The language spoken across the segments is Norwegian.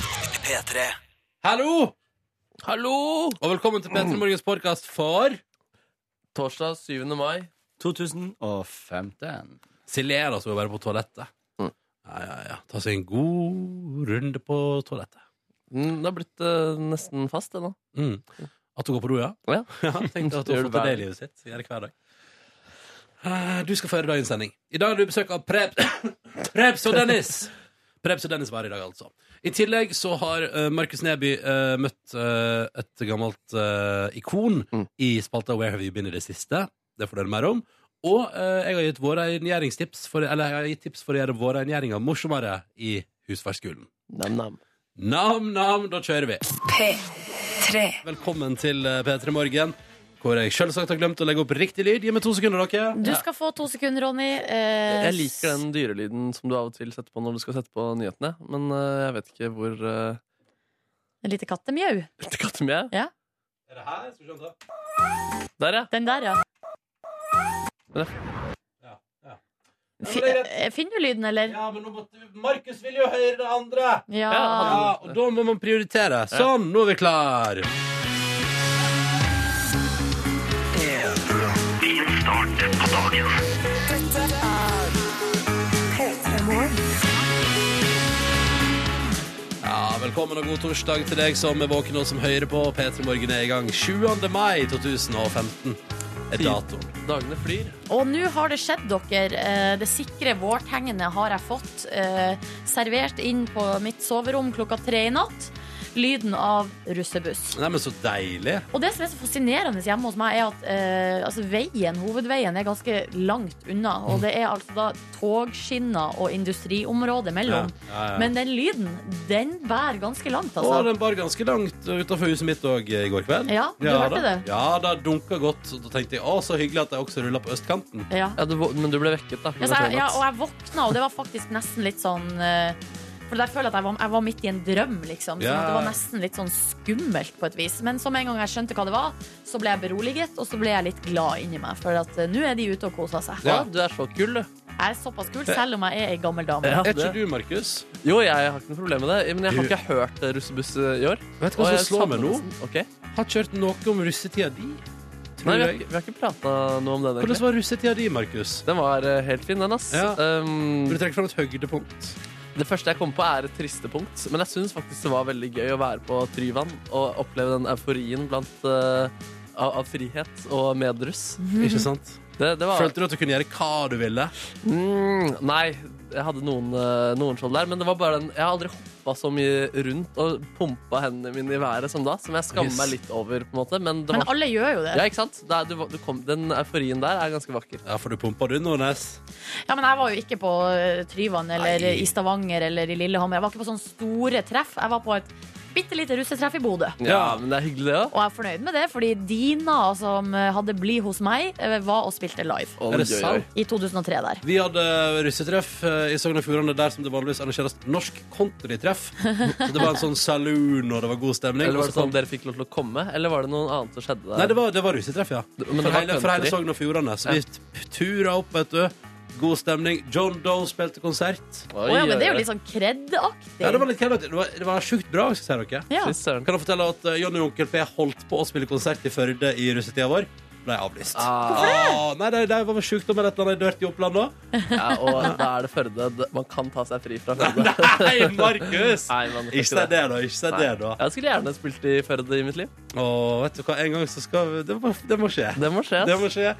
P3. Hallo! Hallo! Og velkommen til P3 Morgens podkast for Torsdag 7. mai. 2015. Silera, som er bare på toalettet. Mm. Ja, ja, ja. Ta seg en god runde på toalettet. Mm, Det har blitt eh, nesten fast, det nå. Mm. At hun går på do, ja? Ja. tenkte at hun har fått til det i livet sitt. Gjør det hver dag. Eh, Du skal få høre dagens sending. I dag har du besøk av Preb... Prebz og Dennis! Prebz og Dennis var her i dag, altså. I tillegg så har eh, Markus Neby eh, møtt eh, et gammelt eh, ikon Mm. i spalta Where Have You Been i det siste. Det får dere mer om. Og eh, jeg har gitt våre regjeringstips for, eller jeg har gitt tips for å gjøre våre regjeringer morsommere i husfarskolen. Nam, nam. Nam, nam, da kjører vi. P3. Velkommen til eh, P3 Morgen, hvor jeg selvsagt har glemt å legge opp riktig lyd. Gi meg to sekunder, dere. Du skal få to sekunder, Ronny. Eh, Jeg liker den dyrelyden som du av og til setter på når du skal sette på nyhetene, men eh, jeg vet ikke hvor eh, En liten kattemjau. det katter vi er. Er det her? Skal vi se om det- Der, ja. Den der, ja. Ja, men det er greit. Fi- eh, Finner du lyden, eller? Ja, men nå måtte Markus vil jo høre det andre. Ja. Ja, Ja, og da må man prioritere. Sånn, nå er vi klar. Ja, velkommen og god torsdag til deg som er våken og som hører på. P3 Morgen er i gang 7. mai 2015. Er datoen. Dagene flyr. Og nå har det skjedd, dere. Eh, Det sikre vårtegnet har jeg fått eh, servert inn på mitt soverom klokka tre i natt. Lyden av russebuss. Nei, men så deilig. Og det som er så fascinerende hjemme hos meg, er at eh, altså veien, hovedveien er ganske langt unna. Og det er altså da togskinner og industriområde Ja, mellom. ja, ja. Men den lyden, den bærer ganske langt, Og altså. den bar ganske langt utenfor huset mitt òg i går kveld. Ja, du hørte da. det? Ja, da dunka godt. Og da tenkte jeg å, så hyggelig at jeg også rulla på østkanten. Ja. Ja, du, vå- men du ble vekket, da. Ja, klokka så tre i jeg, ja, natt. og jeg våkna, og det var faktisk nesten litt sånn eh, For der føler jeg at jeg var, jeg var midt i en drøm, liksom. Sånn Ja. at det var nesten litt sånn skummelt på et vis. Men som en gang jeg skjønte hva det var, så ble jeg beroliget, og så ble jeg litt glad inni meg. For at eh, nå er de ute og koser seg. Ja, du er så kul, du. Jeg er såpass kul, selv om jeg er ei gammel dame. Ja, Er ikke det. du, Markus? Jo, jeg har ikke noe problem med det, men jeg har ikke hørt eh, russebuss eh, i år. Vet du og hva som jeg slår meg savner nå? nesten- Ok. Har ikke hørt noe om russetida di. Nei, Tror vi har, jeg. ikke- vi har ikke prata noe om den, Hvordan egentlig. var russetida di, Markus? Den var eh, helt fin, den, ass. Ja. Um, Vil du trekke fram et høydepunkt? Det første jeg kom på, er et triste punkt. Men jeg syns faktisk det var veldig gøy å være på Tryvann og oppleve den euforien blant, eh, av, av frihet og medruss. Mhm. Ikke sant? Det, det var Følte du at du kunne gjøre hva du ville? mm, Nei, jeg hadde noen, eh, noen sånn der, men det var bare den Jeg har aldri hoppa så mye rundt og pumpa hendene mine i været som da, som jeg skammer Yes. meg litt over, på en måte. Men det Men var alle gjør jo det. ja, ikke sant? Det er- du, du kom, den euforien der er ganske vakker. Ja, for du pumpa du, Nordnes. Ja, men jeg var jo ikke på eh, Tryvann eller Nei. i Stavanger eller i Lillehammer. Jeg var ikke på sånne store treff. Jeg var på et bitte lite russetreff i Bodø. Ja, men det er hyggelig, det òg. Og jeg er fornøyd med det, fordi Dina, som eh, hadde Bli hos meg, eh, var og spilte live Er det sant? i 2003 der. Vi hadde russetreff eh, i Sogn og Fjordane, der som det vanligvis arrangeres norsk countrytreff. Så det var en sånn saloon, og det var god stemning. Eller var det Og så sånn dere fikk lov til å komme, eller var det noe annet som skjedde der? Nei, det var, det var russetreff, ja. Det- for, men det var hele, for hele country. Sogn og Fjordane. Så Ja. vi t- tura opp, vet du. God stemning. John Doe spilte konsert. Oi, Å ja, men oi, det er jo oi. litt sånn kred-aktig. Ja, det var litt kjent. Det var, det var sjukt bra, skal jeg si dere. Ja. Fy søren. Kan jeg fortelle at eh, Johnny og Onkel P holdt på å spille konsert i Førde i russetida vår. Ble avlyst. Ah. Ah, nei, det, det var vel sjukdom eller et eller annet dørt i Oppland da. Ja, og da er det Førde. Det- Man kan ta seg fri fra Førde. Nei, Markus! Nei, man får Ikke si det, da. Ikke si Nei. det, da. Jeg skulle gjerne spilt i Førde i mitt liv. Åh, vet du hva, en gang så skal vi Det må, det må skje. Det må skje. ass. Det må skje.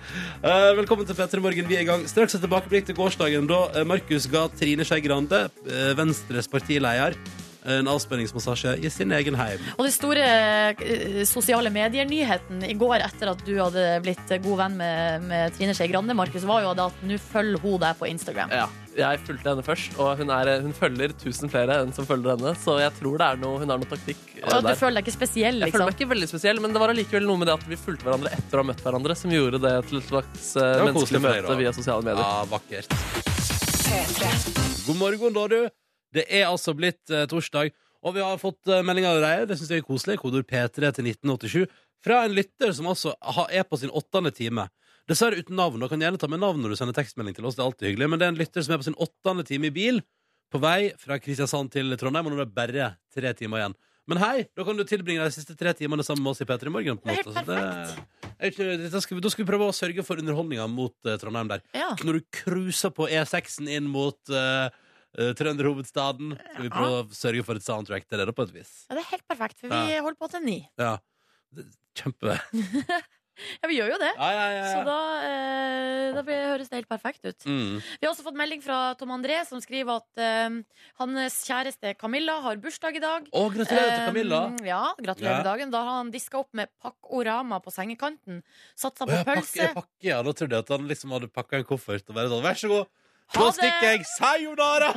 Eh, velkommen til Petter i morgen. Vi er i gang. Straks et tilbakeblikk til gårsdagen da eh, Markus ga Trine Skei Grande, eh, Venstres partileder, en avspenningsmassasje i sin egen heim. Og den store eh, sosiale medier-nyheten i går etter at du hadde blitt god venn med, med Trine Skei Grande, Markus, var jo det at nå følger hun deg på Instagram. Ja. Jeg fulgte henne først, og hun, er, hun følger tusen flere enn som følger henne. Så jeg tror det er noe, hun har noe taktikk. eh, Og at der. du føler deg ikke Jeg spesiell, føler liksom. meg ikke veldig spesiell, men det var allikevel noe med det at vi fulgte hverandre etter å ha møtt hverandre, som gjorde det til et slags eh, Det var koselig menneskelig for deg, da. møte via sosiale medier. Ja, vakkert. God morgen, da, du. Det er altså blitt eh, torsdag, og vi har fått eh, melding av deg. Det syns jeg er koselig. Kodord P3 til 1987. Fra en lytter som altså har- er på sin åttende time. Dessverre uten navn. Og kan gjerne ta med navn når du sender tekstmelding til oss. Det er alltid hyggelig. Men det er en lytter som er på sin åttende time i bil på vei fra Kristiansand til Trondheim, og nå er det bare tre timer igjen. Men hei, da kan du tilbringe de siste tre timene sammen med oss i P3 Morgen. på en Det er måte. helt Så det- jeg er ikke- dette skal vi- Da skal vi prøve å sørge for underholdninga mot eh, Trondheim der. Ja. Når du cruiser på E6-en inn mot uh, trønderhovedstaden, skal vi prøve å sørge for et soundtrack til det, da, på et vis. Ja, det er helt perfekt, for vi holder på til ni. Ja. Det- Kjempe. Ja, vi gjør jo det. Ja, ja, ja. Så da, eh, da blir- høres det helt perfekt ut. Mm. Vi har også fått melding fra Tom André, som skriver at eh, hans kjæreste Camilla har bursdag i dag. Å, gratulerer til Eh, Camilla. ja, gratulerer med Ja. dagen. Da har han diska opp med pakkorama på sengekanten. Satsa Å, på ja, pakke, pølse. ja, pakke, ja. Da trodde jeg at han liksom hadde pakka en koffert og bare sånn Vær så god, Ha nå det!» stikker jeg! Sayonara!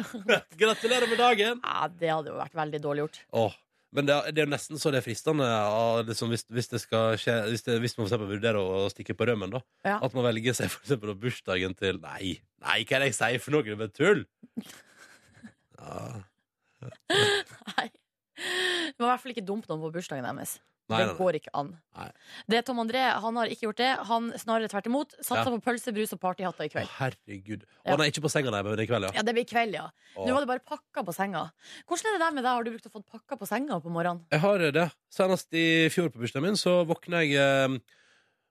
Gratulerer med dagen! Ja, det hadde jo vært veldig dårlig gjort. Åh, men det, er- det er jo nesten så det er fristende ah, liksom, hvis, hvis det skal skje Hvis, det, hvis man for eksempel vurderer å stikke på rømmen, da. Ja. At man velger seg for eksempel da bursdagen til Nei, nei, hva er det jeg sier for noe? Det er bare tull! Ah, Ja. Nei. Det var i hvert fall ikke dumt noen på bursdagen deres. Nei, det nei, nei. går ikke an. Nei. Det er Tom André han har ikke gjort det. Han snarere tvert imot. Satsa Ja. på pølse, brus og partyhatter Å, i kveld. herregud. Å Ja. nei, ikke på senga, nei, men i kveld, ja. Ja, det blir i kveld, ja. Åh. Nå var det bare pakka på senga. Hvordan er det der med deg? Har du brukt å få pakka på senga på morgenen? Jeg har det. Senest i fjor på bursdagen min så våkna jeg eh,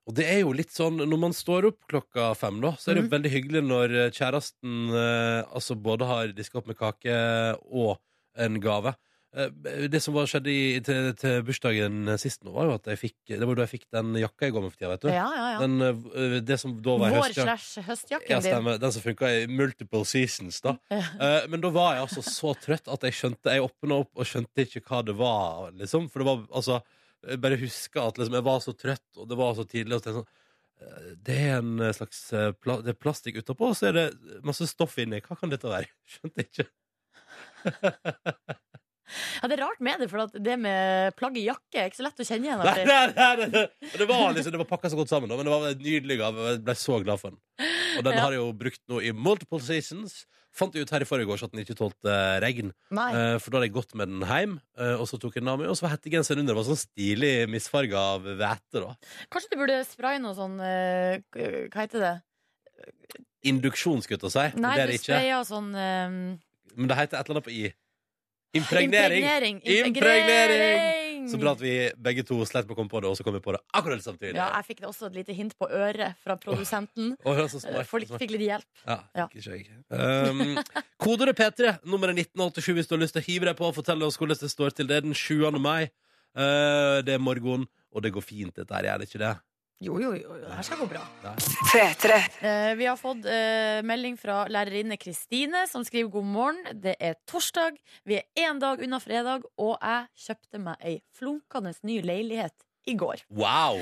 Og det er jo litt sånn når man står opp klokka fem, da, så er Mhm. det jo veldig hyggelig når eh, kjæresten eh, altså både har diska opp med kake og en gave. Eh, Det som var skjedde i, til, til bursdagen sist nå, var jo at jeg fikk Det var da jeg fikk den jakka jeg går med for tida, vet du. Ja, ja, ja. Den, eh, det som da var Vår høstjakka. slash høstjakken Ja, din. stemmer. Den som funka i multiple seasons, da. Eh, men da var jeg altså så trøtt at jeg skjønte Jeg åpna opp og skjønte ikke hva det var, liksom. For det var altså Jeg bare husker at liksom, jeg var så trøtt, og det var så tidlig, og så tenkte jeg sånn eh, det er en slags eh, pla det er plastikk utapå, og så er det masse stoff inni. Hva kan dette være? Skjønte ikke. Ja, det er rart med det, for at det med plagg i jakke er ikke så lett å kjenne igjen. Nei, etter. nei, nei, nei, nei. Og Det var liksom, det var pakka så godt sammen, da, men det var en nydelig gave. og Jeg ble så glad for den. Og den Ja. har jeg jo brukt nå i multiple seasons. Fant jeg ut her i forrige år at den ikke tålte regn. Nei. Eh, for da hadde jeg gått med den hjem, eh, og så tok jeg den av meg. Og så var hettegenseren under. Det var sånn stilig misfarga av hvete, da. Kanskje du burde spraye noe sånn eh, k- Hva heter det? Induksjon, skulle jeg til å si. Nei, men det er du det ikke. sprayer sånn eh, Men det heter et eller annet på i. Impregnering. Impregnering! Så bra at vi begge to slett med å komme på det, og så kom vi på det akkurat samtidig. Ja, jeg fikk det også et lite hint på øret fra produsenten. Å, det er så smart, Folk så smart. fikk litt hjelp. Ja, Ja. ikke jeg. Um, kodeordet P3, nummeret 1987 hvis du har lyst til å hive deg på og fortelle oss hvordan det står til. Det er den 7. mai. Eh, det er morgen, og det går fint, dette her, er det ikke det? Jo, jo, jo, det her skal gå bra. P3. Eh, vi har fått eh, melding fra lærerinne Kristine, som skriver god morgen. Det er torsdag, vi er én dag unna fredag, og jeg kjøpte meg ei flunkende ny leilighet i går. Wow!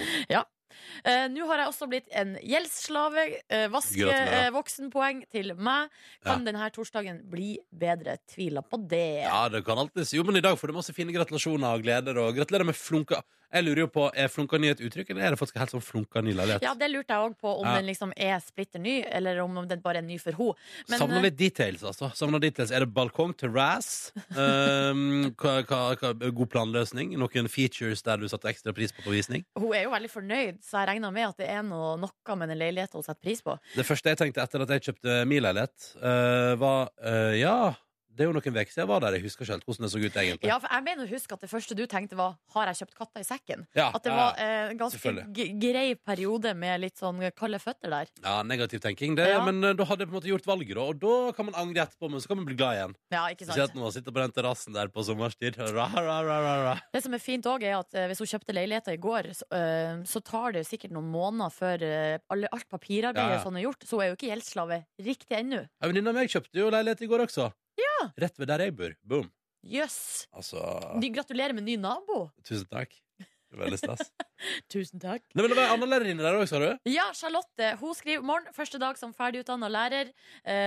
Eh, Nå har jeg også blitt en gjeldsslave. Eh, vaske Gratulerer. eh, voksenpoeng til meg. Kan denne torsdagen bli bedre? Tviler på det. Ja, det kan alltid Jo, men i dag får du masse fine gratulasjoner og gleder, og gratulerer med flunka. Jeg lurer jo på, er flunka ny et uttrykk, eller er det faktisk helt sånn flunka ny leilighet? Ja, det lurte jeg òg på, om Ja. den liksom er splitter ny, eller om den bare er ny for henne. eh, Savner litt details, altså. Savner details. Er det balkong, terrasse? Um, hva, hva, hva, god planløsning? Noen features der du satte ekstra pris på på visning? Hun er jo veldig fornøyd, så jeg regner med at det er noe, noe med den leiligheten hun setter pris på. Det første jeg tenkte etter at jeg kjøpte min leilighet, eh, var eh, Ja, det er jo noen uker siden jeg var der. Jeg husker ikke helt hvordan det så ut, egentlig. Ja, for jeg mener å huske at det første du tenkte var 'har jeg kjøpt katta i sekken'? Ja, At det ja, var eh, en ganske selvfølgelig. g grei periode med litt sånn kalde føtter der. ja, negativ tenking, det. Ja. Men eh, da hadde jeg på en måte gjort valget, da. Og da kan man angre etterpå, men så kan man bli glad igjen. Ja, ikke Spesielt sant? når man sitter på den terrassen der på sommerstid. Ra, ra, ra, ra, ra. Det som er fint òg, er at eh, hvis hun kjøpte leiligheta i går, så, eh, så tar det sikkert noen måneder før eh, alle, alt Ja, papirarbeidet ja. sånn er gjort, så hun er jo ikke gjeldsslave riktig ennå. Ei venninne av meg kjøpte jo leilighet i går også. Rett ved der jeg bor. Boom. Jøss! Altså, De gratulerer med ny nabo! tusen takk. Det var Veldig stas. Tusen takk. Nei, men det var en annen lærerinne der òg, sa du? Ja, Charlotte hun skriver morgen. Første dag som ferdigutdanna lærer.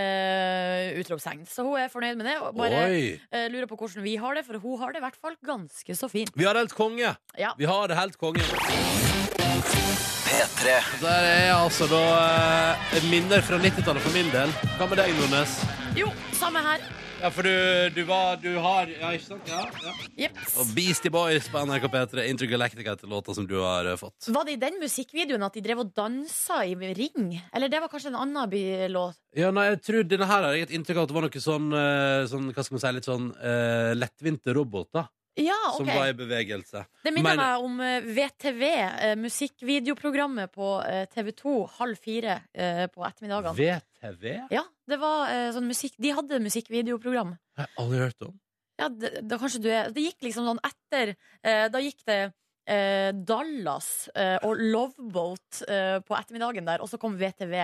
Eh, utropstegn. Så hun er fornøyd med det. Og bare Oi! eh, lurer på hvordan vi har det, for hun har det i hvert fall ganske så fint. Vi har helt konge! Ja. Vi har det helt konge. Der er altså da eh, minner fra 90-tallet for min del. Hva med deg, Nordnes? Jo, samme her. Ja, for du, du var Du har Ja, ikke sant? Ja, ja. Jeps. Og Beastie Boys på NRK P3, Intergalactica etter låta som du har eh, fått. Var det i den musikkvideoen at de drev og dansa i ring? Eller det var kanskje en annen bylåt? Ja, nei, jeg tror denne her har jeg et inntrykk av at det var noe sånn, eh, sånn Hva skal man si, litt sånn eh, lettvinte roboter Ja, som var Ah, ok. i bevegelse. Det minner Men- meg om eh, VTV, eh, musikkvideoprogrammet på eh, TV2 halv fire eh, på ettermiddagene. VTV? Ja, det var eh, sånn musikk De hadde musikkvideoprogram. Jeg har aldri hørt om. Ja, det, det, kanskje du er Det gikk liksom sånn etter eh, Da gikk det eh, Dallas eh, og Loveboat eh, på ettermiddagen der, og så kom VTV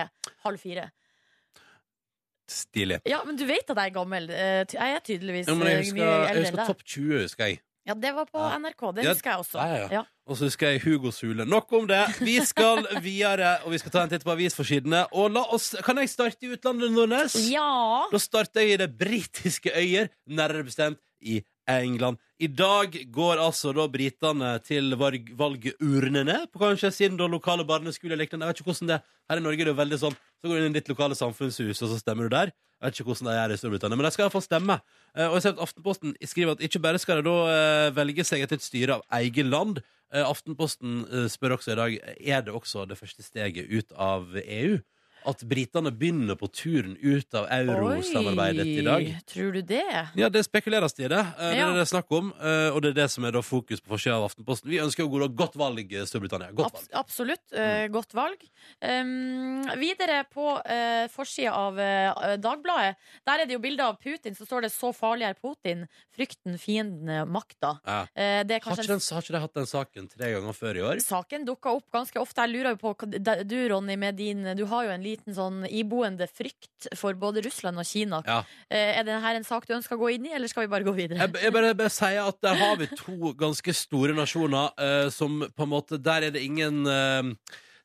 halv fire. Stilig. Ja, men du vet at jeg er gammel. Eh, ty- Jeg er tydeligvis Ja, men jeg eh, husker, mye jeg eldre enn husker deg. Topp 20, husker jeg. Ja, det var på Ja. NRK. Det Ja, husker jeg også. ja, ja. Ja. Og så husker jeg Hugo Sule. Nok om det. Vi skal videre, og vi skal ta en titt på avisforsidene. Og la oss, kan jeg starte i utlandet, Nordnes? Ja. Da starter jeg i det britiske øyer, nærmere bestemt i England. I dag går altså da britene til valg valgurnene, på kanskje siden da lokale barneskoler og lignende. Jeg vet ikke hvordan det er. Her i Norge er det jo veldig sånn Så går du inn i ditt lokale samfunnshus, og så stemmer du der. Jeg vet ikke hvordan det er i Storbritannia, men de skal iallfall stemme. Eh, Og jeg ser at Aftenposten skriver at ikke bare skal de da eh, velge seg etter et styre av eget land. Eh, Aftenposten eh, spør også i dag er det også det første steget ut av E EU. At britene begynner på turen ut av eurosamarbeidet i dag. tror du det? Ja, det spekuleres i det. Eh, Det Ja. er det det er snakk om, eh, og det er det som er da fokus på forsida av Aftenposten. Vi ønsker jo god- godt valg, eh, Storbritannia. Godt Abs valg. Mm. absolutt. eh, godt valg. Um, videre på uh, forsida av eh, Dagbladet. Der er det jo bilde av Putin. Så står det 'Så farlig er Putin'. Frykten, fienden, makta. Ja. Eh, det er Har kanskje ikke, en den, har ikke de hatt den saken tre ganger før i år? Saken dukker opp ganske ofte. Jeg lurer jo på hva- da- Du, Ronny, med din Du har jo en liten sånn iboende frykt for både Russland og Kina. Ja. Eh, Er dette en sak du ønsker å gå inn i, eller skal vi bare gå videre? Jeg, jeg bare, jeg bare sier at der har vi to ganske store nasjoner eh, som på en måte Der er det ingen eh,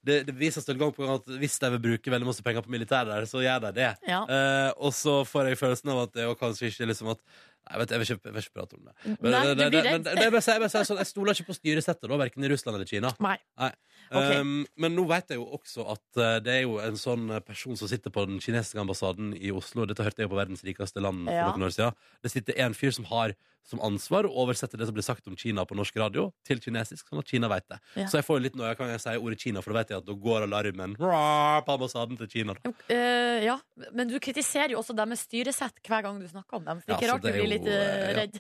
det, det vises til gang på gang at hvis de vil bruke veldig masse penger på militæret der, så gjør de det. Ja. Eh, og så får jeg følelsen av at det og kanskje ikke liksom at Nei, vet, du, jeg, vil ikke, jeg vil ikke prate om det. Men, Nei, du det- blir det- redd. men det- jeg bare sier- jeg bare sier sånn, jeg stoler ikke på styresettet, da, verken i Russland eller Kina. Nei. Nei. Ok. Um, men nå vet jeg jo også at eh, det er jo en sånn eh, person som sitter på den kinesiske ambassaden i Oslo. Dette hørte jeg jo på verdens rikeste land Ja. for noen år siden. Det sitter en fyr som har som ansvar å oversette det som blir sagt om Kina på norsk radio, til kinesisk, sånn at Kina vet det. Ja. Så jeg får jo litt noia kan jeg si ordet Kina, for da vet jeg at da går alarmen rah, på ambassaden til Kina. Da. Eh, ja. Men du kritiserer jo også deres styresett hver gang du snakker om dem. Så det er ikke Ja, så rart du det er blir jo, litt eh, eh, ja. redd.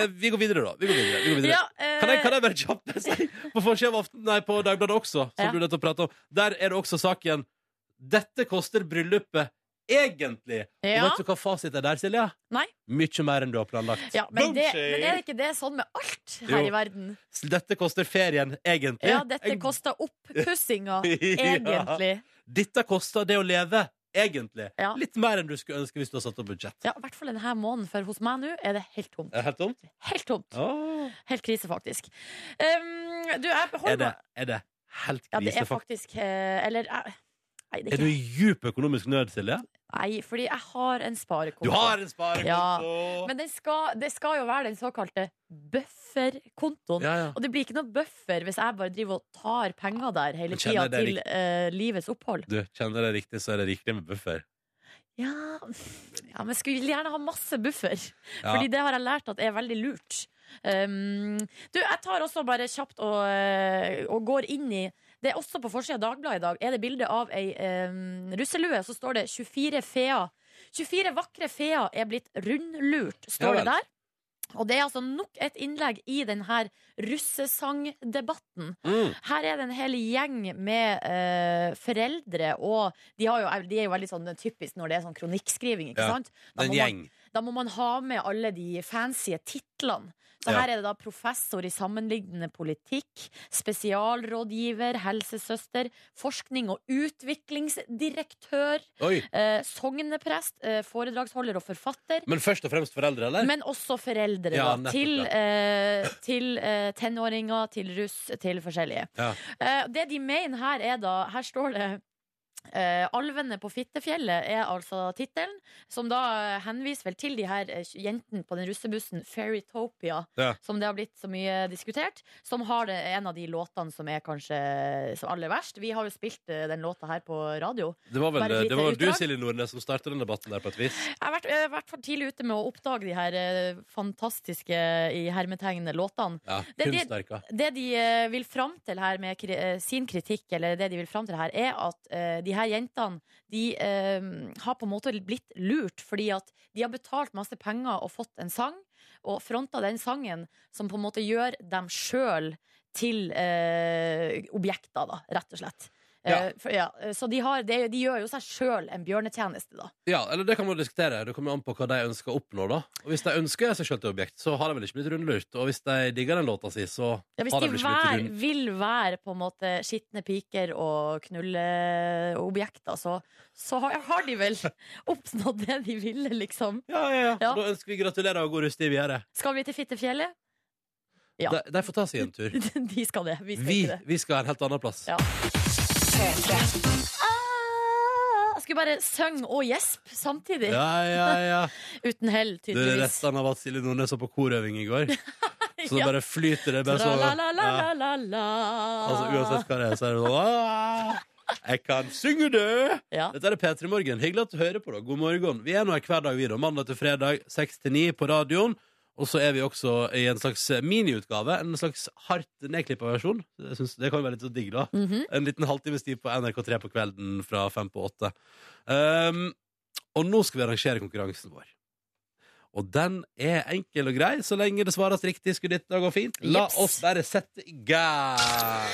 Eh, vi går videre, da. Vi går videre. Vi går videre. Ja, eh, Kan jeg, kan jeg bare kjappe si På forsiden av aften, nei, på Dagbladet også Som Ja. du nettopp pratet om Der er det også saken Dette koster bryllupet Egentlig Og eh, Ja. vet du hva fasit er der, Silja? Nei. Mye mer enn du har planlagt ja, men, det, men er Boomshay! det ikke det sånn med alt her Jo. i verden? Dette koster ferien, egentlig Ja, dette Jeg- koster oppussinga, egentlig. Dette koster det å leve, egentlig Ja. Litt mer enn du skulle ønske hvis du hadde satt opp budsjett Ja, I hvert fall denne måneden, for hos meg nå er det helt tomt. Er det helt tomt? Helt tomt. Åh. Helt krise, faktisk. Um, du, jeg Er, beholder det, meg er det helt Ja, det krise? er faktisk eh, Eller eh, Nei, det Er er du i ikke djup økonomisk nød, Silje? Nei, fordi jeg har en sparekonto. Du har en sparekonto! Ja, Men den skal, det skal jo være den såkalte bufferkontoen. ja, ja. Og det blir ikke noe buffer hvis jeg bare driver og tar penger der hele Men kjenner tida jeg det til eh, livets opphold. Du, kjenner jeg det riktig, så er det riktig med buffer. Ja, ja men skulle gjerne ha masse buffer. Ja. Fordi det har jeg lært at er veldig lurt. Um, du, jeg tar også bare kjapt og, eh, og går inn i Det er også på forsida av Dagbladet i dag. Er det bilde av ei um, russelue, så står det 24 feer. 24 vakre feer er blitt rundlurt, står Ja vel. det der. Og det er altså nok et innlegg i denne russesangdebatten. Mm. Her er det en hel gjeng med eh, foreldre, og de, har jo, de er jo veldig sånn typisk når det er sånn kronikkskriving, ikke Ja, sant? Da En må man- gjeng. da må man ha med alle de fancy titlene. Så Ja. her er det da professor i sammenlignende politikk, spesialrådgiver, helsesøster, forskning- og utviklingsdirektør, Oi. eh, sogneprest, eh, foredragsholder og forfatter. Men først og fremst foreldre, eller? Men også foreldre Ja, da, nettopp, til, ja. eh, til eh, tenåringer, til russ, til forskjellige. Ja. Eh, det de mener her er da Her står det Eh, 'Alvene på Fittefjellet' er altså tittelen, som da eh, henviser vel til de her eh, jentene på den russebussen Fairytopia, Ja. som det har blitt så mye diskutert, som har det, en av de låtene som er kanskje som aller verst. Vi har jo spilt eh, den låta her på radio. Det var vel, Bare et det var vel lite du, utdrag. Silje Nordnes, som starta den debatten der på et vis. Jeg har vært, jeg har vært for tidlig ute med å oppdage de her eh, fantastiske i hermetegnene låtene. Ja, Det- det- Kunstverka. Det de eh, vil fram til her med kri eh, sin kritikk, eller det de vil fram til her, er at eh, de her jentene de eh, har på en måte blitt lurt, fordi at de har betalt masse penger og fått en sang, og fronta den sangen som på en måte gjør dem sjøl til eh, objekter, da, rett og slett. Ja. Eh, for, ja. eh, Så de, har, de, de gjør jo seg sjøl en bjørnetjeneste, da. Ja, eller det kan man jo diskutere. Det kommer jo an på hva de ønsker å oppnå. da Og Hvis de ønsker seg sjøl til objekt, så har de vel ikke blitt rundlurt. Og hvis de digger den låta si, så Ja, hvis har de de vel ikke blitt vær, rund... vil være på en måte skitne piker og knulleobjekter, så, så har, har de vel oppnådd det de ville, liksom. Ja, ja, ja. Ja. Da ønsker vi gratulerer og god rustig videre. Skal vi til Fittefjellet? Ja. De, de får ta seg en tur. De skal det. Vi skal Vi, ikke det. vi skal en helt annen plass. Ja. Ah, Jeg skulle bare synge og gjespe samtidig. Ja, ja, ja. Uten hell, Det er tydeligvis. restene av at Silje Nordnes var på korøving i går. Så det Ja. bare flyter. Det er bare sånn. Ja. Tra-la-la-la-la-la. Altså, Ah. uansett hva det er, så er det sånn «Ah, Jeg kan synge det! Ja. Dette er P3 Morgen. Hyggelig at du hører på. da God morgen. Vi er nå her hver dag, vi. da Mandag til fredag 6 til 9 på radioen. Og så er vi også i en slags miniutgave. En slags hardt nedklippa versjon. Jeg synes Det kan være litt så digg, da. Mhm. En liten halvtimes tid på NRK3 på kvelden fra fem på åtte. Ehm, og nå skal vi arrangere konkurransen vår. Og den er enkel og grei, så lenge det svares riktig. Skulle dette gå fint? La Jeps. oss bare sette i gang.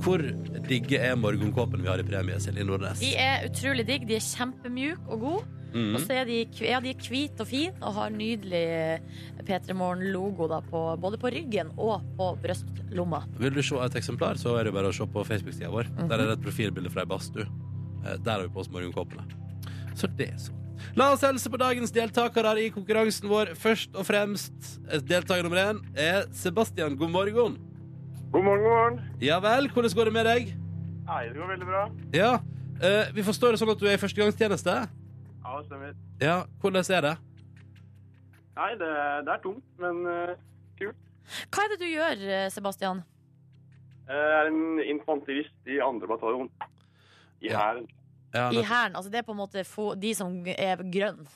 Hvor digge er morgenkåpen vi har i premie, Silje Nordnes? De er utrolig digg. De er kjempemjuke og gode. Mhm. Og så er de, kv- ja, de er hvite og fine og har nydelig eh, P3 Morgen-logo da på- både på ryggen og på brystlomma. Vil du se et eksemplar, så er det jo bare å se på Facebook-sida vår. Der er det et profilbilde fra ei badstue. Eh, Der har vi på oss morgenkåpene. Så det er sånn. La oss helse på dagens deltakere i konkurransen vår. Først og fremst eh, deltaker nummer én er Sebastian. God morgen. God morgen, god morgen. Ja vel, hvordan går det med deg? Nei, det går veldig bra. Ja, eh, Vi forstår det sånn at du er i førstegangstjeneste. Ja, det stemmer. Ja, hvordan er det? Nei, det, det er tungt, men eh, Hva er det du gjør, eh, Sebastian? jeg er en infanterist i andre bataljon. I Ja. hæren. Ja, I nettopp. hæren? Altså, det er på en måte få, de som er grønne.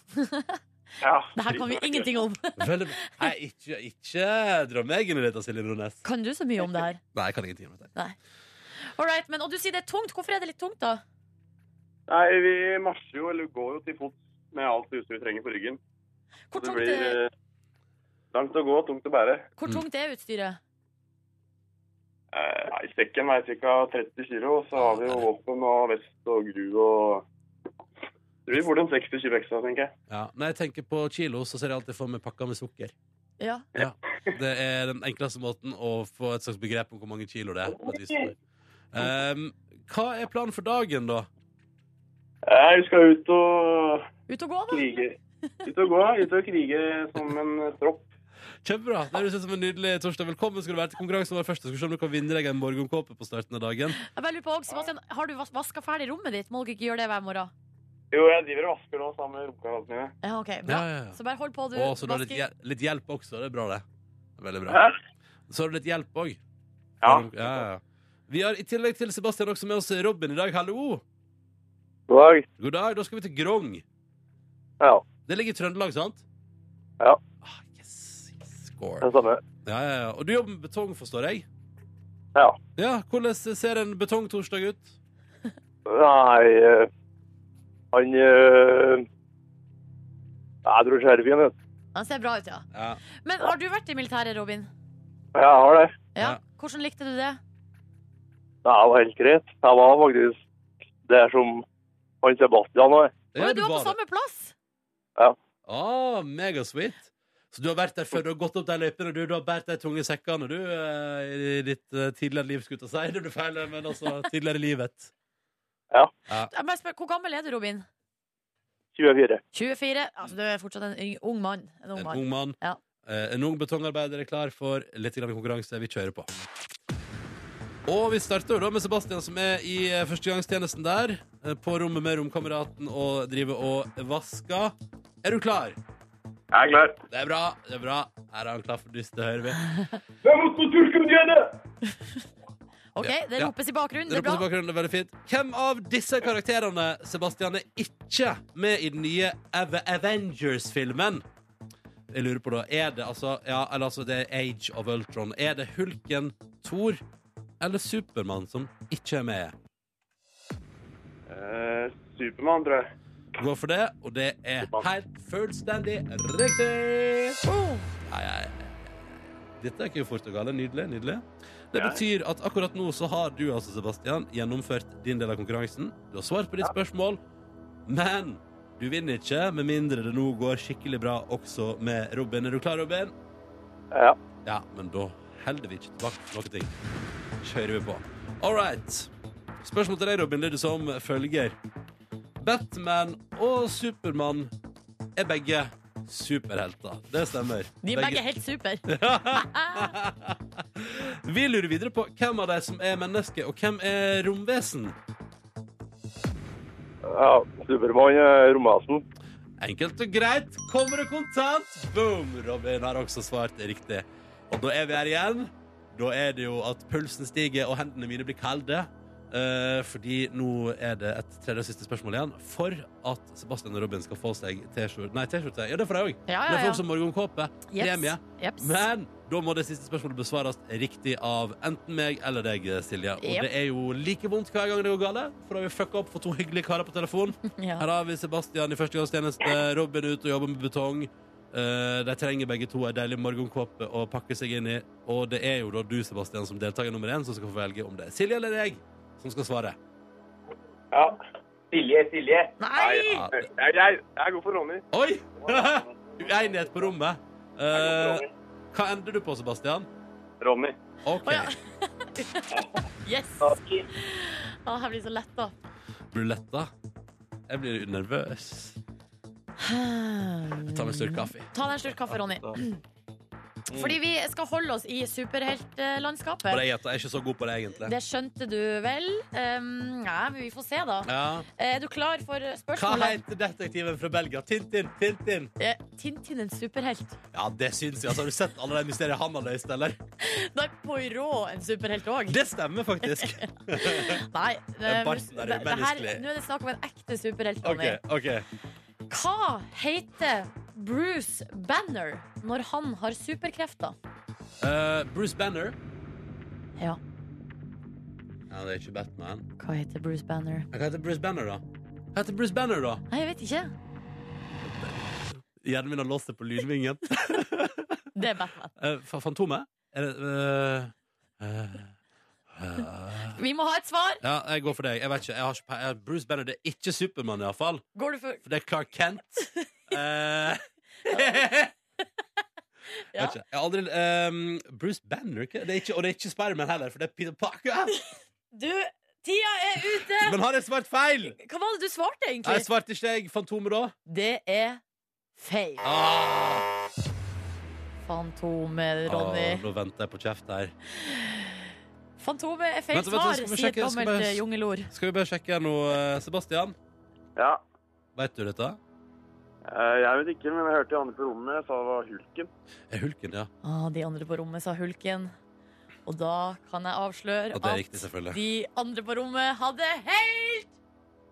Ja. Det her kan vi ingenting om. Veldig bra. Nei, ikke, ikke dra meg inn i dette, Silje Nordnes. Kan du så mye om det her? Nei, jeg kan ingenting om dette. All right, men, og du sier det er tungt. Hvorfor er det litt tungt, da? Nei, vi marsjer jo, eller går jo til fots med alt det utstyret vi trenger på ryggen. Hvor Det tungt blir er, eh, langt å gå, tungt å eh, bære. hvor mm. tungt er utstyret? Eh, nei, sekken veier ca. 30 kilo, og så har vi jo våpen og vest og gru og Jeg tror vi burde en 60 kilo ekstra, tenker jeg. Ja. Når jeg tenker på kilo, så ser jeg alltid for meg pakker med sukker. Ja. Det er den enkleste måten å få et slags begrep om hvor mange kilo det er. på et vis. Ehm, hva er planen for dagen, da? Eh, vi skal ut og Ut og gå, da? krige. Ut og gå, ut og krige som en tropp. Kjempebra! Det høres ut som en nydelig torsdag. Velkommen skal du være til konkurransen vår først. Jeg Skal se om du kan vinne deg en morgenkåpe på starten av dagen. Jeg bare lurer på, også, Sebastian, Har du vas- vaska ferdig rommet ditt? Må dere ikke gjøre det hver morgen? Jo, jeg driver og vasker nå sammen med romkameratene mine. Ja, OK. Bra. Ja, ja, ja. Så bare hold på, du. Å, så du har litt, Vasker. hjel litt hjelp også. Det er bra, det. Det er Veldig bra. Hæ? Så har du litt hjelp òg. Ja. ja, ja. Vi har i tillegg til Sebastian også med oss Robin i dag. Hallo! God dag. God dag. Da skal vi til Grong. Ja, Det ligger i Trøndelag, sant? Ja. Ah, yes, yes, score. den samme. Ja, ja, ja. Og du jobber med betong, forstår jeg? Ja. Ja, Hvordan ser en betongtorsdag ut? Nei, eh, han... eh, Nei, jeg dro skjerven, vet du. Den ser bra ut, ja. Ja. Men har du vært i militæret, Robin? Ja, Jeg har det. Ja. Ja. Hvordan likte du det? Nei, det var helt greit. Jeg var faktisk der som han Sebastian var. Å, du var på samme plass! Ah, Megasweet. Så du har vært der før, du har gått opp de løypene, du, du har båret de tunge sekkene, du, eh, i ditt eh, tidligere liv, skulle jeg til å si. Det blir feil, men altså tidligere i livet. Jeg bare spør, Hvor gammel er du, Robin? 24. 24? Altså, Du er fortsatt en yng- ung mann. En ung En mann. ung mann. Ja. Eh, En ung betongarbeider er klar for litt grann konkurranse. Vi kjører på. Og vi starter jo da med Sebastian, som er i eh, førstegangstjenesten der. eh, På rommet med romkameraten og driver og vasker. Er du klar? Jeg er klar. Det er bra. det er bra Her er han klar for dyst, det hører vi. Hvem mot på turkumdiene? Ok, Ja. Det Ja. ropes i bakgrunnen. Det Det er er på bra. bakgrunnen, det er veldig fint. Hvem av disse karakterene Sebastian, er ikke med i den nye Ave- Avengers-filmen? Jeg lurer på da, er det altså, ja, eller altså det er Age of Ultron. Er det Hulken, Thor eller Supermann som ikke er med? Eh, Supermann, tror jeg. Gå for det, og det er Superman. helt fullstendig riktig! Ja, ja, ja. Dette er ikke fort og gale. Nydelig. nydelig. Det Ja. betyr at akkurat nå så har du altså, Sebastian, gjennomført din del av konkurransen. Du har svart på ditt spørsmål, men du vinner ikke med mindre det nå går skikkelig bra også med Robin. Er du klar, Robin? Ja. Ja, men da holder vi ikke tilbake for noen ting. Kjører vi på. All right. Spørsmålet til deg, Robin, lyder som følger. Batman og Supermann er begge superhelter. Det stemmer. De er begge helt super. Vi lurer videre på hvem av de som er menneske, og hvem er romvesen. ja Supermann eh, er romvesen. Enkelt og greit. Kommer det kontant? Boom! Robin har også svart riktig. Og da er vi her igjen. Da er det jo at pulsen stiger, og hendene mine blir kalde. Eh, fordi nå er det et tredje og siste spørsmål igjen. For at Sebastian og Robin skal få seg T-skjorte Nei, T-skjorte. Ja, det får jeg òg. Det Ja, ja, får ja. også morgenkåpe. Premie. Jeps. Men da må det siste spørsmålet besvares riktig av enten meg eller deg, Silje. Og Yep. det er jo like vondt hver gang det går gale, for da har vi fucka opp for to hyggelige karer på telefon. Ja. Her har vi Sebastian i førstegangstjeneste, Robin ute og jobber med betong. Eh, de trenger begge to ei deilig morgenkåpe å pakke seg inn i. Og det er jo da du, Sebastian, som deltaker nummer én, som skal få velge om det er Silje eller deg som skal svare. Ja. Silje, Silje. Nei! Ja, det- Jeg, jeg, jeg går for Ronny. Oi! Uenighet på rommet. Eh, Jeg hva ender du på, Sebastian? Ronny. OK. Å, ja. Yes! Å, jeg blir så letta. Blir du letta? Jeg blir nervøs. Jeg tar meg en slurk kaffe. Ta deg en slurk kaffe, Ronny. Fordi vi skal holde oss i Og superheltlandskapet. jeg gjetter jeg er ikke så god på det, egentlig. Det skjønte du vel? Um, ja, men vi får se, da. Eh, Ja. Er du klar for Hva spørsmålet? heter detektiven fra Belgia? Tintin! Tintin! Eh, Tintin en superhelt? Ja, det syns jeg. Altså, har du sett alle de mysteriene han har løst, eller? Nei, Poirot en superhelt òg? Det stemmer faktisk. Nei. eh, Den barten der er det her, umenneskelig. nå er det snakk om en ekte superhelt. OK. Ronny. ok Hva heter Bruce Banner når han har superkrefter? Eh, Bruce Banner. Ja, Ja, det er ikke Batman. hva heter Bruce Banner? Hva heter Bruce Banner, da? Hva heter Bruce Banner, da? Nei, jeg vet ikke. Hjernen min har låst seg på lydvingen. Det er Batman. Eh, fa- Fantomet? Er det eh, eh, eh. Vi må ha et svar! Ja, jeg går for deg. Jeg vet ikke. Jeg har ikke pe- eh, Bruce Banner det er ikke Supermann, iallfall. Går du for For det er Clark Kent. Eh, Jeg Eh, Ja. vet ikke. Jeg har aldri ehm, Bruce Banner, ikke? Det er ikke, og det er ikke Spiderman heller, for det er Peter Parker. Du, tida er ute! Men har jeg svart feil? Hva var det du svarte, Nei, egentlig? svarte ikke jeg Fantomet, da? Det er feil. Ah, Fantomet, Ronny. ah, nå venter jeg på kjeft her. Fantomet er feil Vent, vent, svar, skal vi sier et sjekke- skal vi gammelt bare- eh, jungelord. Skal vi bare sjekke nå, eh, Sebastian? Ja. Veit du dette? Eh, Jeg vet ikke, men jeg hørte de andre på rommet sa det var Hulken. Er Hulken, ja. Ah, de andre på rommet sa hulken. Og da kan jeg avsløre Og det er riktig, selvfølgelig. de andre på rommet hadde helt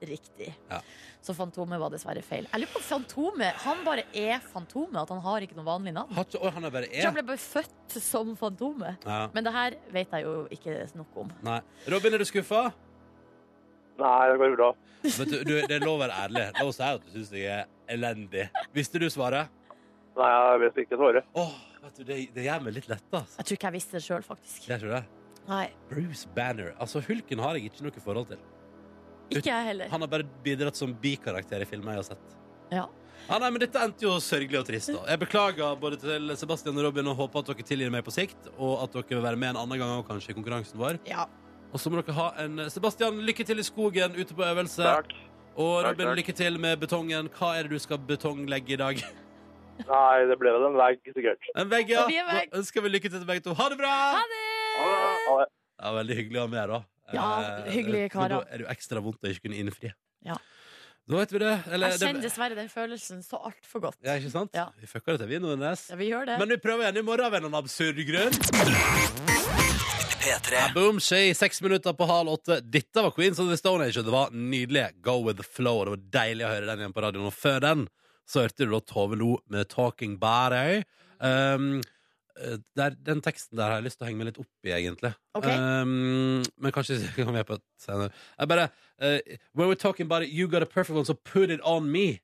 riktig. Ja. Så Fantomet var dessverre feil. Jeg lurer på om Fantomet han bare er Fantomet, at han har ikke noe vanlig navn. Har ikke, oi, han er bare Jeg tror han én. ble bare født som Fantomet. Ja. Men det her vet jeg jo ikke noe om. Nei. Robin, er du skuffa? Nei, det går bra. Vet du, du, det er lov å være ærlig. La oss si at du syns jeg er elendig. Visste du svaret? Nei, jeg vet ikke svaret. Åh, vet du, det, det gjør meg litt letta. Altså. Jeg tror ikke jeg visste det sjøl, faktisk. Gjør ikke det? Nei, Bruce Banner. Altså, Hulken har jeg ikke noe forhold til. Ikke jeg heller. Han har bare bidratt som bikarakter i filmer jeg har sett. Ja. Ah, nei, men Dette endte jo sørgelig og trist. da Jeg beklager både til Sebastian og Robin og håper at dere tilgir meg på sikt. Og at dere vil være med en annen gang også, kanskje i konkurransen vår. Ja. Og så må dere ha en eh, Sebastian, lykke til i skogen ute på øvelse. Takk. Og Takk, Robin, takk. lykke til med betongen. Hva er det du skal betonglegge i dag? Nei, det ble vel en vegg, sikkert. En vegg, ja. Det blir en vegg. Da ønsker vi lykke til til begge to. Ha det bra! Ha det! Ha det. Ja, veldig hyggelig å ha med, da. Ja, Eh, hyggelige men Da karer. er det jo ekstra vondt å ikke kunne innfri. Ja. Da vet vi det. Eller, Jeg kjenner det dessverre den følelsen så altfor godt. ja, ikke sant? Ja. Vi fucka det til, vi, Nordnes. Ja, vi gjør det. Men vi prøver igjen i morgen av en eller annen absurd grunn. Ja, boom, skje, seks minutter på halv åtte. Dette var Queens of the Stone Age, og det var nydelig. Go with the flow. og Det var deilig å høre den igjen på radioen. Og før den så hørte du da Tove Lo med 'Talking Barøy'. Um, eh, der, den teksten der har jeg lyst til å henge meg litt opp i, egentlig. Ok. Um, men kanskje vi kan være på et senere. Jeg bare eh, When we're talking about it, you got a perfect one, so put it on me.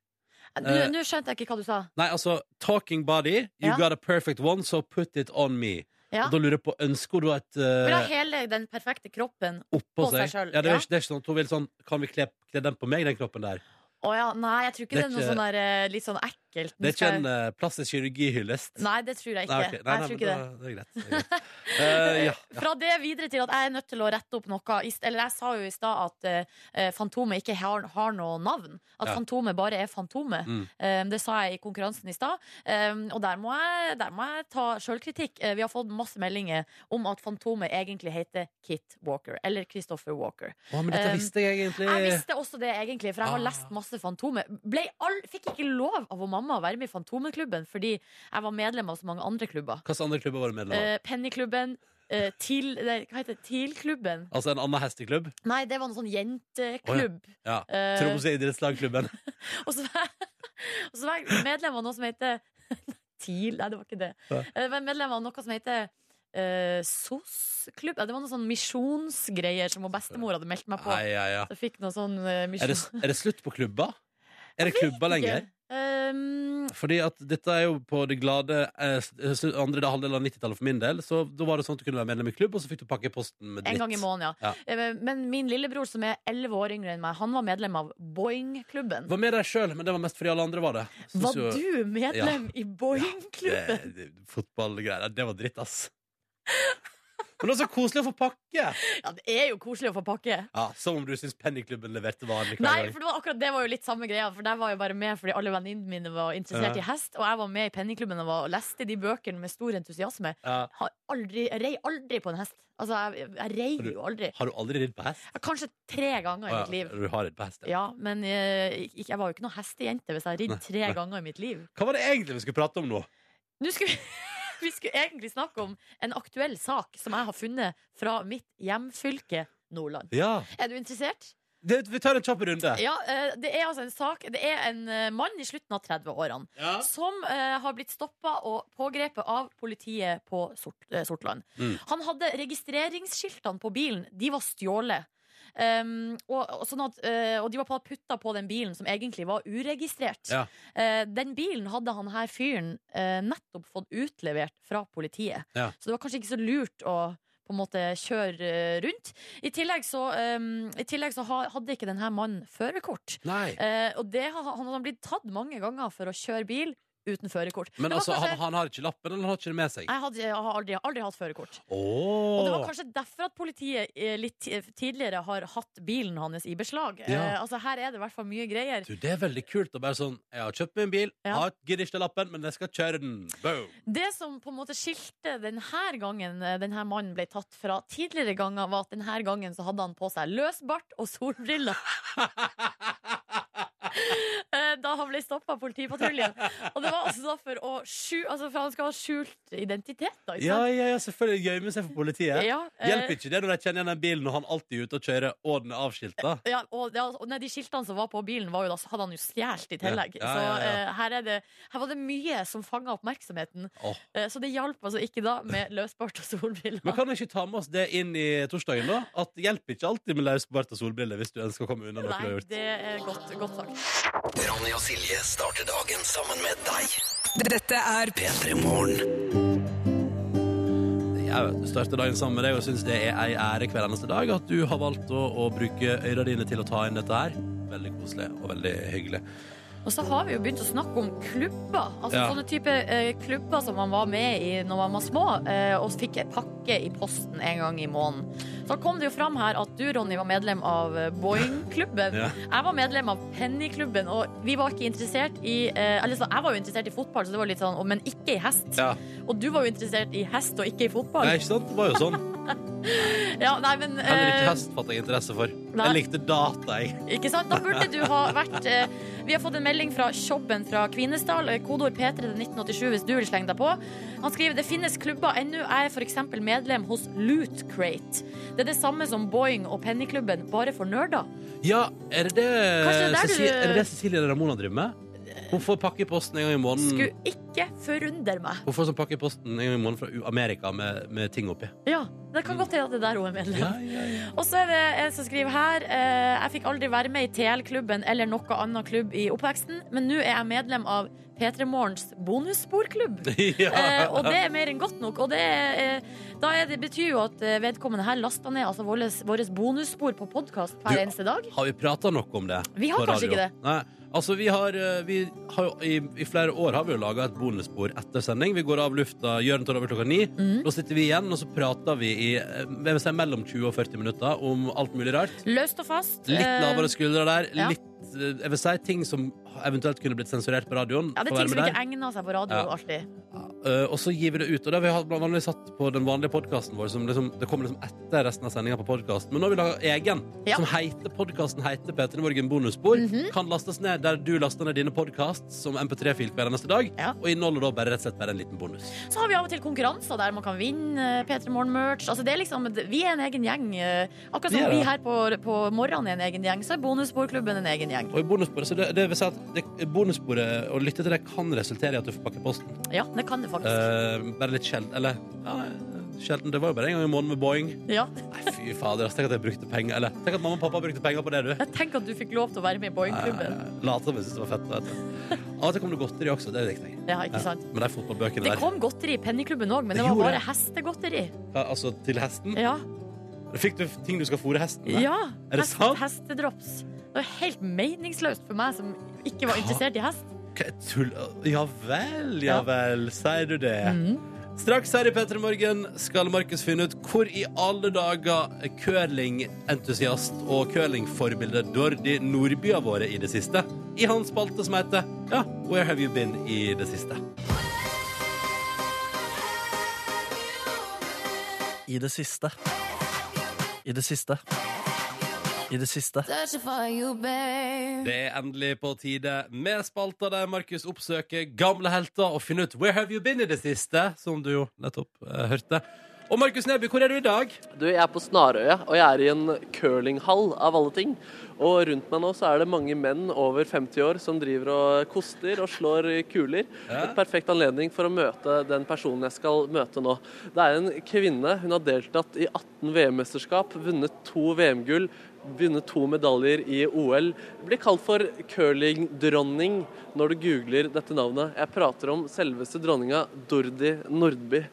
Nå eh, nå skjønte jeg ikke hva du sa. Nei, altså Talking body, you Ja. got a perfect one, so put it on me. Ja. Og da lurer jeg på, ønsker du et Vil ha uh, hele den perfekte kroppen. oppå på seg? seg selv, ja, det, er ja. ikke, det er ikke sånn at hun vil sånn Kan vi kle, kle den på meg, den kroppen der? Å ja, nei, jeg tror ikke det Det er er noe ikke- sånn der, eh, litt sånn ekkelt. Det er ikke Skal en jeg- uh, plastisk kirurgihyllest? Nei, det tror jeg ikke. Nei, ok. Nei, jeg nei, tror men ikke det. da- det er greit. Det er greit. Eh, ja, ja. Fra det videre til at jeg er nødt til å rette opp noe. I st- Eller jeg sa jo i stad at eh, Fantomet ikke har, har noe navn. At Ja. Fantomet bare er Fantomet. Mm. Eh, det sa jeg i konkurransen i stad. Eh, og der må jeg, der må jeg ta sjølkritikk. Eh, vi har fått masse meldinger om at Fantomet egentlig heter Kit Walker. Eller Christopher Walker. Å, men dette Um, visste jeg egentlig. Jeg visste også det, egentlig, for jeg har Ah. lest masse Fantomet. Ble all, fikk ikke lov av å mamma å være med i Fantomeklubben fordi jeg var medlem av så mange andre klubber. Hvilke andre klubber var du medlem av? Eh, Pennyklubben. eh, til, nei, hva heter det? TIL-klubben? altså en annen hesteklubb? Nei, det var en sånn jenteklubb. Ja. Eh, Tromsø idrettslagklubben. og, så var, jeg- og så var jeg medlem av noe som heter TIL. Nei, det var ikke det. Eh, Ja. Jeg var medlem av noe som heter eh, SOS-klubb. Ja, Det var noen sånn misjonsgreier som hun bestemor hadde meldt meg på. Nei, ja, ja. Så jeg fikk noe sånn eh, Er, misjon... det, er det slutt på klubber? Er det klubber lenger? Um, Fordi at dette er jo på det glade eh, s- s- andre halvdel av 90-tallet for min del. Så da var det sånn at du kunne være medlem i klubb, og så fikk du pakke i posten med dritt. en gang i måneden, ja. Ja. Eh, Men min lillebror, som er elleve år yngre enn meg, han var medlem av Boing-klubben. Var med der sjøl, men det var mest fordi alle andre var det. Synes Var jo- du medlem i Boing-klubben? Det- det- Fotballgreier. Det var dritt, ass. Men det var så koselig å få pakke! Ja, det er jo koselig å få pakke. Ja, Som om du syns Pennyklubben leverte vanlig hver Nei, gang. for det var akkurat det var jo litt samme greia. For der var jeg bare med fordi alle venninnene mine var interessert Ja. i hest. Og jeg var med i Pennyklubben og var- og leste de bøkene med stor entusiasme. Ja. Har aldri, jeg rei aldri på en hest. Altså, jeg, jeg rei jo aldri. Har du aldri ridd på hest? Kanskje tre ganger i mitt liv. Du har ridd på hest, ja. Ja, men eh, ikke- jeg var jo ikke noe hestejente hvis jeg har ridd tre nei. ganger i mitt liv. Hva var det egentlig vi skulle prate om nå? Nå skulle vi, vi skulle egentlig snakke om en aktuell sak som jeg har funnet fra mitt hjemfylke, Nordland. Ja, Er du interessert? det, Vi tar en kjapp runde. Ja, eh, det er altså en sak Det er en eh, mann i slutten av 30-årene Ja. som eh, har blitt stoppa og pågrepet av politiet på Sort, eh, Sortland. Mm. Han hadde registreringsskiltene på bilen. De var stjålet. Um, og, og, sånn at, eh, og de var putta på den bilen som egentlig var uregistrert. Ja. Eh, den bilen hadde han her fyren eh, nettopp fått utlevert fra politiet. Ja. Så det var kanskje ikke så lurt å på en måte kjøre eh, rundt. I tillegg så, um, i tillegg så ha, hadde ikke denne mannen førerkort. Nei. Eh, og det har, han har blitt tatt mange ganger for å kjøre bil uten førerkort. Men Det var altså, kanskje- han, han har ikke lappen, eller han har ikke det med seg? jeg, hadde, jeg har aldri, aldri hatt førerkort. Og det var Oh. kanskje derfor at politiet eh, litt ti- tidligere har hatt bilen hans i beslag. Ja. Eh, altså Her er det i hvert fall mye greier. Du, det er veldig kult å bare sånn Jeg har kjøpt meg en bil, Ja. har gidder ikke til lappen, men jeg skal kjøre den. Boom! Det som på en måte skilte denne gangen eh, denne mannen ble tatt fra tidligere ganger, var at denne gangen så hadde han på seg løs bart og solbriller. Eh, da han ble stoppa av politipatruljen. Og det var altså da for å skjul, altså for han skal ha skjult identitet, da. Ikke Ja, sant? ja, ja, selvfølgelig gjemme seg for politiet. Ja, eh, Hjelper ikke det når de kjenner igjen den bilen og han alltid er ute og kjører, og den er avskilta? Ja, og, ja, og nei, de skiltene som var på bilen, var jo da, hadde han jo stjålet i tillegg. Ja, ja, ja, ja. Så eh, her, er det, her var det mye som fanga oppmerksomheten. Åh. Eh, så det hjalp altså ikke da med løsbart og Men solbriller. kan vi ikke ta med oss det inn i torsdagen, da? At det hjelper ikke alltid med løs bart og solbriller hvis du ønsker å komme unna noe du Nei, har gjort. det er godt, godt sagt. Ronny og Silje starter dagen sammen med deg. Dette er P3 Morgen. Jeg vet, du starter dagen sammen med deg og syns det er ei ære hver eneste dag at du har valgt å, å bruke øyra dine til å ta inn dette her. Veldig koselig og veldig hyggelig. Og så har vi jo begynt å snakke om klubber. Altså Ja. Sånne type eh, klubber som man var med i når man var små, eh, og fikk en pakke i posten en gang i måneden. Så kom det jo fram her at du, Ronny, var medlem av eh, Boing-klubben. Ja. Jeg var medlem av Penny-klubben, og vi var ikke interessert i eh, Eller så, jeg var jo interessert i fotball, så det var litt sånn, og- men ikke i hest. Ja. Og du var jo interessert i hest og ikke i fotball. Nei, ikke sant? Det var jo sånn. Ja, nei, men eh, Heller ikke hest fatter jeg interesse for. Nei. Jeg likte data, jeg. Ikke sant? Da burde du ha vært eh, Vi har fått en melding fra Tjobben fra Kvinesdal. eh, Kodeord P3 til 1987 hvis du vil slenge deg på. Han skriver det finnes klubber ennå. Jeg er f.eks. medlem hos Loot Crate. Det er det samme som Boeing og Pennyklubben, bare for nerder. Ja, er det det, Kanskje det er der du- Cecilie, er det, det Cecilie Ramona driver med? Hun får pakke i posten en gang i måneden. Skulle ikke forundre meg. Hun får sånn pakke i posten en gang i måneden fra U- Amerika med, med ting oppi. Ja, Det kan godt hende at det er der hun er medlem. Mm. Ja, ja, ja. Og så er det en som skriver her eh, Jeg fikk aldri være med i TL-klubben eller noe annen klubb i oppveksten, men nå er jeg medlem av P3 Morgens bonussporklubb. Eh, og det er mer enn godt nok. Og det, er, eh, da er det, betyr jo at eh, vedkommende her lasta ned altså vårt, bonusspor på podkast hver Du- eneste dag. Har vi prata nok om det? Vi har på kanskje radio? ikke det. Nei. Altså, vi har, eh, vi har jo, i, I flere år har vi jo laga et bonusspor etter sending. Vi går av lufta, Jørn tar over klokka ni. Mhm. Da sitter vi igjen, og så prater vi i eh, jeg vil si, mellom 20 og 40 minutter om alt mulig rart. Løst og fast. Litt eh, lavere skuldre der. ja. Litt, eh, jeg vil si, ting som eventuelt kunne blitt sensurert på radioen. ja, det får være er ting som med der. ikke egner seg på radio Ja. alltid. Eh, og så gir vi det ut. Og det har vi hatt- vanligvis satt på den vanlige podkasten vår. Som liksom, det kommer liksom etter resten av sendinga på podkasten. Men nå har vi laga egen Ja. Mhm. som heter podkasten heter P3 Morgen bonusspor. Kan lastes ned der du laster ned dine podkast som MP3-fil hver eneste dag. Ja. Og inneholder da bare rett og slett bare en liten bonus. Så har vi av og til konkurranser der man kan vinne eh, P3 Morgen-merch. Altså, det er liksom, vi er en egen gjeng. eh, Akkurat som Vi er vi det. her på, på morgenen er en egen gjeng, så er bonussporklubben en egen gjeng. Og i bonussporet, så det, det vil si at det, bonussporet å lytte til det kan resultere i at du får pakke posten. Ja, det kan det faktisk. Eh, bare litt sjelden. Eller ja, sjelden. Det var jo bare en gang i måneden med Boeing. Ja. Nei, fy fader. ass, Tenk at jeg brukte penger. Eller tenk at mamma og pappa brukte penger på det, du. Jeg tenker at du fikk lov til å være med i Boeing-klubben. Late som jeg syntes det var fett. Vet du. Av og til kom det godteri også. Eh. Det likte jeg. Ja, ikke sant? Men de fotballbøkene Det der kom godteri i Pennyklubben òg, men det Det var gjorde bare det. hestegodteri. ja, Altså til hesten. Ja. Fikk du ting du skal fôre hesten med? ja. Er det sant? Hestedrops. Det var helt meningsløst for meg som ikke var Hva? interessert i hest. Hva, tull... Ja vel, ja Mm. Ja. vel. Sier du det? Straks her i P3 Morgen skal Markus finne ut hvor i alle dager curlingentusiast og curlingforbilde Dordi Nordby har vært i det siste. I hans spalte som heter Ja, Where Have You Been i det siste. I det siste. I det siste. I det siste. Det er endelig på tide med spalta der Markus oppsøker gamle helter og finner ut 'Where have you been i det siste?', som du jo nettopp eh, hørte. Og Markus Neby, hvor er du i dag? Du, jeg er på Snarøya, og jeg er i en curlinghall av alle ting. Og rundt meg nå så er det mange menn over 50 år som driver og koster og slår kuler. Ja. Et perfekt anledning for å møte den personen jeg skal møte nå. Det er en kvinne. Hun har deltatt i 18 VM-mesterskap, vunnet to VM-gull, vunnet to medaljer i OL. Blir kalt for curlingdronning når du googler dette navnet. Jeg prater om selveste dronninga Dordi Nordby.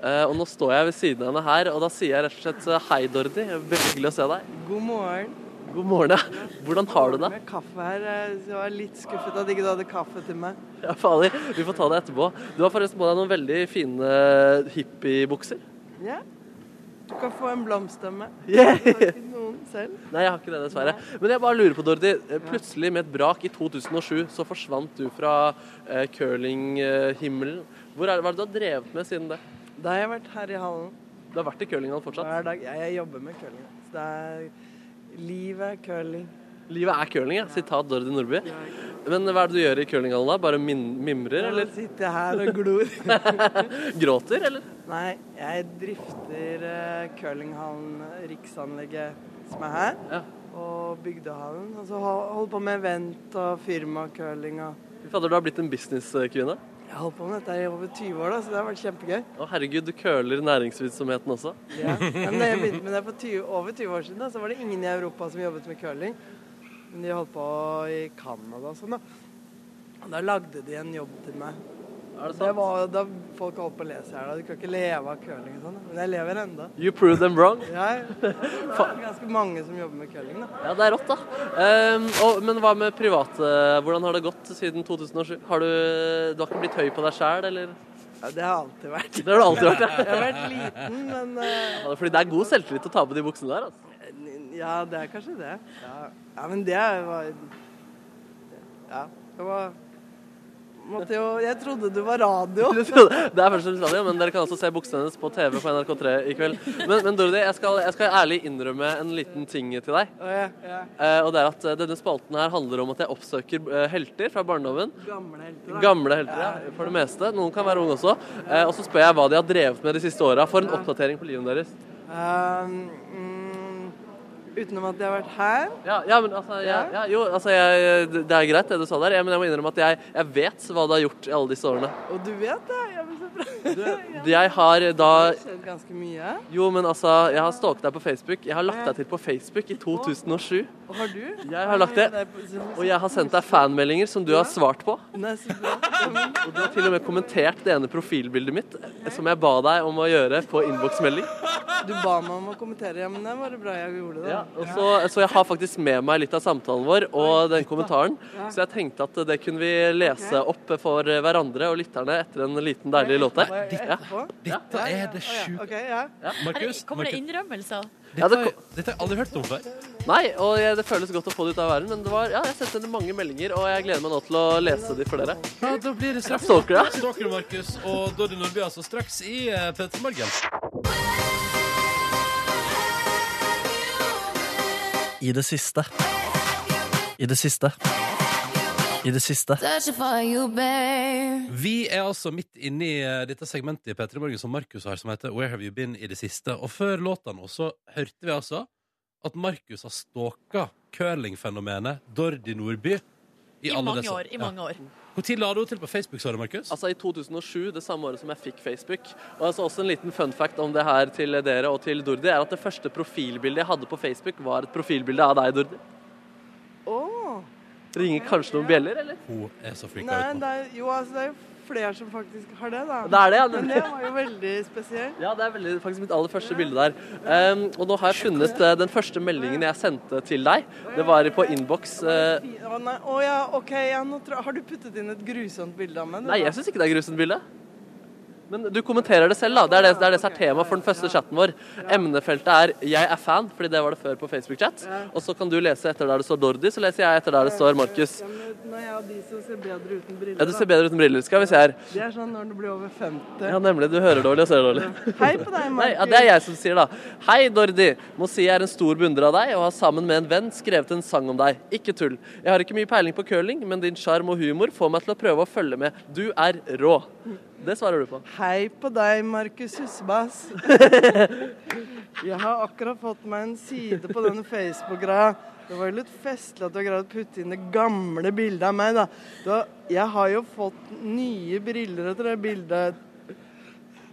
Eh, og nå står jeg ved siden av henne her, og da sier jeg rett og slett eh, hei, Dordi. Veldig hyggelig å se deg. God morgen. God morgen. ja. Hvordan har du det? Med kaffe her. eh, så Jeg var litt skuffet at ikke du hadde kaffe til meg. Ja, fader, vi får ta det etterpå. Du har forresten på deg noen veldig fine eh, hippiebukser. Ja. Du kan få en blomst av meg. Yeah. Har ikke noen selv? Nei, jeg har ikke det, dessverre. Men jeg bare lurer på, Dordi. eh, Plutselig, med et brak i 2007, så forsvant du fra eh, curlinghimmelen. Hvor er det, hva er det du har drevet med siden det? Da har jeg vært her i hallen Du har vært i curlinghallen fortsatt? hver dag. Ja, jeg jobber med curling. Så det er Livet er curling. Livet er curling, ja. Sitat Dordi Nordby. Ja. Men hva er det du gjør i curlinghallen da? Bare min mimrer, Eller eller sitter jeg her og glor. gråter, eller? Nei, jeg drifter eh, curlinghallen, eh, Riksanlegget som er her, Ja. og bygdehallen. Og så ho- holder på med event og firmacurling og Fy fader, du har blitt en businesskvinne. Jeg har holdt på med dette i over 20 år, da, så det har vært kjempegøy. Å herregud, du curler næringsvirksomheten også. Ja. Men da jeg begynte med det for 20, over 20 år siden, da, så var det ingen i Europa som jobbet med curling. Men de holdt på i Canada og sånn, da. Og da lagde de en jobb til meg. Er det Det sant? var jo da folk holdt på å lese her, da. Du kan ikke leve av curling og sånn. da. Men jeg lever ennå. You prove them wrong. Jeg det er ganske mange som jobber med curling, da. Ja, det er rått, da. Ehm, og, men hva med private? Hvordan har det gått siden 2007? Har du, du har ikke blitt høy på deg sjæl, eller? Ja, det har jeg alltid vært. Det har du alltid vært. Jeg har vært liten, men eh, Ja, fordi det er god selvtillit å ta på de buksene der. altså. Ja, det er kanskje det. Ja, ja men det var Ja. Det var Måtte jo, jeg trodde du var radio. Det er først og fremst radio, men dere kan også se buksene hennes på TV på NRK3 i kveld. Men, men Dorothy, jeg skal, jeg skal ærlig innrømme en liten ting til deg. Å, ja, ja. Eh, og det er at eh, Denne spalten her handler om at jeg oppsøker eh, helter fra barndommen. Gamle helter. da. Gamle helter, ja, for det meste. Noen kan være unge også. Eh, og så spør jeg hva de har drevet med de siste åra. For en oppdatering på livet deres. Um, mm, utenom at jeg har vært her. Ja, ja men altså, jeg, ja, jo, altså jeg, Det er greit, det du sa der, ja, men jeg må innrømme at jeg, jeg vet hva du har gjort i alle disse årene. Og du vet det? Ja, men så bra. Jeg har da Det har skjedd ganske mye. Jo, men altså, jeg har stalket deg på Facebook. Jeg har lagt deg til på Facebook i 2007. Og har du? Jeg har lagt det. Og jeg har sendt deg fanmeldinger som du har svart på. Nei, så bra. Ja, men Og du har til og med kommentert det ene profilbildet mitt eh, som jeg ba deg om å gjøre på innboksmelding. Du ba meg om å kommentere, ja, men det var det bra jeg gjorde det. Ja, og så, så jeg har faktisk med meg litt av samtalen vår og den kommentaren. Så jeg tenkte at det kunne vi lese opp for hverandre og lytterne etter en liten deilig låt der. Var jeg etterpå? Dette er det Å, ja. sjuke OK, ja. Er det, Markus, kommer det Markus, innrømmelser? Ja, dette har det jeg- kom- dette har jeg aldri hørt om før. Nei, og jeg, det føles godt å få det ut av verden, men det var, ja, jeg sendte henne mange meldinger, og jeg gleder meg nå til å lese de for dere. Ja, da blir det straks Stalker deg. Stalker Markus og Doddy Nordby altså straks i P3 Morgen. I det siste. I det siste. I det siste. Vi er altså midt inne i eh, dette segmentet i P3 Morgen som Markus har, som heter Where Have You Been i det siste. Og før låta nå så hørte vi altså at Markus har stalka curlingfenomenet Dordi Nordby. I, alle mange disse- år. I Ja. mange år. Hvor tid la du henne til på Facebook, sa du, Markus? Altså i 2007, det samme året som jeg fikk Facebook. Og altså også en liten fun fact om det her til dere og til Dordi, er at det første profilbildet jeg hadde på Facebook, var et profilbilde av deg, Dordi. Å. Ringer kanskje noen bjeller, eller? Hun er så freaka Nei, ut det nå. er, jo, altså, det er jo flere som faktisk har det, da. Det er det, ja. Men det var jo veldig spesielt. Ja, det er veldig, faktisk mitt aller første bilde der. Ehm, og nå har jeg funnet eh, den første meldingen jeg sendte til deg. Det var på innboks. eh, Å nei, å ja, OK. Ja, nå tror, jeg- har du puttet inn et grusomt bilde av meg? du, nei, da? jeg syns ikke det er grusomt bilde. Men du kommenterer det selv, da. Det er det, det, er det som er tema for den første chatten vår. Emnefeltet er 'jeg er fan', fordi det var det før på Facebook-chat. Og så kan du lese etter der det står Dordi, så leser jeg etter der det står Markus. Ja, men Når jeg og de som ser bedre uten briller, Ja, du ser da. bedre uten briller, skal vi se her. Det er sånn når du blir over 50. Ja, nemlig. Du hører dårlig og ser dårlig. Hei på deg, Nei, Markus. ja, det er jeg som sier da. Hei, Dordi. Må si jeg er en stor beundrer av deg og har sammen med en venn skrevet en sang om deg. Ikke tull. Jeg har ikke mye peiling på curling, men din sjarm og humor får meg til å prøve å følge med. Du er rå. Det svarer du på. Hei på deg, Markus Husbass. Jeg har akkurat fått meg en side på denne Facebook-greia. Det var jo litt festlig at du har greid å putte inn det gamle bildet av meg, da. Du har- jeg har jo fått nye briller etter det bildet.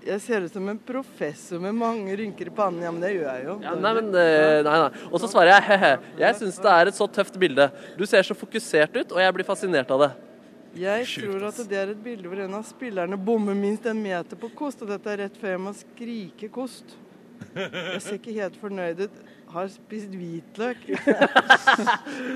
Jeg ser ut som en professor med mange rynker i pannen. Ja, men det gjør jeg jo. Ja, nei, men eh, Nei, nei. Og så svarer jeg he-he. Jeg syns det er et så tøft bilde. Du ser så fokusert ut, og jeg blir fascinert av det. Jeg tror at det er et bilde hvor en av spillerne bommer minst en meter på kost, og dette er rett før jeg må skrike kost. Jeg ser ikke helt fornøyd ut. Har spist hvitløk.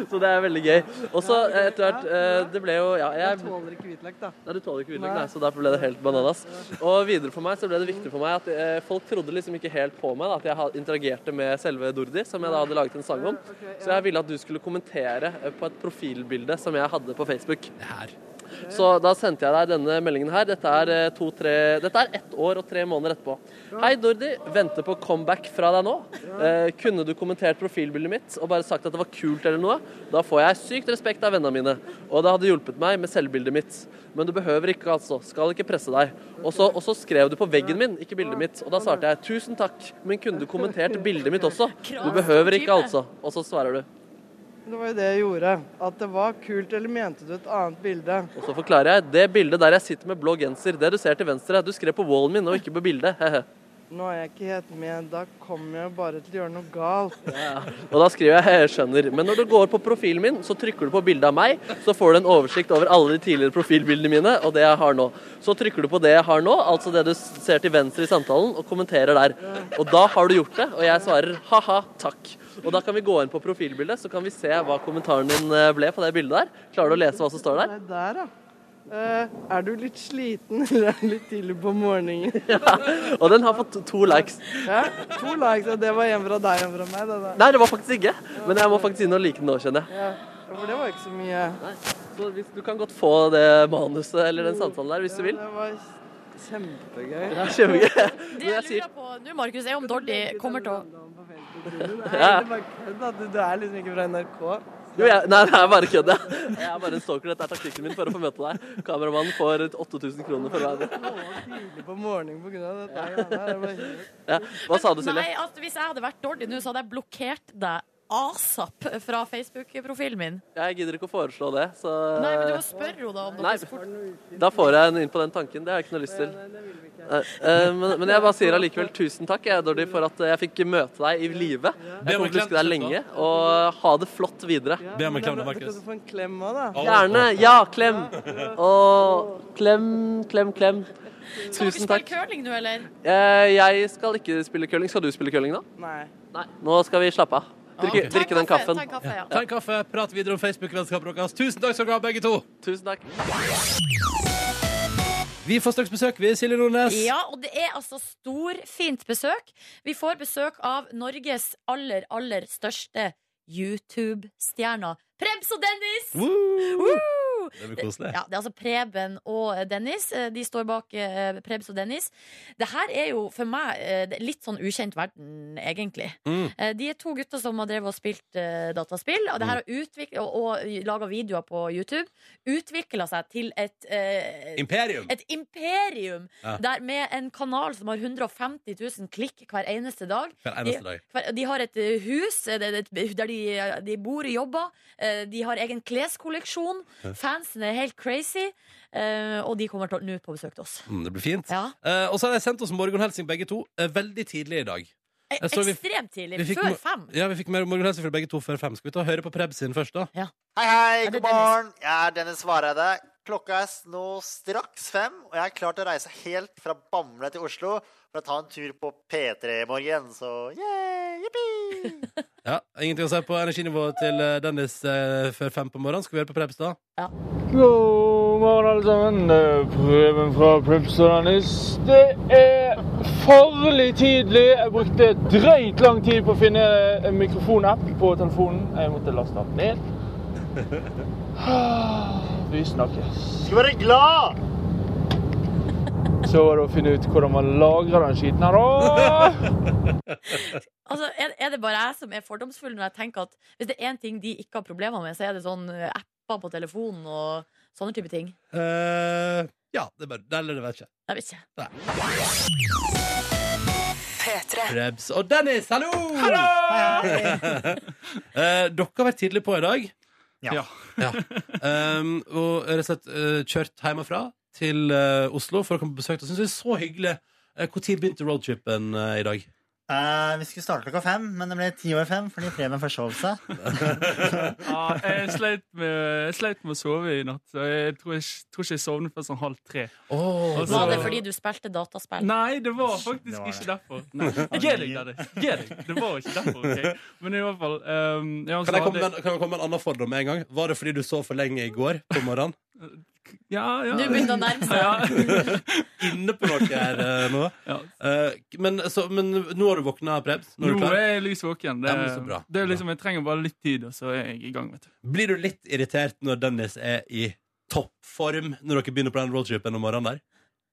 Så det er veldig gøy. Og så eh, etter hvert eh, Det ble jo Ja, Jeg jeg tåler ikke hvitløk, da. Nei, du tåler ikke hvitløk, Nei. nei, så derfor ble det helt bananas. Og videre for meg så ble det viktig for meg at eh, folk trodde liksom ikke helt på meg da, at jeg had- interagerte med selve Dordi, som jeg da hadde laget en sang om. Så jeg ville at du skulle kommentere eh, på et profilbilde som jeg hadde på Facebook. Det her. Så da sendte jeg deg denne meldingen her. Dette er, eh, to, tre, dette er ett år og tre måneder etterpå. Hei, Dordi. Venter på comeback fra deg nå. Eh, kunne du kommentert profilbildet mitt og bare sagt at det var kult eller noe? Da får jeg sykt respekt av vennene mine. Og det hadde hjulpet meg med selvbildet mitt. Men du behøver ikke, altså. Skal ikke presse deg. Og så, og så skrev du på veggen min, ikke bildet mitt. Og da svarte jeg tusen takk, men kunne du kommentert bildet mitt også? Du behøver ikke, altså. Og så svarer du. Det var jo det jeg gjorde. At det var kult, eller mente du et annet bilde? Og så forklarer jeg det bildet der jeg sitter med blå genser, det du ser til venstre, du skrev på wallen min og ikke på bildet. Hehe. Nå er jeg ikke helt med, da kommer jeg bare til å gjøre noe galt. og da skriver jeg «Hehe, skjønner. Men når du går på profilen min, så trykker du på bildet av meg, så får du en oversikt over alle de tidligere profilbildene mine og det jeg har nå. Så trykker du på det jeg har nå, altså det du ser til venstre i samtalen, og kommenterer der. Og da har du gjort det, og jeg svarer ha-ha, takk. Og da kan vi gå inn på profilbildet, så kan vi se hva kommentaren din eh, ble på det bildet der. Klarer du å lese hva som står der? Det er der, da. Eh, er du litt sliten, eller er det litt tidlig på morgenen? Og den har fått to likes. Ja, to likes, og det var en fra deg og en fra meg. Det, der. Nei, det var faktisk ikke. Men jeg må faktisk inn og like den nå, kjenner jeg. Ja, for det var ikke så mye. Så hvis, du kan godt få det manuset eller den samtalen der hvis du vil. Ja, det var kjempegøy. Det er kjempegøy. Det jeg lurer på nå, Markus, er om Dordi kommer til å Nei, det var kødd. da. Du, du er liksom ikke fra NRK. Jo, jeg, nei, det er bare kødd. jeg. Jeg er bare en stalker. Dette er taktikken min for å få møte deg. Kameramannen får 8000 kroner for å være med. Tidlig på morgenen på grunn av dette. her, da. Det var helt- Ja. Hva sa du, Silje? Nei, altså, hvis jeg hadde vært Dordi nå, så hadde jeg blokkert deg asap fra Facebook-profilen min. Jeg gidder ikke å foreslå det, så Nei, men du må spørre henne da om Eh, Nei. dere spurte. Da får jeg en inn på den tanken. Det har jeg ikke noe lyst til. Eh, eh, Men, men jeg bare sier allikevel tusen takk, jeg, Dordi, for at jeg fikk møte deg i live. Jeg kommer til å huske deg lenge, og ha det flott videre. Be om en klem, da, Da kan Markus. du få en klem òg, da. Gjerne. Ja, klem! Og klem, klem, klem. Skal dere Tusen spille takk. curling nå, eller? Eh, Jeg skal ikke spille curling. Skal du spille curling, da? Nei. Nei. Nå skal vi slappe av. Drikke, Ta en drikke den Ah, kaffe, kaffen. Ta en kaffe, ja. Ta en kaffe, prat videre om Facebook-vennskapet deres. Tusen takk skal dere ha, begge to. Tusen takk. Vi får straks besøk, vi, Silje Nordnes. Ja, og det er altså storfint besøk. Vi får besøk av Norges aller, aller største YouTube-stjerner. Prebz og Dennis! Woo! Woo! Det blir koselig. Ja, det er altså Preben og Dennis. Eh, De står bak eh, Prebz og Dennis. Det her er jo for meg eh, det er litt sånn ukjent verden, egentlig. Mm. Eh, De er to gutter som har drevet og spilt eh, dataspill, og, det Mm. her har utviklet- og, og laga videoer på YouTube. Utvikla seg til et eh, Imperium. et imperium Ja. der med en kanal som har 150 000 klikk hver eneste dag. Hver eneste dag. Hver- De har et eh, hus eh, det- det- der de, eh, de bor og jobber. Eh, De har egen kleskolleksjon. Fansen er helt crazy. eh, Og de kommer til å- nå på besøk til oss. Mm, det blir fint. Ja. Eh, og så har de sendt oss morgenhelsing, begge to, eh, veldig tidlig i dag. Eh, Jeg så vi- Ekstremt tidlig. vi fikk Før mo- fem. Ja, Vi fikk mer morgenhelsing fra begge to før fem. Skal vi ta og høre på Prebz sin først, da? Hei, hei, Er det god morgen. Jeg er Dennis Vareide. Klokka er nå straks fem, og jeg er klar til å reise helt fra Bamble til Oslo for å ta en tur på P3 i morgen. Så yeah, jippi! Ja, Ingenting å si på energinivået til eh, Dennis eh, før fem på morgenen. Skal vi høre på Prebz, da? God morgen, alle sammen. Prøven fra Prepsolanis. Det er farlig tidlig. Jeg brukte drøyt lang tid på å finne en mikrofonapp på telefonen. Jeg måtte laste den ned. Ah, Vi snakkes. Skal være glad! Så var det å finne ut hvordan man lagrer den skiten her, da. Altså, er, er det bare jeg som er fordomsfull når jeg tenker at hvis det er én ting de ikke har problemer med, så er det sånn eh, apper på telefonen og sånne type ting. Eh, ja, det bør Eller det vet jeg ikke. Jeg vet ikke. Prebz og Dennis, hallo! Eh, dere har vært tidlig på i dag. Ja. Ja. Um, og rett og slett eh, kjørt hjemmefra til eh, Oslo for å komme på besøk. Det syns vi er så hyggelig. Eh, Hvor tid begynte roadtripen eh, i dag? Eh, vi skulle starte klokka fem, men det ble ti over fem fordi Preben forsov seg. Ja, jeg sleit med, jeg sleit med å sove i natt. så Jeg tror, jeg tror ikke jeg sovnet før sånn halv tre. Oh, Og så- Var det fordi du spilte dataspill? Nei, det var faktisk Det var det. ikke derfor. Nei, Gi deg, Dennis. Gi deg. Det var ikke derfor. ok? Men i hvert fall um, ja, så kan, jeg komme med, hadde- en- kan jeg komme med en annen fordom med en gang? Var det fordi du sov for lenge i går på morgenen? Ja, ja. Nå begynte det å nærme seg. Inne på noe her eh, nå. Ja. Eh, men, så, men nå har du våkna, Prebz? Nå er du Nå klar? er jeg lys våken. Det, Ja, men så bra. det er liksom, jeg trenger bare litt tid, og så er jeg i gang. vet du. Blir du litt irritert når Dennis er i toppform når dere begynner på den roadtripen om morgenen der?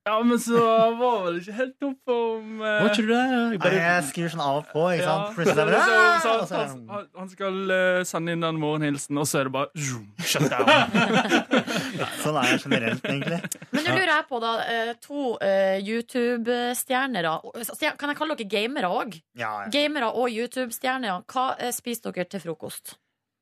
Ja, men så var vel ikke helt opp om eh, Var ikke du det? Jeg Nei, bare... Jeg skrur sånn av og på, ikke sant? Ja. Plutselig er sånn det "Ah!" Ah! Så- så- så- og så er han, det- han- han skal eh, sende inn den morgenhilsen, og så er det bare zoom, shut down. Sånn er det generelt, egentlig. Men nå lurer jeg på, da. eh, To eh, YouTube-stjerner. og- altså, stjer- Kan jeg kalle dere gamere òg? Ja, ja. Gamere og YouTube-stjerner. Hva eh, spiser dere til frokost?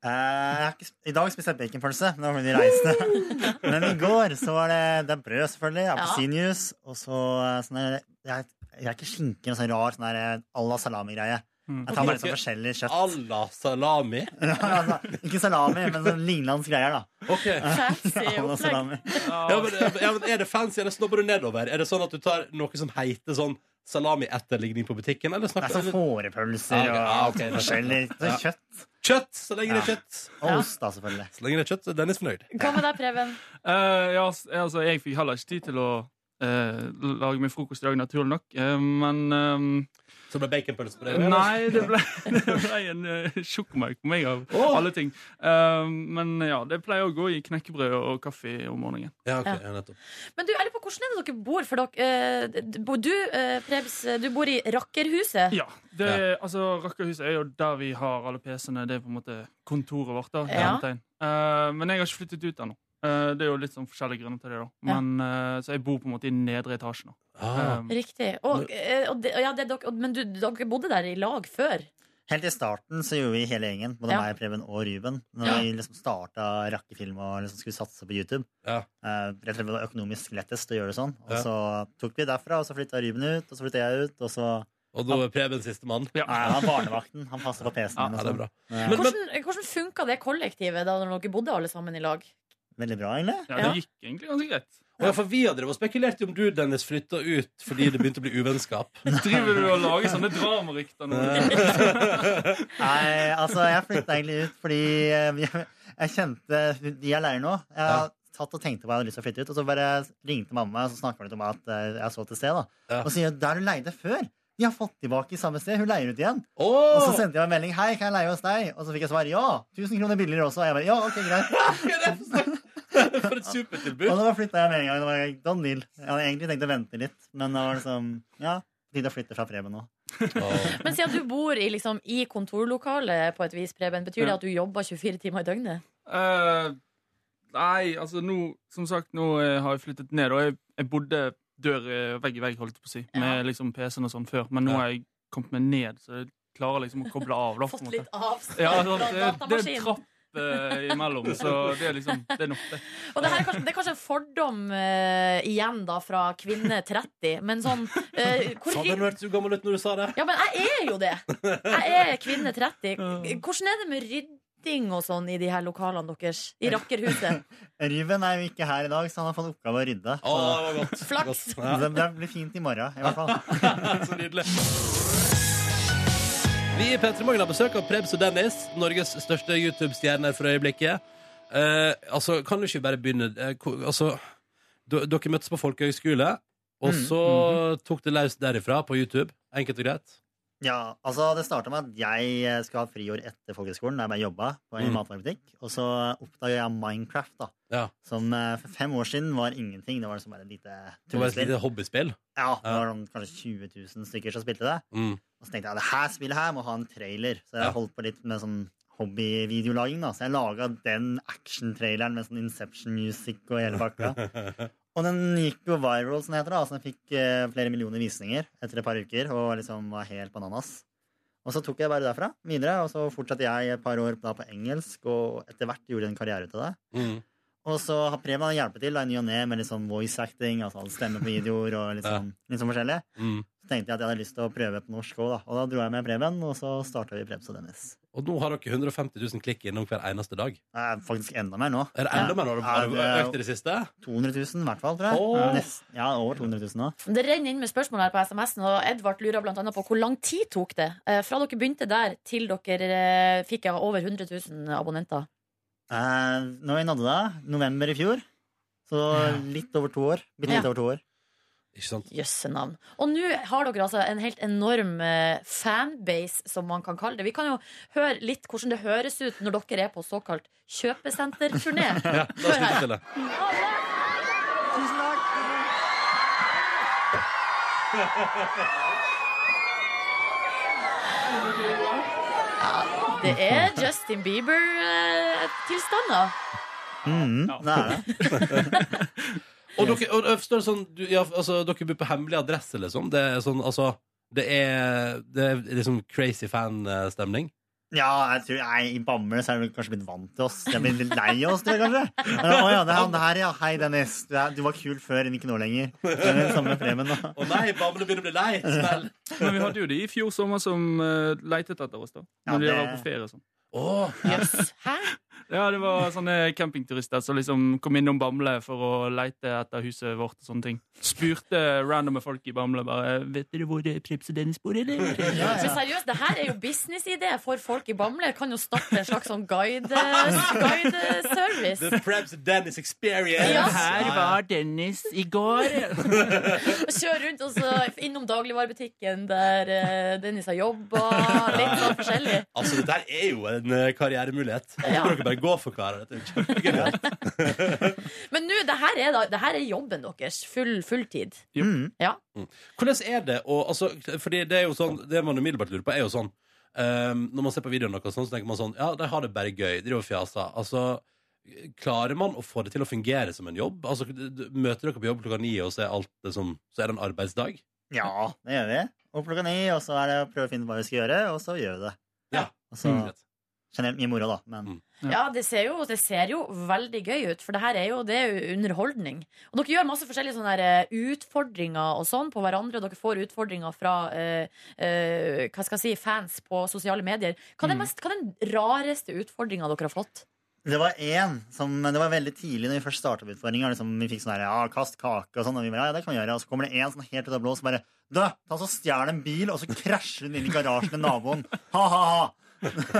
Eh, jeg har ikke, sp- I dag spiste jeg baconpølse. men Det var fordi de reiste. Men i går så var det, det er brød, selvfølgelig. Appelsinjuice. Og så eh, sånn der jeg, jeg er ikke skinke, men sånn rar sånn der eh, à la salami-greie. Mm. Jeg tar bare litt sånn forskjellig kjøtt. Alla salami. Ja, altså, ikke salami, men sånn lignende greier, da. Ok ja, Fancy À altså, la opplegg. salami. men, ja, men Er det fancy, eller snobber du nedover? Er det sånn at du tar noe som heter sånn salami-etterligning på butikken? Eller Det er snakker sånn du fårepølser og Ja, ok, ja, ok. forskjellig Ja. sånn kjøtt. kjøtt? Så lenge det er Ja. kjøtt. Og ost, da, selvfølgelig. Så lenge det er kjøtt, så er Dennis fornøyd. Hva med deg, Preben? Eh, ja, s- altså, jeg fikk heller ikke tid til å eh, lage meg frokost i dag, naturlig nok. Eh, men ehm, Så det ble baconpølse på det? eller? Nei, det ble, det ble en eh, sjokomelk på meg av Åh! alle ting. Eh, men ja, det pleier å gå i knekkebrød og kaffe om morgenen. Ja, ok, Ja. Men du, jeg lurer på hvordan er det dere bor? For dere, eh, d- bo- du, eh, Prebz, eh, du bor i Rakkerhuset. Ja. Det, altså, Rakkerhuset er jo der vi har alle PC-ene. Det er på en måte kontoret vårt. da, i Ja. hermetegn. Eh, Men jeg har ikke flyttet ut ennå. Eh, Det er jo litt sånn forskjellige grunner til det. da. Ja. Men, eh, Så jeg bor på en måte i nedre etasjen. da. Ah. Eh, Riktig. Og, eh, og det, og ja, det, er dere, og- men du, dere bodde der i lag før? Helt i starten så gjorde vi hele gjengen, både Ja. meg, Preben og Ruben, når vi liksom starta rakkefilm og liksom skulle satse på YouTube. Eh, rett og slett var det økonomisk lettest å gjøre det sånn. Og Ja. så tok vi derfra, og så flytta Ruben ut, og så flytta jeg ut, og så Og da er Preben altså. sistemann? Ja. Nei, han er barnevakten. Han passer på PC-en. Ah. Ja, det min og er sånn. bra. Ja. Hvordan, eh, hvordan funka det kollektivet da når dere bodde alle sammen i lag? Veldig bra, egentlig. Ja, det gikk egentlig ganske greit. Å ja, for vi hadde drevet og spekulert i om du, Dennis, flytta ut fordi det begynte å bli uvennskap. Driver du og lager sånne dramarykter nå? Nei, altså, jeg flytta egentlig ut fordi eh, vi- jeg kjente de jeg lærer nå. Jeg har tatt og tenkte på at jeg hadde lyst til å flytte ut, og så bare ringte mamma, og så snakka vi litt om at eh, jeg så til sted, da. Og sier der du leide før. De har fått tilbake i samme sted. Hun leier ut igjen. Og så sendte jeg en melding. Hei, kan jeg leie hos deg? Og så fikk jeg svar ja. 1000 kroner billigere også. Og jeg bare ja, ok, greit. For et supertilbud. Og da flytta jeg med en gang. Det var jeg- Don Neal. Jeg hadde egentlig tenkt å vente litt, men da var det sånn Ja, tid å flytte fra Preben nå. Men siden du bor i, liksom, i kontorlokalet på et vis, Preben, betyr det Ja. at du jobber 24 timer i døgnet? Eh, nei, altså nå Som sagt, nå eh, har jeg flyttet ned, og jeg, jeg bodde dør eh, vegg i vegg, holdt jeg på å si, med liksom PC-en og sånn før, men nå har jeg kommet meg ned, så jeg klarer liksom å koble av. Da, på en måte. avstand Ja, altså, fra det, det er datamaskinen. en trapp eh, imellom, så det er liksom Det er nok, det. Og det, her er kanskje, det er kanskje en fordom eh, igjen da fra kvinne 30, men sånn eh, hvor Faen, hy- nå hørtes du gammel ut når du sa det. Ja, men jeg er jo det! Jeg er kvinne 30. Hvordan er det med rydding og sånn i de her lokalene deres? I rakkerhuset? Ruben er jo ikke her i dag, så han har fått oppgave å rydde. Så Å, det var godt. Flaks. Ja. det, det blir fint i morgen, i hvert fall. Så nydelig. Vi i P3 Morgen har besøk av Prebz og Dennis, Norges største YouTube-stjerner for øyeblikket. Eh, altså, kan du ikke bare begynne eh, ko- Altså, d- dere møttes på folkehøgskole, og Mm. så mhm. tok det løs derifra på YouTube. Enkelt og greit. Ja, altså Det starta med at jeg eh, skulle ha friår etter folkehøgskolen, der jeg bare jobba på en Mm. matvarebutikk. Og så oppdaga jeg Minecraft, da. Som eh, for fem år siden var ingenting. Det var liksom bare et lite Det var et tullespill. lite hobbyspill. Ja, det var sånn kanskje 20 000 stykker som spilte det. Mm. Og så tenkte jeg at det her spillet her må ha en trailer. Så jeg Ja. holdt på litt med sånn hobbyvideolaging. da. Så jeg laga den action-traileren med sånn Inception-musikk og hele pakka. Og den gikk jo viral, som det heter. da, så Den fikk eh, flere millioner visninger etter et par uker. Og liksom var helt bananas. Og så tok jeg bare derfra videre, og så fortsatte jeg et par år da på engelsk, og etter hvert gjorde jeg en karriere ut av det. Mm. Og så har Preben hjulpet til da, i ny og ne med litt sånn voice acting, altså han stemmer på videoer og litt sånn, litt sånn forskjellig. Mm. Så tenkte jeg at jeg hadde lyst til å prøve på norsk òg, da. Og da dro jeg med Preben, og så starta vi Prebz og Dennis. Og nå har dere 150 000 klikk innom hver eneste dag. Eh, faktisk enda mer nå. Er det enda mer? Har du- har du økt i det siste? 200 000 i hvert fall, tror jeg. Åh. Nest, ja, over 200 000 nå. Det renner inn med spørsmål her på SMS-en, og Edvard lurer blant annet på hvor lang tid tok det eh, fra dere begynte der, til dere eh, fikk ja, over 100 000 abonnenter? Eh, når vi nådde det, november i fjor, så litt over to år. Bitte litt Ja. over to år. Ikke sant? Jøsse navn. Og nå har dere altså en helt enorm eh, fanbase, som man kan kalle det. Vi kan jo høre litt hvordan det høres ut når dere er på såkalt kjøpesenterturné. Ja, da slutter vi til det. Tusen takk. Det er Justin eh, Bieber-tilstander. Mm, det er det. Og dere, og jeg forstår det sånn du, ja, altså, Dere bor på hemmelig adresse, liksom? Det er sånn, altså Det er, det er liksom crazy fan-stemning? Ja, jeg tror, nei, I Bamble så er de kanskje blitt vant til oss. De er blitt litt lei av oss, tror jeg kanskje. Men, å ja, det er han der, ja. Hei, Dennis. Du, er, du var kul før, men ikke nå lenger. Det er det samme med Preben, da. Å nei, Bamble begynner å bli lei! Smell! Men vi hadde jo de i fjor sommer som eh, leitet etter oss, da. Ja, Når de det- var på ferie og sånn. Åh, Jøss. Hæ? Ja, det var sånne campingturister som liksom kom innom Bamble for å leite etter huset vårt. og sånne ting. Spurte randomme folk i Bamble bare Vet dere hvor Prips og Dennis bor, eller? Men seriøst, det her er jo businessidé for folk i Bamble. Kan jo starte en slags sånn guide- guideservice. The Prebz Dennis Experience. Ja. Her var Dennis i går. Kjør rundt og så innom dagligvarebutikken der eh, Dennis har jobba. Litt sånn forskjellig. Altså, dette her er jo en eh, karrieremulighet. Ja. Kan dere bare gå for karer? Dette er jo kjempegøy. Men nå, det her er, da, det her er jobben deres. Full, fulltid. Ja. Mm. Hvordan er det å altså, Fordi det er jo sånn Det man umiddelbart lurer på, er jo sånn ehm, Når man ser på videoen og sånn, så tenker man sånn Ja, de har det bare gøy. Driver og fjaser. Altså, klarer man å få det til å fungere som en jobb? Altså, d- d- Møter dere på jobb klokka ni, og så er, alt det som, så er det en arbeidsdag? Ja, det gjør vi. Og klokka ni, og så er det å prøve å finne hva vi skal gjøre, og så gjør vi det. Ja. Mm. Og så, generelt mye moro, da. Men Ja, det ser, jo, det ser jo veldig gøy ut, for det her er jo, det er jo underholdning. Og dere gjør masse forskjellige sånne her, eh, utfordringer og sånn på hverandre, og dere får utfordringer fra eh, eh, hva skal jeg si, fans på sosiale medier. Hva er, den mest, hva er den rareste utfordringa dere har fått? Det var én som Det var veldig tidlig når vi først starta med utfordringer. Liksom, vi fikk sånn her, ja, kast kake og sånn. Og vi bare, ja, det kan vi gjøre. Og så kommer det én sånn helt ut av det blå som bare Du, ta så stjel en bil, og så krasjer den inn i garasjen til naboen. Ha, ha, ha.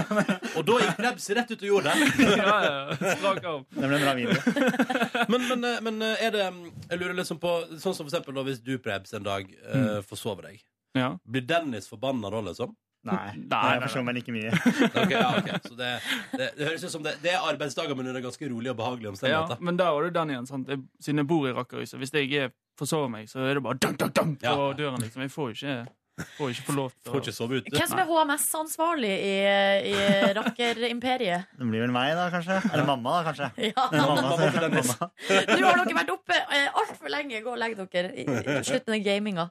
og da gikk Nebs rett ut og gjorde det. Strak arm. Det ble en bra video. men, men, eh, men eh, er det Jeg lurer liksom på Sånn som for eksempel da, hvis du, Prebz, en dag eh, Mm. forsover deg. Ja. Blir Dennis forbanna da, liksom? Nei. Nei, jeg forstår meg like mye. Ok, ja, ok. Så det, det, det høres ut som det, det er arbeidsdager, men under ganske rolige og behagelige Ja, omstendigheter. men der var det den igjen. Sant? Jeg, siden jeg bor i Rakkerhuset. Hvis jeg er- forsover meg, så er det bare dunk, dunk, dunk på døren. Liksom. Jeg får jo ikke, får jo ikke få lov til å Får ikke sove ute. Hvem som er HMS-ansvarlig i, i rakkerimperiet? Det blir vel meg, da, kanskje. Eller mamma, da, kanskje. Ja. Mamma, Mamma til mamma, Dennis. mamma. Nå har dere vært oppe eh, altfor lenge. Gå og legg dere. I- i- Slutt med den gaminga.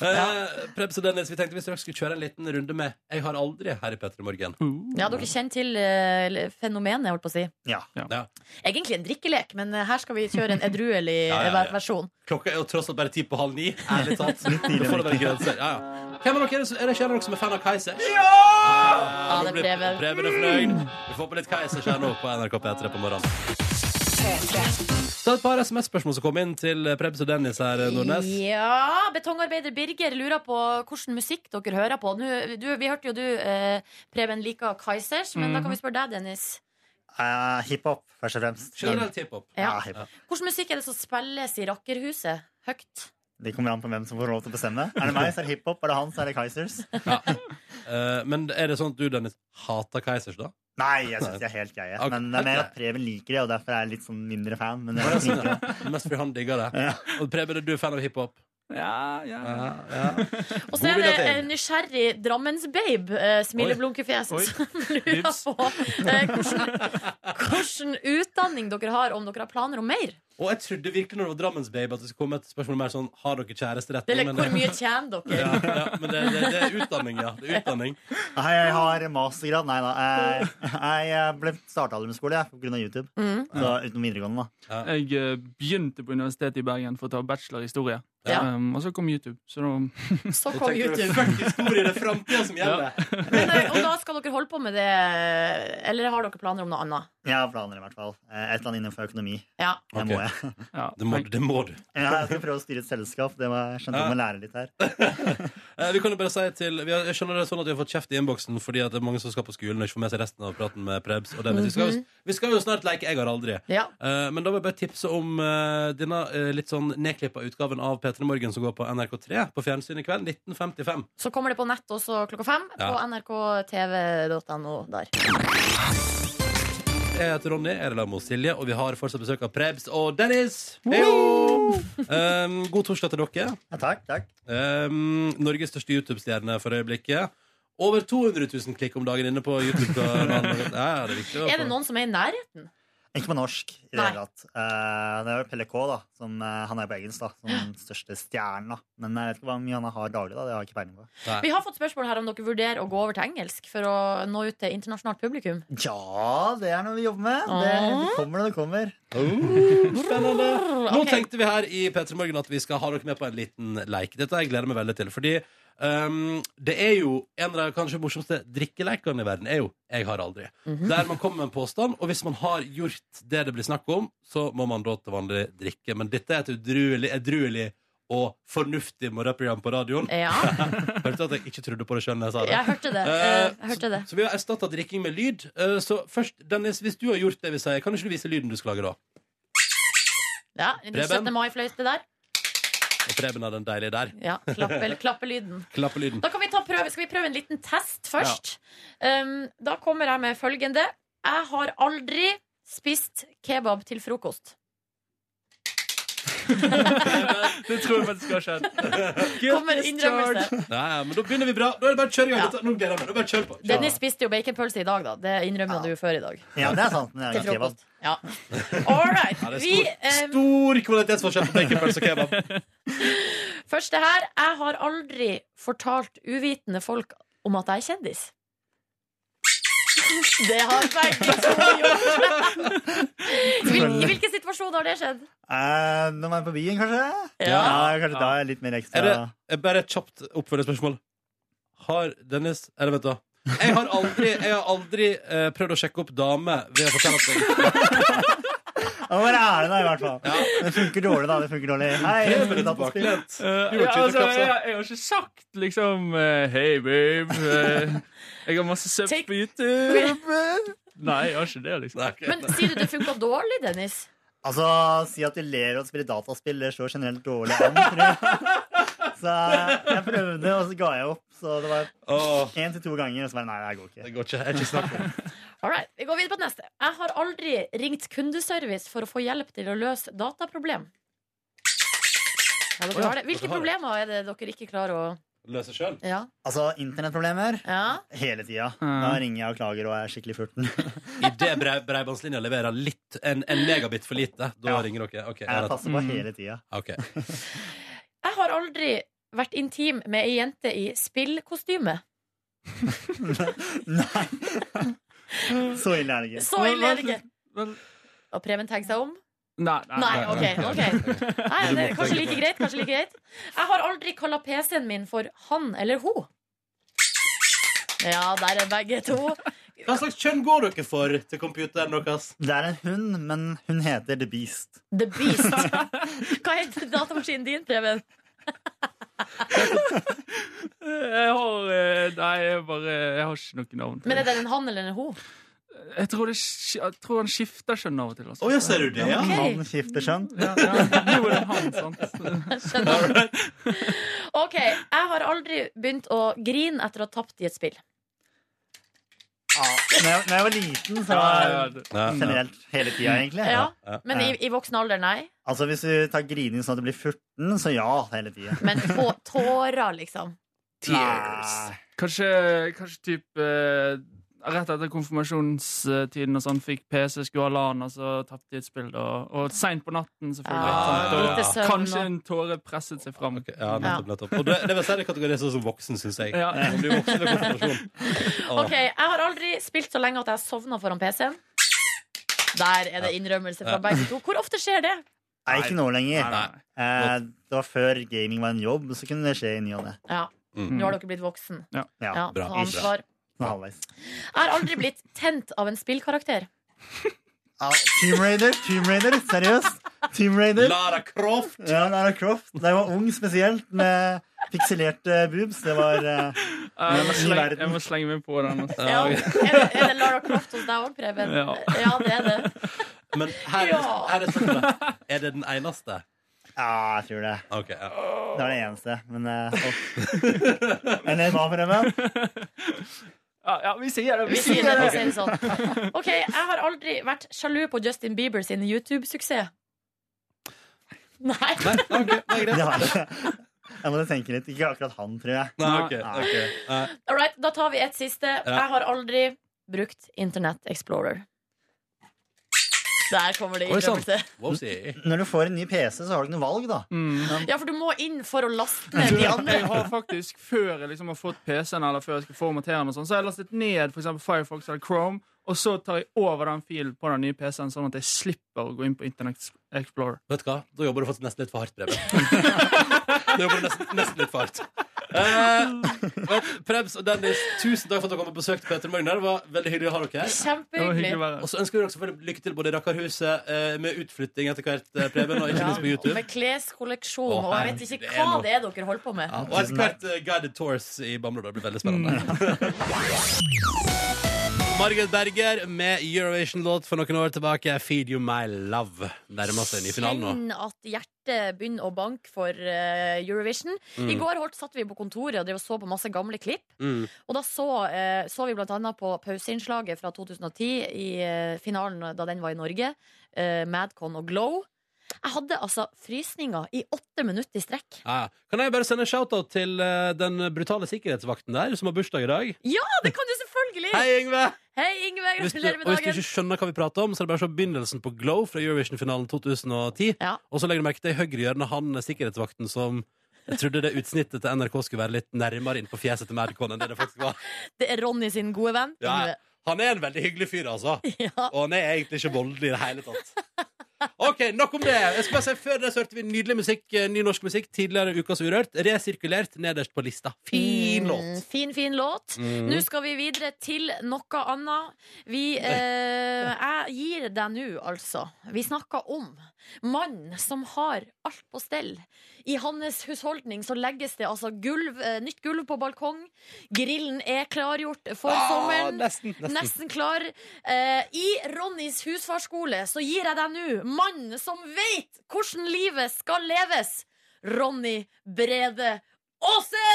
Eh, Prebz og Dennis, vi tenkte vi straks skulle kjøre en liten runde med Jeg har aldri her i Petter Morgen. Ja, dere kjenner til eh, fenomenet, holdt på å si. Ja. Ja. Egentlig en drikkelek, men eh, her skal vi kjøre en edruelig Ja, ja, ja. eh, versjon. Klokka er jo tross alt bare ti på halv ni. Ærlig talt. Da får det være grenser. Ja, ja. Hvem av dere er det, som- er det kjenner dere som er fan av Keiser? Ja! det er Preben. Preben er fornøyd. Vi får på litt Keisers her nå på NRK P3 på morgenen. Så et par SMS-spørsmål som kom inn til Prebz og Dennis her, Nordnes. Ja, Betongarbeider Birger lurer på hvilken musikk dere hører på. Nå, du, vi hørte jo du, eh, Preben, liker Kaizers, men da Mhm. kan vi spørre deg, Dennis. Eh, Hiphop, først og fremst. Generelt hiphop. Ja, hiphop. Hvilken musikk er det som spilles i Rakkerhuset? Høyt? Det kommer an på hvem som får lov til å bestemme. Er det meg, så er det hiphop. Er det han, så er det Kaizers. Eh, men er det sånn at du, Dennis, hater Keisers, da? Nei, jeg syns de er helt greie. Ok. Men det er mer at Preben liker det, og derfor er jeg litt sånn mindre fan. Men jeg liker det. Mest fordi han digger det. Og Preben, er du fan av hiphop? Ja, ja. Og så God er det vilje til. en nysgjerrig Drammensbabe, eh, smileblunkefjes, Oi. Oi. som lurer på eh, hvordan, hvordan utdanning dere har, om dere har planer om mer. Og jeg trodde virkelig når det var Drammens Babe at det skulle komme et spørsmål mer sånn Har dere kjæreste rett? Eller hvor mye tjener dere? ja, ja, men det, det, det er utdanning, ja. Det er utdanning. Nei, jeg har mastergrad. Nei da. Jeg, jeg ble starta aldri med skole jeg, på grunn av YouTube. Mm. Så utenom videregående, da. Jeg eh, begynte på Universitetet i Bergen for å ta bachelor i historie. Ja. Um, og så kom YouTube. Så da Mm. Så kom YouTube. Historie, det er framtida som gjelder. Men, eh, og da skal dere holde på med det, eller har dere planer om noe annet? Jeg har planer, i hvert fall. Eh, Et eller annet innenfor økonomi. Ja. Det må jeg. Det Eh, må, det må du. Ja, Jeg skal prøve å styre et selskap. Det må jeg skjønte jeg må lære litt her. Eh, Vi kan jo bare si til vi har, Jeg skjønner det er sånn at vi har fått kjeft i innboksen fordi at det er mange som skal på skolen og ikke får med seg resten av praten med Prebz og Dennis. Vi skal, Mhm. jo- vi skal jo snart leke Jeg har aldri. Ja. Eh, Men da vil jeg bare tipse om eh, denne eh, litt sånn nedklippa utgaven av P3 Morgen som går på NRK3 på fjernsyn i kveld. 1955. Så kommer det på nett også klokka fem Ja. på nrktv.no der. Jeg heter Ronny, jeg er i lag med Silje, og vi har fortsatt besøk av Prebz og Dennis. Heyo! Um, god torsdag til dere. Ja, takk, takk. Um, Norges største YouTube-stjerne for øyeblikket. Over 200 000 klikk om dagen inne på YouTube. Ja, ja, det er viktig. å Er det få- noen som er i nærheten? Ikke på norsk. i Det Nei. hele tatt. Eh, det er jo Pelle K, da. Som, eh, han er på Eggens, da. Som den største stjernen, da. Men eh, jeg vet ikke hvor mye han har daglig, da. Det har jeg ikke peiling på. Vi har fått spørsmål her om dere vurderer å gå over til engelsk for å nå ut til internasjonalt publikum. Ja, det er noe vi jobber med. Det, Ah. det kommer når det kommer. Spennende. Nå tenkte vi her i P3 Morgen at vi skal ha dere med på en liten leik. Dette har jeg gleder meg veldig til. Fordi Um, det er jo En av de kanskje morsomste drikkelekene i verden er jo 'Jeg har aldri'. Mhm. Der man kommer med en påstand, og hvis man har gjort det det blir snakk om, så må man da til vanlig drikke. Men dette er et udruelig, edruelig og fornuftig morgenprogram på radioen. Ja. Hørte at jeg ikke trodde på det sjøl da jeg sa det. Eh. Jeg hørte det. Eh, eh, hørte det. så vi har erstatta drikking med lyd. Eh, Så først, Dennis, hvis du har gjort det vi sier, kan ikke du vise lyden du skal lage da? Ja, en Preben? 17. mai-fløyte der. Og Preben har den deilige der. Ja, klappe, klappelyden. Klappelyden. Da kan vi ta prøve. Skal vi prøve en liten test først? Um, da kommer jeg med følgende. Jeg har aldri spist kebab til frokost. Det tror jeg faktisk har skjedd. Kommer innrømmelse. Nei, men da begynner vi bra. Da er det bare å kjøre i gang. Ja. Dette- Nå gleder jeg meg. Nå bare kjør på. Kjør. Dennis spiste jo baconpølse i dag, da. Det innrømmer du jo før i dag. Ja, det er sant, men det er Til jo kebab. frokost. Ja. All right. Ja, det er Vi, stor, eh, stor kvalitetsforskjell på baconpølse og kebab. Første her. Jeg har aldri fortalt uvitende folk om at jeg er kjendis. Det har begge to gjort. I hvil- I hvilken situasjon har det skjedd? Eh, når man er på byen, kanskje? Ja. kanskje da er jeg litt mer ekstra Er det er bare et kjapt oppfølgingsspørsmål? Har Dennis Eller vent, da. Jeg har aldri, jeg har aldri eh, prøvd å sjekke opp damer ved å fortelle at jeg Ja, Hvor er det da, i hvert fall? Det funker dårlig, da. Det funker dårlig. Hei, Preben jeg har spilt dataspill. Eh, ja, ikke altså, utekapp, så. jeg, jeg har ikke sagt liksom eh, Hei, babe. eh, jeg har masse søpp på YouTube. Nei, jeg har ikke det, liksom. Men sier du det funka dårlig, Dennis? Altså, si at du ler og spiller dataspill, det slår generelt dårlig an, tror jeg. Så eh, jeg prøvde, og så ga jeg opp. Så det var én til to ganger, og så bare nei, det her går ikke. Det går ikke, jeg er ikke snakk om All right, Vi går videre på neste. Jeg har aldri ringt kundeservice for å få hjelp til å løse dataproblem. Ja, dere har det. Hvilke problemer er det dere ikke klarer å Løse sjøl? Ja. Altså, internettproblemer Ja. hele tida. Da ringer jeg og klager og er skikkelig furten. Idet brei, breibandslinja leverer litt, en, en megabit for lite, da ringer dere? Ok, Jeg rett. passer på hele tida. Ok. Jeg har aldri vært intim med ei jente i spillkostyme. Så ille er det ikke. Så ille er det ikke. Og Preben tenker seg om. Nei, Nei, ok. ok Nei, det er Kanskje like greit. kanskje like greit Jeg har aldri kalla PC-en min for han eller ho. Ja, der er begge to. Hva slags kjønn går dere for til computeren deres? Det er en hund, men hun heter The Beast. The Beast. Hva heter datamaskinen din, Preben? Jeg har eh, Nei, jeg bare Jeg har ikke noe navn. Men er den en han eller en ho? Jeg tror, det, sk- jeg tror han skifter skjønn av og til. Altså. Å, ja, ser du det, ja. Ok. Han skifter skjønn. Ja, ja. Nå er det han, sant. OK. Jeg har aldri begynt å grine etter å ha tapt i et spill. Ja. Når, jeg, når jeg var liten, så Ja, var ja, jeg ja. generelt hele tida, egentlig. Ja, Men i, i voksen alder, nei. Altså, Hvis du tar grining sånn at det blir 14, så ja, hele tida. Men på tårer, liksom. Tears. Kanskje, kanskje typ eh, Rett etter konfirmasjonstiden og sånn fikk PC, skulle ha LAN, og så tapte de et spill. Da. Og seint på natten, selvfølgelig. Ja, sant? lite søvn og kanskje og- en tåre presset seg fram. Ja, nettopp, nettopp. Og det, det vil si det kategorier sånn som voksen, syns jeg. Ja. Man blir voksen ved konfirmasjon. Åh. OK. Jeg har aldri spilt så lenge at jeg sovna foran PC-en. Der er det innrømmelse fra begge to. Hvor ofte skjer det? Nei, ikke nå lenger. Nei, Eh, det var før gaming var en jobb, så kunne det skje i ny og ne. Ja. Mm. Nå har dere blitt voksen. Ja. Ja, Bra. ta ansvar. Sånn halvveis. Jeg har aldri blitt tent av en spillkarakter. Ja, Tomb Raider, Tomb Raider, seriøst. Tomb Raider. Lara Croft. Ja, Lara Croft. Da jeg var ung spesielt, med pikselerte boobs. Det var eh, Jeg må, ny slenge, verden. jeg må slenge meg på den. Altså. Ja, er, det, er det Lara Croft hos deg òg, Preben? Ja. ja, det er det. Men her, Ja. her er det spørsmålet. Er det den eneste? Ja, jeg tror det. Ok, ja. Det var det eneste. Men eh, opp. Eller hva, Preben? Ja, ja, vi sier det. Vi sier det, vi sier det sånn. OK, jeg har aldri vært sjalu på Justin Bieber sin YouTube-suksess. Nei. Det har jeg. Jeg måtte tenke litt. Ikke akkurat han, tror jeg. Nei, ok, Eh, ok. Nei. All right, da tar vi et siste. Ja. Jeg har aldri brukt Internett Explorer. Der kommer det Oi, sant. innrømmelse. Når du får en ny PC, så har du ikke noe valg, da. Men- Ja, for du må inn for å laste ned de andre. Jeg har faktisk, før jeg liksom har fått PC-en, eller før jeg skal formatere den, og sånn, så har jeg lastet ned for eksempel Firefox eller Chrome, og så tar jeg over den filen på den nye PC-en, sånn at jeg slipper å gå inn på Internet Explorer. Vet du hva? Da jobber du faktisk nesten litt for hardt, Preben. Da jobber du nesten, nesten litt for hardt. Eh, vet, Prebz og Dennis, tusen takk for at dere kom på besøk til Peter Magnar. Det var veldig hyggelig å ha dere her. Kjempehyggelig. Det var hyggelig å være her. Og så ønsker vi dere selvfølgelig lykke til både i Rakkarhuset, eh, med utflytting etter hvert, eh, Preben, og ikke Ja, minst på YouTube. Med kleskolleksjon, Å, og jeg vet herregud, ikke det er hva noe. det er dere holder på med. Og etter hvert eh, guided tours i Bamble. Det blir veldig spennende. Margaret Berger med Eurovision-låt for noen år tilbake. 'Feed You My Love' nærmer seg ny finalen nå. Kjenn at hjertet begynner å banke for eh, Eurovision. Mm. I går holdt, satt vi på kontoret og drev og så på masse gamle klipp. Mm. Og da så, eh, så vi blant annet på pauseinnslaget fra 2010 i eh, finalen da den var i Norge. eh, Madcon og Glow. Jeg hadde altså frysninger i åtte minutter i strekk. Ja, ja. kan jeg bare sende en shout-out til eh, den brutale sikkerhetsvakten der, som har bursdag i dag? Ja, det kan du selvfølgelig! Hei, Yngve! Hei, Yngve, Hvis du, Gratulerer med og hvis du dagen. ikke skjønner hva vi prater om, så er det bare å se begynnelsen på Glow fra Eurovision-finalen 2010. Og så legger du merke til i høyre hjørne han er sikkerhetsvakten som jeg trodde det utsnittet til NRK skulle være litt nærmere inn på fjeset til Madcon enn det det faktisk var. Det er Ronny sin gode venn. Ja, Yngve. han er en veldig hyggelig fyr, altså. Og han er egentlig ikke voldelig i det hele tatt. OK, nok om det. Jeg skal bare si Før det så hørte vi nydelig musikk, eh, ny norsk musikk, tidligere Ukas Urørt. Resirkulert nederst på lista. Fin låt. Mm, Fin, fin låt. Mm. Nå skal vi videre til noe annet. Vi eh, Jeg gir deg nå, altså. Vi snakker om mannen som har alt på stell. I hans husholdning så legges det altså gulv, eh, nytt gulv på balkong. Grillen er klargjort for Ah, sommeren. nesten, nesten. klar. Eh, I Ronnys husfarskole så gir jeg deg nå mannen som veit hvordan livet skal leves. Ronny Brede Aase!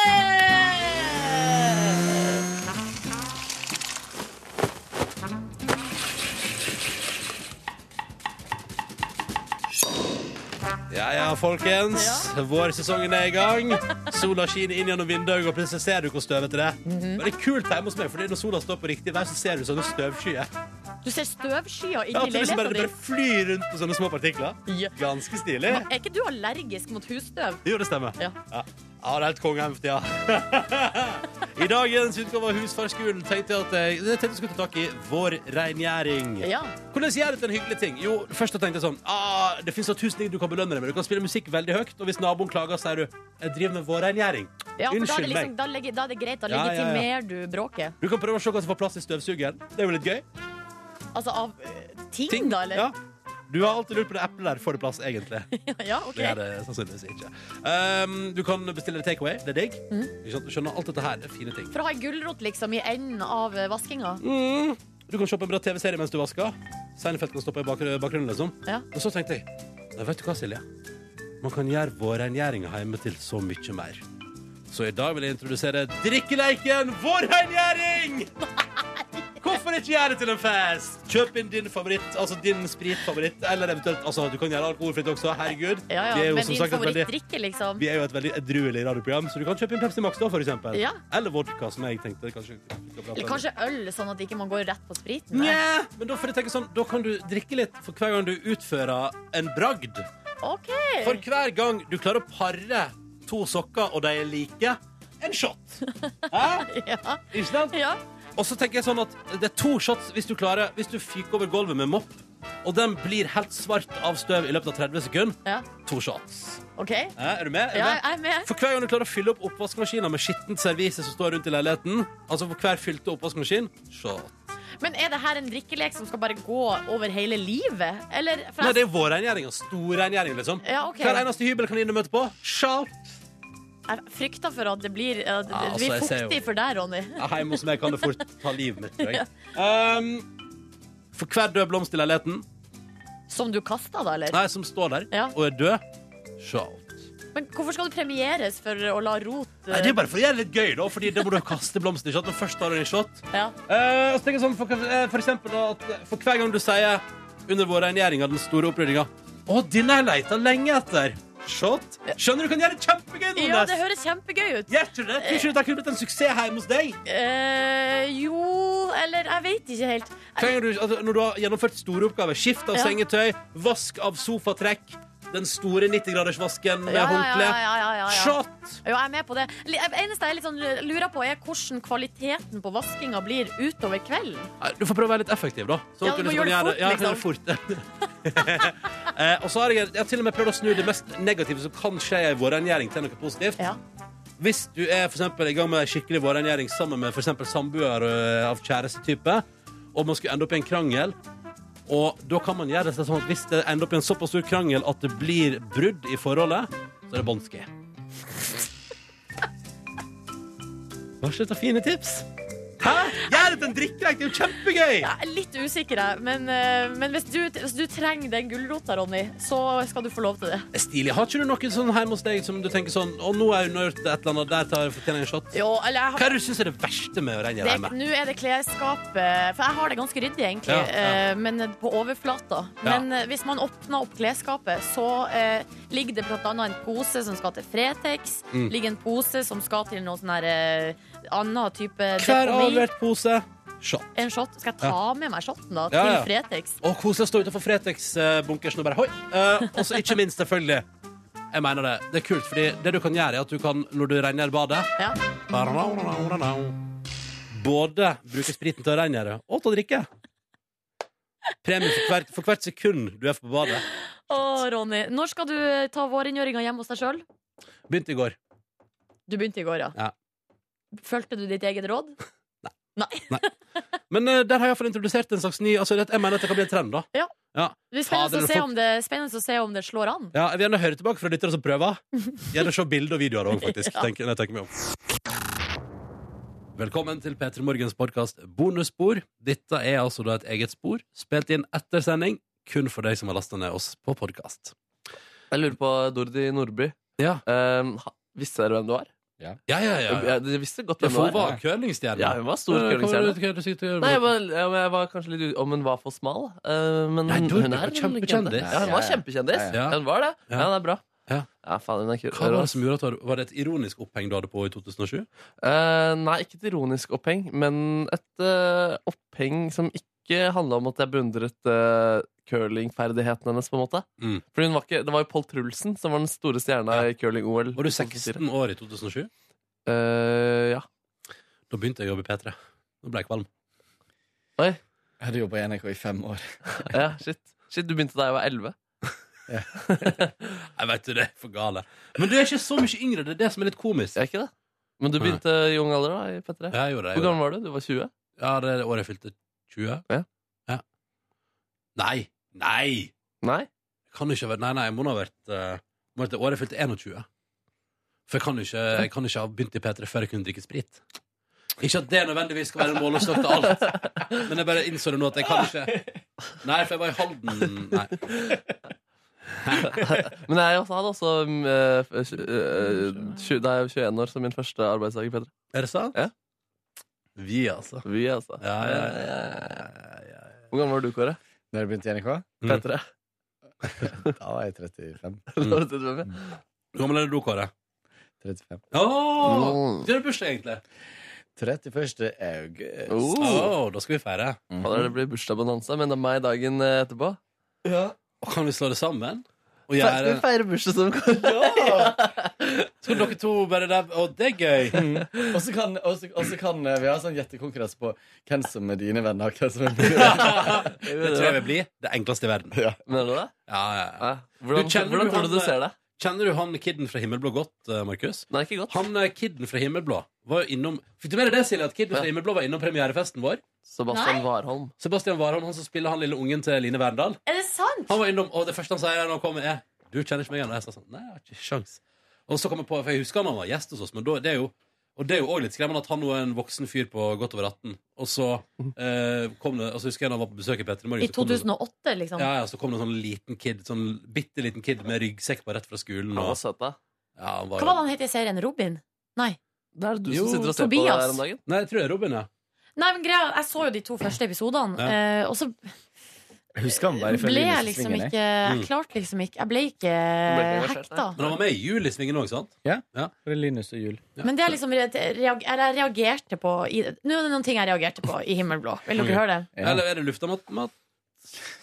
Ja ja, folkens. Vårsesongen er i gang. Sola skinner inn gjennom vinduet, og plutselig ser du hvor støvete det er. Og Det er kult hjemme hos meg, Fordi når sola står på riktig vei, så ser du sånne støvskyer. Du ser støvskyer Ja, inni at det, liksom bare, leiligheten det bare din. flyr rundt på sånne små partikler. Ganske stilig. Er ikke du allergisk mot husstøv? Jo, det stemmer. Ja. Ja, Ja, det er helt konge for tida. I dagens utgave av Husfarskolen tenkte jeg at jeg, jeg tenkte jeg skulle ta tak i vår rengjøring. Ja. Hvordan gjør du til en hyggelig ting? Jo, først så tenkte jeg sånn ah, Det fins tusen ting du kan belønne deg med. Du kan spille musikk veldig høyt, og hvis naboen klager, sier du jeg driver med vårrengjøring. Ja, for da er, det Unnskyld liksom, meg. da, legger, da er det greit. Da Ja, ja, ja. legitimerer du bråket. Du kan prøve å se hva som får plass i støvsugeren. Det er jo litt gøy. Altså av eh, ting, Ting, da, eller? ja. Du har alltid lurt på det eplet der. Får det plass, egentlig? ja, ok. Det gjør det sannsynligvis ikke. Um, du kan bestille deg takeaway. Det er digg. Mm. Ikke sant? Du skjønner alt dette her. Det er fine ting. For å ha ei gulrot liksom i enden av eh, vaskinga. Mm. Du kan se på en bra TV-serie mens du vasker. Seinfeld kan stoppe i bakgr- bakgrunnen, liksom. Ja. Og så tenkte jeg Nei, vet du hva, Silje? Man kan gjøre vårrengjøringa hjemme til så mye mer. Så i dag vil jeg introdusere drikkeleiken vårrengjøring! Hvorfor ikke gjøre det til en fest? Kjøp inn din favoritt, altså din spritfavoritt, eller eventuelt altså, Du kan gjøre alkoholfritt også, herregud. Ja, Vi er ja. jo Men som din sagt et veldig- favorittdrikke, liksom. vi er jo et veldig edruelig radioprogram, så du kan kjøpe inn Pepsi Max da, for eksempel. Ja. Eller vodka, som jeg tenkte. Kanskje, vi skal prate Eller om. kanskje øl, sånn at ikke man går rett på spriten. Nja, men da får jeg tenke sånn Da kan du drikke litt for hver gang du utfører en bragd. Ok. For hver gang du klarer å pare to sokker, og de er like, en shot. Hæ? Ikke sant? Og så tenker jeg sånn at det er to shots hvis du klarer Hvis du fyker over gulvet med mopp, og den blir helt svart av støv i løpet av 30 sekunder, to shots. OK? Hæ? Er du med? Er du Ja, med? jeg er med. For hver gang du klarer å fylle opp oppvaskmaskinen med skittent servise som står rundt i leiligheten, altså for hver fylte oppvaskmaskin, shot. Men er det her en drikkelek som skal bare gå over hele livet? Eller for Nei, jeg- det er vårrengjøring og storrengjøring, liksom. Ja, ok. Hver eneste hybel kan inn og møte på. Shout! Jeg frykter for at det blir, at Ja, det blir altså, jeg ser fuktig jo- for deg, Ronny. Ja, Hjemme hos meg kan det fort ta livet mitt, tror jeg. Um, for hver død blomst i leiligheten, Som du kasta, da, eller? nei, som står der og er død, shout. Men hvorfor skal du premieres for å la rot eh, Nei, det er bare for å gjøre det litt gøy, da, fordi det må du kaste blomster i shot. Men først tar du en shot. Ja. Eh, og så tenker jeg sånn, for, eh, for eksempel da, at for hver gang du sier under vår rengjøring av den store oppryddinga Å, den har jeg leita lenge etter. Shot. Skjønner du, kan gjøre det kjempegøy, Nordnes. Ja, det høres kjempegøy ut. Gjør ikke det? Tror ikke du det kunne blitt en suksess hjemme hos deg? Eh, jo Eller jeg vet ikke helt. Trenger du, altså, når du har gjennomført store oppgaver, skift av Ja. sengetøy, vask av sofatrekk, den store 90-gradersvasken med Ja, ja, ja, håndkle ja, ja, ja, ja. Shot! Jo, jeg er med på det. Li- Det eneste jeg er litt sånn lurer på, er hvordan kvaliteten på vaskinga blir utover kvelden. Nei, Du får prøve å være litt effektiv, da. Ja, at du må kan gjøre liksom. det gjøre- Ja, gjør det fort. eh, og så har jeg, jeg har til og med prøvd å snu det mest negative som kan skje i vår rengjøring, til noe positivt. Hvis du er for eksempel, i gang med en skikkelig vårrengjøring sammen med for eksempel samboer øh, av kjærestetype, og man skulle ende opp i en krangel og da kan man gjøre det sånn at hvis det ender opp i en såpass stor krangel at det blir brudd i forholdet, så er det bånski. Var ikke dette fine tips? Hæ? Gjør det til en drikkelek! Det er jo kjempegøy! Jeg er litt usikker, jeg. Men, eh, men hvis, du, hvis du trenger den gulrota, Ronny, så skal du få lov til det. Det er Stilig. Har ikke du noe sånn hjemme hos deg som du tenker sånn Å, nå har hun gjort et eller annet, der tar jeg fortjener jeg en shot? Jo, eller jeg har- Hva er det du syns er det verste med å regne Det- hjemme? Nå er det klesskapet For jeg har det ganske ryddig, egentlig, Ja, ja. eh, men på overflata. Ja. Men eh, hvis man åpner opp klesskapet, så eh, ligger det bl.a. en pose som skal til Fretex. Mm. Ligger en pose som skal til noe sånn her eh, annen type Hver deponi. avlevert pose. Shot. En shot. Skal jeg ta Ja. med meg shotten, da? Ja, ja. Til Fretex? Og koselig å stå utenfor Fretex-bunkersen og bare hoi. Eh, og så ikke minst, selvfølgelig. Jeg mener det. Det er kult, fordi det du kan gjøre, er at du kan, når du renner badet Ja. Både bruke spriten til å rengjøre og til å drikke. Premie for hvert, for hvert sekund du er på badet. Å, Ronny. Når skal du eh, ta vårrengjøringa hjemme hos deg sjøl? Begynte i går. Du begynte i går, ja. Ja. Fulgte du ditt eget råd? Men eh, der har jeg iallfall introdusert en slags ny altså, det- Jeg mener at det kan bli en trend, da. Ja. Ja. Det er spennende, Fader, å når se, folk- om det, spennende å se om det slår an. Ja, jeg vil gjerne høre tilbake fra lyttere som prøver. Gjerne se bilder og videoer òg, faktisk. Ja. tenker, når jeg tenker meg om. Velkommen til P3 Morgens podkast Bonusspor. Dette er altså da et eget spor, spilt inn etter sending, kun for deg som har lasta ned oss på podkast. Jeg lurer på Dordi Nordby. Ehm, ha- visste dere hvem du var? Ja. Ja, ja, ja. Jeg- Dere visste godt Ja, hvem for du hun var curlingstjerne. Ja, hun var stor Eh, hva var det- hva er curlingstjerne. det du sier til- Nei, jeg var, ja, men jeg var kanskje litt ut om hun var for smal. eh, men Nei, hun, Dordi hun var er kjempekjendis. legende. Ja, hun var Ja, ja. kjempekjendis. Ja, ja. Ja, hun var det. Ja, hun er bra. Ja. faen, hun er kul. Hva var det som gjorde at du var det et ironisk oppheng du hadde på i 2007? Eh, nei, ikke et ironisk oppheng, men et eh, oppheng som ikke handla om at jeg beundret eh, curlingferdigheten hennes, på en måte. Mm. For hun var ikke, det var jo Pål Trulsen som var den store stjerna i curling-OL. Var du 16 år i 2007? Eh, ja. Da begynte jeg å jobbe i P3. Nå ble jeg kvalm. Oi. Jeg hadde jobba i NRK i fem år. ja, shit. shit, du begynte da jeg var 11. Jeg vet du, det er for gale. Men du er ikke så mye yngre. Det er det som er litt komisk. Jeg er ikke det. Men du begynte i ung alder, da? i P3 Ja, jeg gjorde det, jeg Hvor gjorde gammel var du? Du var 20? Ja, det er det året jeg fylte 20. Ja. Nei. Nei! Nei? Kan ikke ha vært Nei, nei, jeg må nå ha vært eh, må ha vært det året jeg fylte 21. For jeg kan, jo ikke, jeg kan jo ikke ha begynt i P3 før jeg kunne drikke sprit. Ikke at det nødvendigvis skal være en målestokk til alt, men jeg bare innså det nå at jeg kan ikke Nei, for jeg var i Halden Nei. Men jeg også hadde også mm, eh, f- eh, tju- Da jeg var 21 år, som min første arbeidsdag i P3. Er det sant? Ja. Vi, altså. Vi, altså. Ja, ja, ja, Hvor gammel var du, Kåre? Da jeg begynte i NRK? P3. Da var jeg 35. Da var du 35, Hvor gammel er du, Kåre? 35. Mm. Åh! Det er bursdag, egentlig. 31. august. Oh! Åh, da skal vi feire. Fader, Det blir bursdagsbonanza, men det er meg dagen eh, etterpå. Og kan vi slå det sammen? Og Fe- Skal vi gjøre feire bursdag som Kåre? Skal dere to bare der Å, det er gøy! Og så kan, og så- og så kan eh, vi ha sånn gjettekonkurranse på hvem som er dine venner. og Hvem som er mine. Det tror jeg vil bli det enkleste i verden. Ja. Mener du det? Ja, ja, ja. Hvordan, kjenner hvordan tror du du han- ser det? Kjenner du han kidden fra Himmelblå godt, eh, Markus? Nei, ikke godt. Han eh, kidden fra Himmelblå var jo innom Fikk du med deg det, Silje? At kidden fra Himmelblå var innom premierefesten vår? Sebastian Warholm. Sebastian Warholm, han som spiller han lille ungen til Line Verndal. Er det sant? Han var innom, og det første han sier når han kommer, er Du kjenner ikke meg igjen? Og jeg sa sånn Nei, jeg har ikke sjans. Og så kom jeg på, for jeg husker han var gjest hos oss, men da, det er jo og det er jo også litt skremmende at han nå er en voksen fyr på godt over 18. Og så eh, kom det, og så husker jeg da han var på besøk i Petter Morgen. I 2008, liksom? Ja, ja, så kom det en sånn liten kid, sånn bitte liten kid med ryggsekk på rett fra skolen. Han Og, var søt, da. ja, han Hva var, var det han het i serien? Robin? Nei. Det er du Jo, som sitter og ser på det Tobias. her om dagen. Nei, jeg tror det er Robin, ja. Nei, men greia, Jeg så jo de to første episodene, Ja. eh, og så Jeg husker han bare fra ble jeg Linus i liksom Svingen, jeg. ikke Jeg Mm. klarte liksom ikke Jeg ble ikke ikke engasjert, hekta. Men han var med i Julisvingen òg, sant? Fra Linus og Jul. Ja. Men det er liksom re- reag- eller jeg reagerte på i, Nå er det noen ting jeg reagerte på i Himmelblå. Vil dere høre det? Ja. Eller er det lufta med at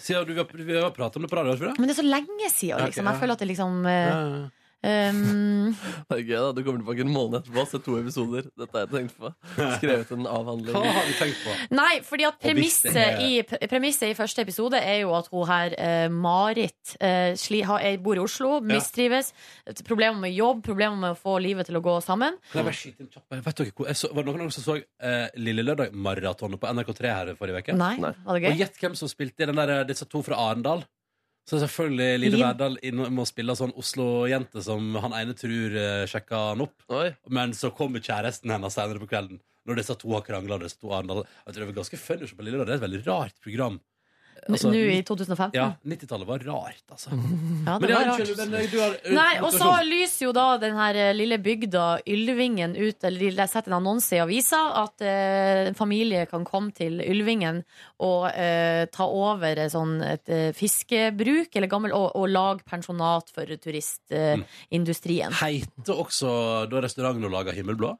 Siden du vi har, vi har pratet om det på radio, har vi ikke det? Men det er så lenge siden, liksom. Jeg føler at det liksom eh, Ja, ja, ja. um, Det er gøy da, Du kommer tilbake en måned etterpå og ser to episoder. Dette har jeg tenkt på. Skrevet en avhandling. Hva har du tenkt på? Nei, fordi at Og hvis det premisset i, er- pre- premisset i første episode er jo at hun her, eh, Marit, eh, sli, har, er- bor i Oslo, mistrives, problemer med jobb, problemer med å få livet til å gå sammen. Kan jeg bare skyte inn kjapt? Vet dere hvor, jeg så, var det noen av dere som så eh, Lille Lørdag maratonet på NRK3 her forrige uke? Nei, var det gøy? Og gjett hvem som spilte i den der, eh, disse to fra Arendal. Så er selvfølgelig Line Liv. Verdal inne må spille sånn Oslo-jente som han ene tror eh, sjekka han opp. Men så kommer kjæresten hennes senere på kvelden. Når disse to har krangla. Disse to Arendal. Jeg tror det var ganske funny å se på Lille Lørdag. Det er et veldig rart program. N- Nå i 2015. Altså, mm. Ja, 90-tallet var rart, altså. Mm. Ja, Men det det var er- rart. men det- du har- eh, Nei, og så motivasjon. lyser jo da den her eh, lille bygda Ylvingen ut, eller de setter en annonse i avisa, at eh, en familie kan komme til Ylvingen og eh, ta over eh, sånn et eh, fiskebruk, eller gammel, og, og lage pensjonat for turistindustrien. Eh, Mm. industrien. Heter også da restauranten hun laga Himmelblå?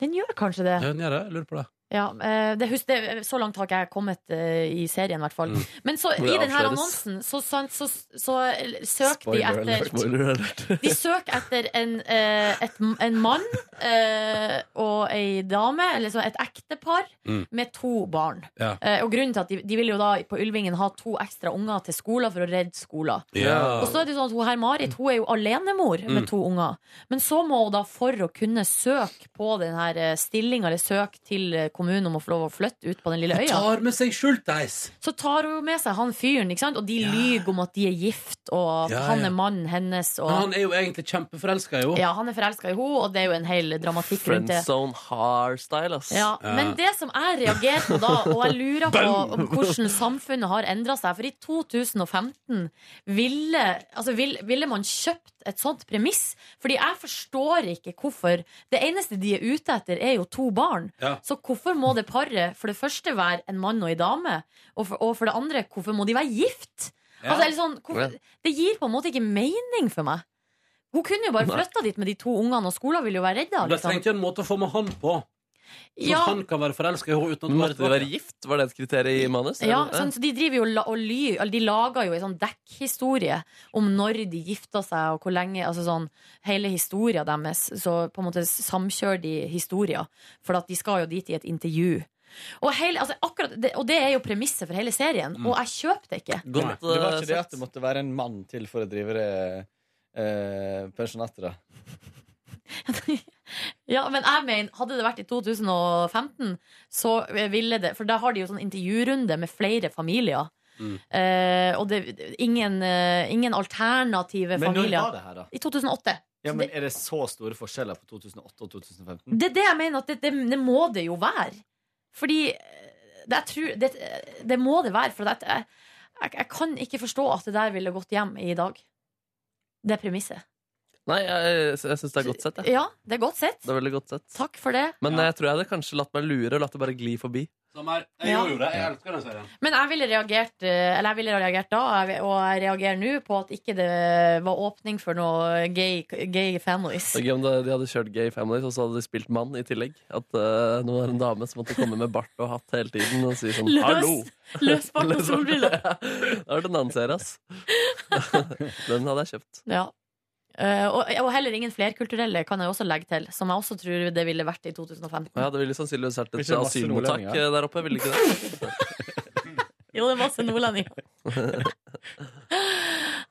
Den gjør kanskje det. Ja, den gjør det. Jeg lurer på det. Ja, eh, det hus- det, så langt har ikke jeg kommet eh, i serien, i hvert fall. Men så, Hvor i Mm. det den her avsløres. annonsen så, så, så, så søker de etter alert. De søker etter en, eh, et, en mann eh, og ei dame, eller så et ektepar, Mm. med to barn. Ja. Eh, og grunnen til at de, de vil jo da på Ylvingen ha to ekstra unger til skolen for å redde skolen. Ja. Og så er det jo sånn at hun her Marit hun er jo alenemor Mm. med to unger. Men så må hun da for å kunne søke på den her stillinga, eller søke til eh, kommunen om å få lov å flytte ut på den lille Hun øya tar med seg Schulteis! så tar hun jo med seg han fyren, ikke sant? og de lyver om at de er gift, og at Ja, han ja. er mannen hennes. Og... Men han er jo egentlig kjempeforelska, jo. Ja, han er forelska i henne, og det er jo en hel dramatikk rundt det. Friendzone hardstyle, ass. Ja, men det som jeg reagerte på da, og jeg lurer på Bam! om hvordan samfunnet har endra seg For i 2015 ville, altså vil, ville man kjøpt et sånt premiss? Fordi jeg forstår ikke hvorfor. Det eneste de er ute etter, er jo to barn. Ja. Så hvorfor må det paret for det første være en mann og en dame? Og for, og for det andre, hvorfor må de være gift? Ja. Altså, eller sånn, hvorfor, det gir på en måte ikke mening for meg. Hun kunne jo bare Nei. flytta dit med de to ungene, og skolen ville jo være redda. Men Da trengte jeg en måte å få med han på. Så liksom. Ja. han kan være forelska i henne uten at Måtte de være gift? Var det et kriterium i manus? Ja, sånn, så De driver jo la- og ly, eller de lager jo en sånn dekkhistorie om når de gifta seg, og hvor lenge altså sånn, Hele historia deres. Så på en måte samkjører de historier, for at de skal jo dit i et intervju. Og, hele, altså akkurat, det, og det er jo premisset for hele serien, Mm. og jeg kjøper det ikke. eh, Nei, det var ikke det at det måtte være en mann til for å drive det eh, pensjonatet, da. Ja, men jeg mener, hadde det vært i 2015, så ville det For da har de jo sånn intervjurunde med flere familier. Mm. Eh, og det, ingen, eh, ingen alternative Men når familier. var det her, da? I 2008. Ja, men Er det så store forskjeller på 2008 og Mm. 2015? Det er det jeg mener at det, det, det må det jo være. Fordi eh, det, jeg tror, det, det må det være. For at jeg, jeg, jeg kan ikke forstå at det der ville gått hjem i dag. Det premisset. Nei, jeg, jeg syns det er godt sett. jeg. Ja, det er godt sett. Det er veldig godt sett. Takk for det. Men jeg tror jeg hadde kanskje latt meg lure og latt det bare gli forbi. jeg Ja. gjorde jo det. Jeg elsker den serien. Men jeg ville reagert, eh, eller jeg ville reagert da, og jeg- og jeg reagerer nå på at ikke det var åpning for noe gay, gay families. Det er gøy om det- de hadde kjørt Gay Families, og så hadde de spilt mann i tillegg. At eh, nå er det en dame som måtte komme med bart og hatt hele tiden og si sånn Løs- hallo. løs bart og Løs solbriller. Ja, det har vært en annen serie, ass. Den hadde jeg kjøpt. Ja. Eh, og, og heller ingen flerkulturelle kan jeg også legge til, som jeg også tror det ville vært i 2015. Ja, det ville sannsynligvis vært et Ikke masse asylmottak nordlendinger. eh, der oppe, ville ikke det? Jo, det er masse nordlendinger.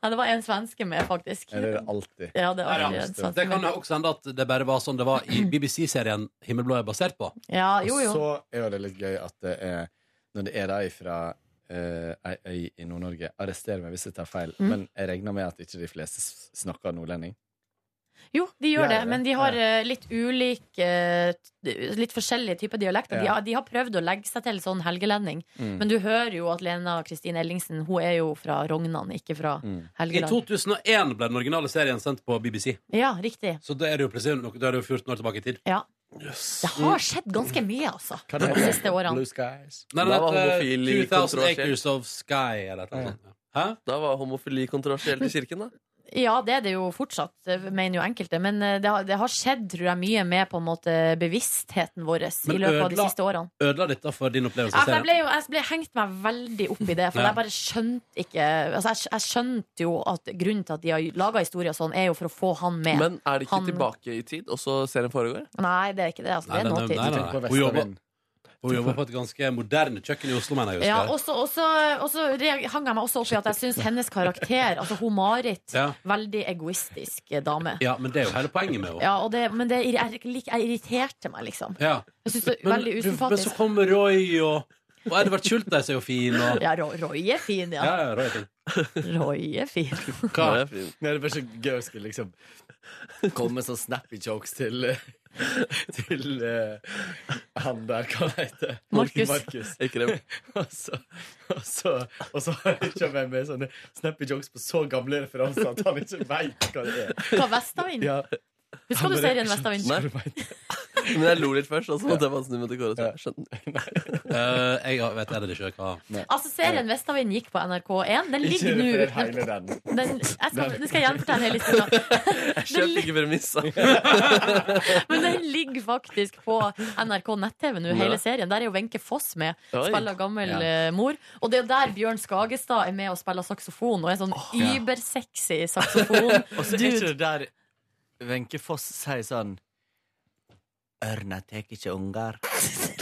Ja, det var en svenske med, faktisk. alltid. Ja, det er alltid en det, svenske kan med. også hende at det bare var sånn det var i BBC-serien Himmelblå er basert på. Ja, jo, jo. Og så er jo det litt gøy at det er Når det er de fra eh, ei øy i Nord-Norge Arrester meg hvis jeg tar feil, Mm. men jeg regner med at ikke de fleste s- snakker nordlending. Jo, de gjør Ja, det, ja, men de har eh, litt ulik eh, t- Litt forskjellige typer dialekter. De, Ja. har, de har prøvd å legge seg til sånn helgelending, Mm. men du hører jo at Lena Kristin Ellingsen Hun er jo fra Rognan, ikke fra Mm. I Helgeland. 2001 ble den originale serien sendt på BBC. Ja, riktig. Så da er det jo plutselig noe- da er det jo 14 år tilbake i tid. Ja. Det har skjedd ganske mye, altså, Hva de det heter? siste årene. Skies. Nei, Da var det heter homofil i 2000 kontroversiell. Acres of Sky eller et eller annet. sånt. Da var homofili kontroversielt i kirken, da. Ja, det er det jo fortsatt, mener jo enkelte. Men eh, det har, det har skjedd, tror jeg, mye med på en måte bevisstheten vår i løpet av de siste årene. ødela dette for din opplevelse Ja, av for jeg, serien? ble jo, jeg ble hengt meg veldig opp i det, for Ja. jeg bare skjønte ikke altså jeg, jeg skjønte jo at grunnen til at de har laga historier sånn, er jo for å få han med. Men er det ikke Han- tilbake i tid, og så serien foregår? Nei, det er ikke det. Altså, det Nei, er nei, nei, nåtid. Ah, nei, nei. Hun jobber- Hun jobber på et ganske moderne kjøkken i Oslo, mener jeg. å Ja, huske. og så og så- og så reag- hang jeg meg også opp i at jeg syns hennes karakter, altså hun Marit, Ja. veldig egoistisk eh, dame. ja, men det er jo hele poenget med henne. Ja, og det, men det, jeg, jeg, jeg irriterte meg, liksom. Ja. Jeg synes det er Men- veldig du- Men så usympatisk. kommer Roy og Og Edvard Schultheis er jo fin, og Ja, Roy- Roy er fin, Ja, ja. ja, Roy er fin. Roy er fin. Hva? Nei, det er bare så gøy å skulle liksom komme med sånn snappy jokes til eh, Til eh, han der, hva heter det? Markus. Markus. Eikrem. og, så, og, så, og så har jeg ikke med sånne snappy jokes på så gamle referanser at han ikke veit hva det er. Hva Vestavind? Ja. Husker du serien Vestavind? Men jeg lo litt først, altså, og så sånn måtte jeg bare snu meg til Kåre. Så jeg skjønner. Eh, Jeg vet heller ikke hva Altså, serien Vestavind gikk på NRK1. Den ligger nå referer hele den. Den, jeg skal, den skal jeg gjenfortelle hele historien. Jeg skjønner ikke premisset. Men den ligger faktisk på NRK nett-TV nå, Ja. hele serien. Der er jo Wenche Foss med. Oi. Spiller gammel Ja. eh, mor. Og det er jo der Bjørn Skagestad er med og spiller saksofon, og er sånn Ja. übersexy saksofon. Og så er ikke det der Wenche Foss sier sånn Ørna tar ikke unger.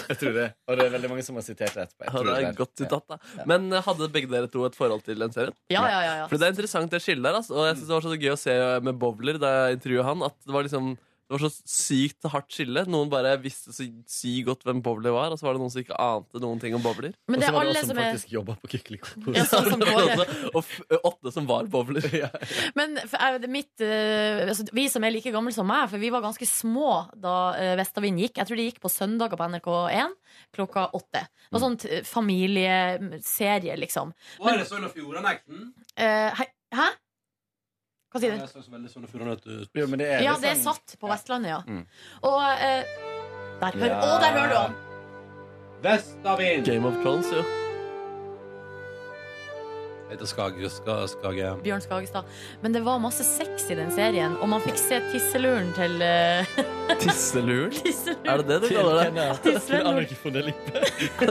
Jeg tror det. Og det er veldig mange som har sitert det etterpå. Jeg Ja, tror det er det. et godt sitat, da. Men eh, hadde begge dere to et forhold til den serien? Ja, ja, ja, ja. For det er interessant det skillet der, altså. Og jeg synes det var så gøy å se med Bowler da jeg intervjuet han, at det var liksom det var så sykt hardt skille. Noen bare visste så sykt godt hvem Bowler var, og så var det noen som ikke ante noen ting om Bowler. Men det er Og så var det alle oss som som er- faktisk faktisk jobba på Kykeliko. Ja, sånn som Kåre. og f åtte som var Bowler. Men for, jeg- det- mitt, eh, altså, vi som er like gamle som meg, for vi var ganske små da eh, Vestavind gikk. Jeg tror det gikk på søndager på NRK1 klokka åtte. Det Mm. var sånn t- familieserie, liksom. Var det Sogn og Fjordane-ekten? Eh, hei- hæ? Hva sier du? Jeg så så veldig Sogn og Fjordane ut. Jo, men det er Ja, liksom- det er satt på Vestlandet, ja. Mm. Og eh, der, hør, Ja. å, der hører du han! Vestavind! Game of Thrones, jo. Jeg heter Skage. Skage. Skage. Bjørn Skagestad. Men det var masse sex i den serien, og man fikk se tisseluren til eh, Tisselur? Tisselur. Er det det du kaller det? Til Sven Nord- Nei,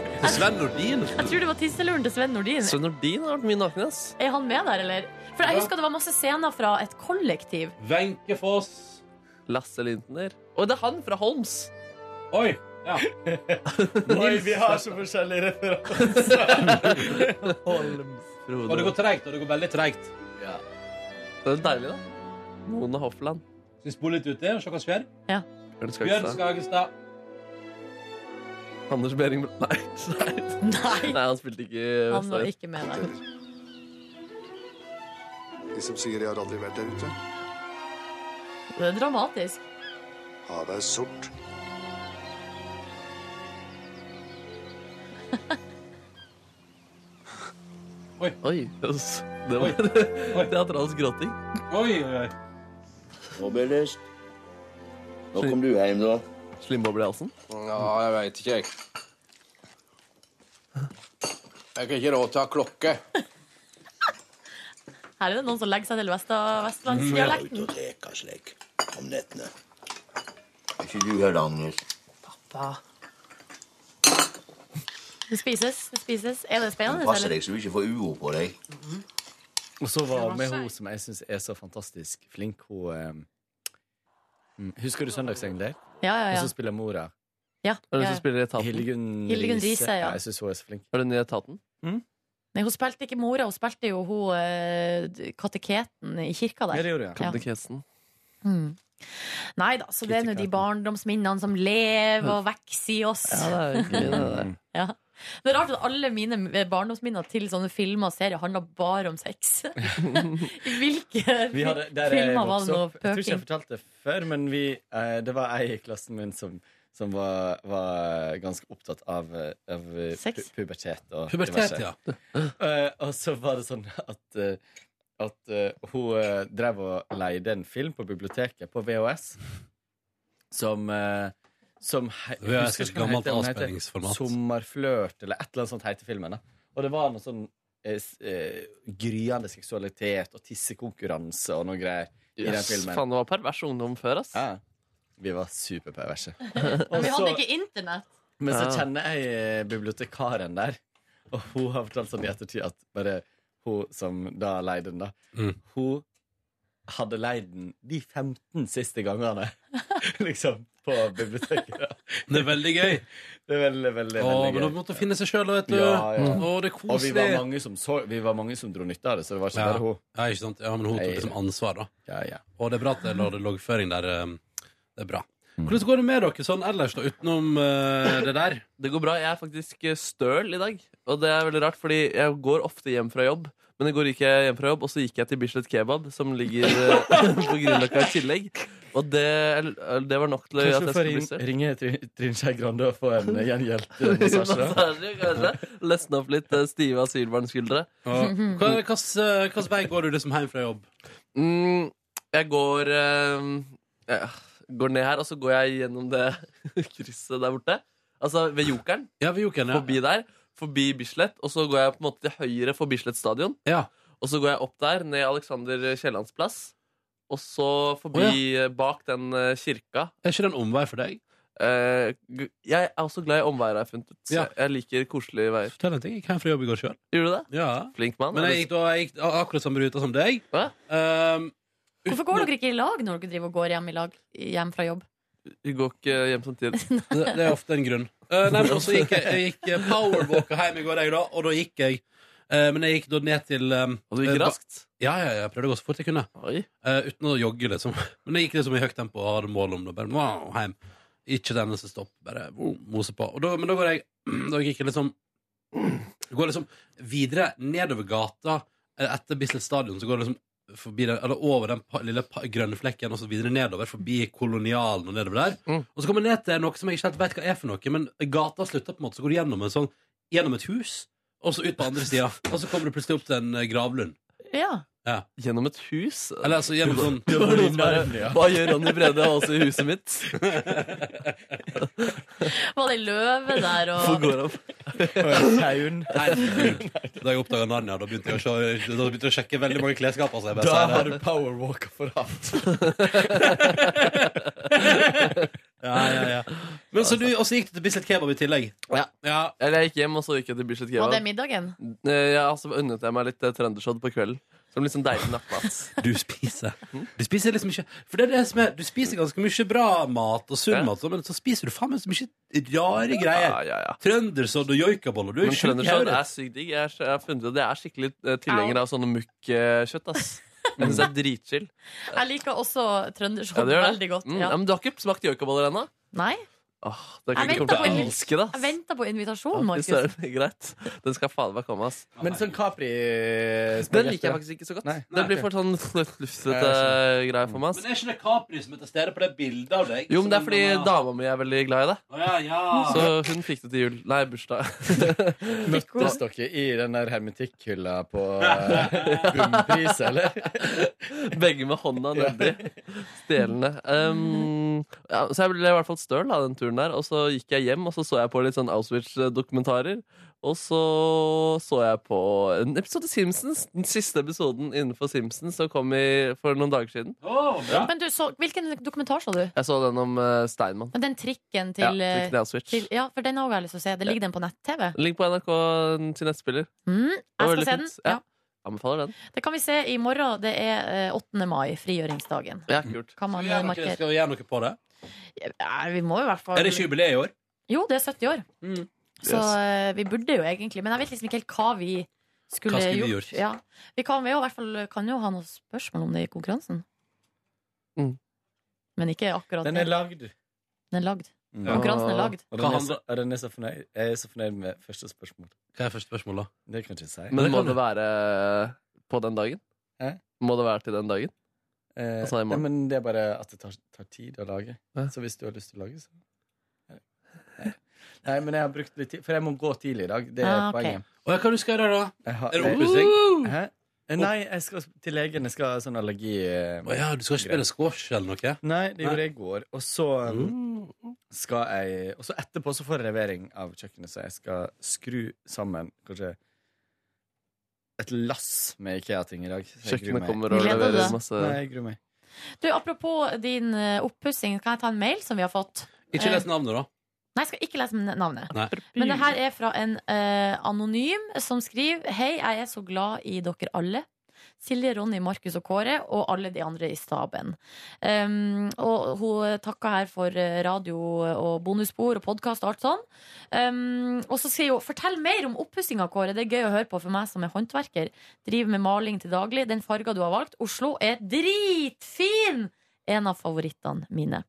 jeg, Sven Nordin? jeg tror det var tisseluren til Sven Nordin. Sven Nordin har vært mye naken, ass. Er han med der, eller? For jeg husker det var masse scener fra et kollektiv. Wenche Foss. Lasse Lintner. Og det er han fra Holms! Oi! Ja. Oi, vi har så forskjellige referanser. Holms. Og det går treigt, og det går veldig treigt. Ja. Det er deilig, da. Mona Hofland. Skal vi spole litt uti og se hva som skjer? Ja. Bjørn Bjørn Skagestad. Skagestad. Anders Behring Bra- Nei. Nei. Nei, han spilte ikke Han var Vestlandet. ikke med der. De som sier jeg har aldri vært der ute, Det er dramatisk. havet er sort. Oi. ass. Det var teatralsk gråting. Oi, oi, oi. Robert, nå kom du hjem, da. Slimboblehalsen? Ja, jeg veit ikke, jeg. Jeg har ikke råd til å ha klokke. Her er det noen som legger seg til Vesta- vestlandsdialekten. leker slik om nettene. Er ikke du her, Agnes? Det spises, det spises. Er det Du spennende, passer eller? deg så du ikke får uo på deg. Og så var Det var med seg. hun som jeg syns er så fantastisk flink, hun eh, mm, Husker du Søndagsengler? Ja, ja, ja. Hun som spiller mora. Ja, ja, ja. spiller Etaten? Hildegunn Hildegunn Riise, ja. Jeg syns hun er så flink. Var hun i Etaten? Nei, hun spilte ikke mora, hun spilte jo hun eh, kateketen i kirka der. Ja, det gjorde jeg. Ja. Katekesen. Mm. Nei da, så det er nå de barndomsminnene som lever og vokser i oss. Ja, det er Mm. hyggelig, det der. Ja. Det er rart at alle mine eh, barndomsminner til sånne filmer og serier handler bare om sex. I hvilke Vi hadde, der jeg filmer var vokste det noe opp- Jeg tror ikke jeg pøking? fortalte det før, men vi, eh, det var ei i klassen min som, som var, var ganske opptatt av, eh, av eh, pu Sex? pubertet. Og Pubertet, diverse. ja. Eh, og så var det sånn at, eh, at eh, hun eh, drev og leide en film på biblioteket på VHS som eh, som he VHS er et gammelt den heter. avspenningsformat. Sommerflørt, eller et eller annet sånt heter filmen. Da. Og det var noe sånn eh, s- eh, gryende seksualitet og tissekonkurranse og noe greier i den Yes, filmen. faen, det var pervers ungdom før, ass. Ja. Vi var superperverse. Men vi hadde ikke internett. Men så Ja. kjenner jeg eh, bibliotekaren der, og hun har fortalt sånn i ettertid at bare hun som da leide den, da, hun hadde leid den de 15 siste gangene, liksom, på biblioteket. Da. Det er veldig gøy. Det er veldig, veldig, Å, veldig men gøy. hun måtte finne seg sjøl, vet du. Mm. Ja, ja. Å, det er Og vi var, koselig. mange som så, vi var mange som dro nytte av det, så det var ikke Ja. bare hun. Ja, ikke sant? ja, men hun tok Nei. liksom ansvar, da. Ja, ja. Og det er bra at det lå det loggføring der. eh, Det er bra. Mm. Hvordan går det med dere sånn ellers, da, utenom eh, det der? Det går bra. Jeg er faktisk eh, støl i dag. Og det er veldig rart, fordi jeg går ofte hjem fra jobb. Men i går gikk jeg hjem fra jobb, og så gikk jeg til Bislett Kebab, som ligger eh, på Grünerløkka i tillegg. Og det, eh, det var nok til at Kanskje jeg du skulle får bli ring, støl. ringe Trin- Trine Skei Grande og få en eh, gjengjeldt eh, massasje? da? Massasje, kanskje. Løsne opp litt eh, stive asylbarnskuldre. Ja. Hva- Hvilken vei går du liksom hjem fra jobb? Mm, jeg går eh, ja, Går ned her, og så går jeg gjennom det krysset der borte. Altså ved Jokeren. Forbi der. Forbi Bislett. Og så går jeg på en måte til høyre for Bislett stadion. Og så går jeg opp der, ned Alexander Kiellands plass. Og så forbi eh, bak den eh, kirka. Eh, Er ikke det en omvei for deg? jeg er også glad i omveier, har jeg funnet ut. Så Ja. Jeg liker koselige veier. Fortell en ting. Jeg gikk hjem fra jobb i går sjøl. Gjorde du det? Ja. Flink mann. Men er jeg gikk, du- da, jeg gikk akkurat samme ruta som deg. Um, Hvorfor går dere ikke i lag når dere driver og går hjem, i lag, hjem fra jobb? Vi går ikke hjem samtidig. Det, det er ofte en grunn. Eh, nei, men også gikk jeg, jeg gikk eh, powerwalka hjem i går, jeg, da, og da gikk jeg. eh, men jeg gikk da ned til Og du gikk raskt? Ja, ja, ja, jeg prøvde å gå så fort jeg kunne. Eh, uten å jogge, liksom. Men jeg gikk liksom i høyt tempo og hadde mål om det. Bare wow, hjem. Ikke den som stopp. Bare wow, mose på. Og da, men da går jeg Da gikk jeg liksom Går liksom videre nedover gata eh, etter Bislett stadion, så går det liksom forbi den, eller over den pa, lille pa, grønne flekken og så videre nedover, forbi kolonialen og nedover der. Og så kommer jeg ned til noe som jeg ikke helt vet hva er for noe, men gata slutter på en måte, så går du gjennom, en sånn, gjennom et hus, og så ut på andre sida, og så kommer du plutselig opp til en eh, gravlund. Ja. Ja. Gjennom et hus? Eller altså gjennom sånn Det var noen bare, Hva gjør Ronny Brede også i huset mitt? Var det løve der og Hvor går han? Taun. Da jeg oppdaga Narnia, da begynte jeg å, se, da begynte jeg å sjekke veldig mange klesskap. Altså, jeg bare Da sier det. har du powerwalker for hatt. ja, ja, ja. Men så du, Og så gikk du til Bislett Kebab i tillegg? Ja. Eller jeg gikk hjem, og så gikk jeg til Bislett Var Kebab. det middagen? Eh, Ja, altså unnet jeg meg litt eh, trøndersodd på kvelden. Som litt sånn deilig nattmat. Du spiser Du spiser liksom ikke For det er det som er Du spiser ganske mye bra mat og sunn mat, men så spiser du faen meg så mye rare greier. Trøndersodd og joikaboller. Du er jo Men sjuk i trøndersodd er hodet. sykt digg. Jeg er- jeg har funnet ut at jeg er skikkelig eh, tilhenger av sånne mukk-kjøtt, ass. Jeg synes det er dritchill. Jeg liker også Ja, trøndersodd det gjør det. veldig godt. Mm, Ja. ja, men du har ikke smakt joikaboller ennå? Nei? Åh, det Jeg kan venter ikke på komme til å en- elske det, Jeg ass. venter på invitasjon, Fy Markus. søren, Greit. Den skal fader meg komme, ass. Men sånn Capri Den liker jeg faktisk ikke så godt. Nei, det blir for sånn Nei, lufsete jeg greier for meg. Men er ass. ikke det Capri som er til stede på det bildet av deg? Jo, men det er fordi dama mi er veldig glad i det. Å, ja, ja. Så hun fikk det til jul. Nei, bursdag. Møttes dere i den der hermetikkhylla på eh, Bunnpris, eller? Begge med hånda nedi. Stjelende. Um, ja, så jeg ble i hvert fall støl av den turen der. Og så gikk jeg hjem, og så så jeg på litt sånn Auschwitz-dokumentarer. Og så så jeg på en episode Simpsons. Den siste episoden innenfor Simpsons som kom i, for noen dager siden. Men du, så, hvilken dokumentar så du? Jeg så den om eh, Steinmann. Men den trikken Ja, til, eh, trikken til Auschwitz. til Ja, for den har også jeg lyst til å se. Det ligger den på nett-TV? Den ligger på NRK til nettspiller. Mm, Det var jeg skal veldig se den. fint. Ja. Ja. Anbefaler den. Det kan vi se i morgen. Det er eh, 8. mai, frigjøringsdagen. Ja, kult. Kan man Skal vi eh, gjøre noe- markere? Skal vi gjøre noe på det? Ja, vi må i hvert fall Er det ikke jubileet i år? Jo, det er 70 år. Så Yes. eh, vi burde jo egentlig Men jeg vet liksom ikke helt hva vi skulle, Hva skulle vi gjort. gjort? Ja. Vi kan vi jo i hvert fall kan jo ha noen spørsmål om det i konkurransen. Mm. Men ikke akkurat Den det. er lagd. Den er lagd. Konkurransen Ah. er lagd. Og den er, så- og den er så fornøyd. Jeg er så fornøyd med første spørsmål. Hva er første spørsmål, da? Det kan jeg ikke si. Men må det være på den dagen? Må det være til den dagen? Eh, Altså i nei, morgen? men det er bare at det tar, tar tid å lage. Så hvis du har lyst til å lage, så Nei. Nei, men jeg har brukt litt tid, for jeg må gå tidlig i dag. Det er Ah, ok. poenget. Og hva du skal gjøre da? Jeg har, Er det jeg- opppussing? Hæ? Eh, Nei, jeg skal til legen. Jeg skal ha sånn allergi... Å ja, du skal ikke spille squash eller noe? Nei, det gjorde jeg i går. Og så um, skal jeg Og så etterpå så får jeg levering av kjøkkenet, så jeg skal skru sammen kanskje et lass med Ikea-ting i dag. så jeg Kjøkkenet gruer meg. kommer og Gleder du leverer deg? masse- Nei, jeg gruer meg. Du, Apropos din eh, oppussing, kan jeg ta en mail som vi har fått? Ikke Eh, les navnet, da. Nei, jeg skal ikke lese navnet. Nei. Men det her er fra en eh, anonym som skriver Hei, jeg er så glad i dere alle. Silje, Ronny, Markus og Kåre og alle de andre i staben. Um, og hun takka her for eh, radio og bonusspor og podkast og alt sånn. Um, og så sier hun fortell mer om oppussinga, Kåre. Det er gøy å høre på for meg som er håndverker. Driver med maling til daglig. Den farga du har valgt, Oslo, er dritfin! En av favorittene mine.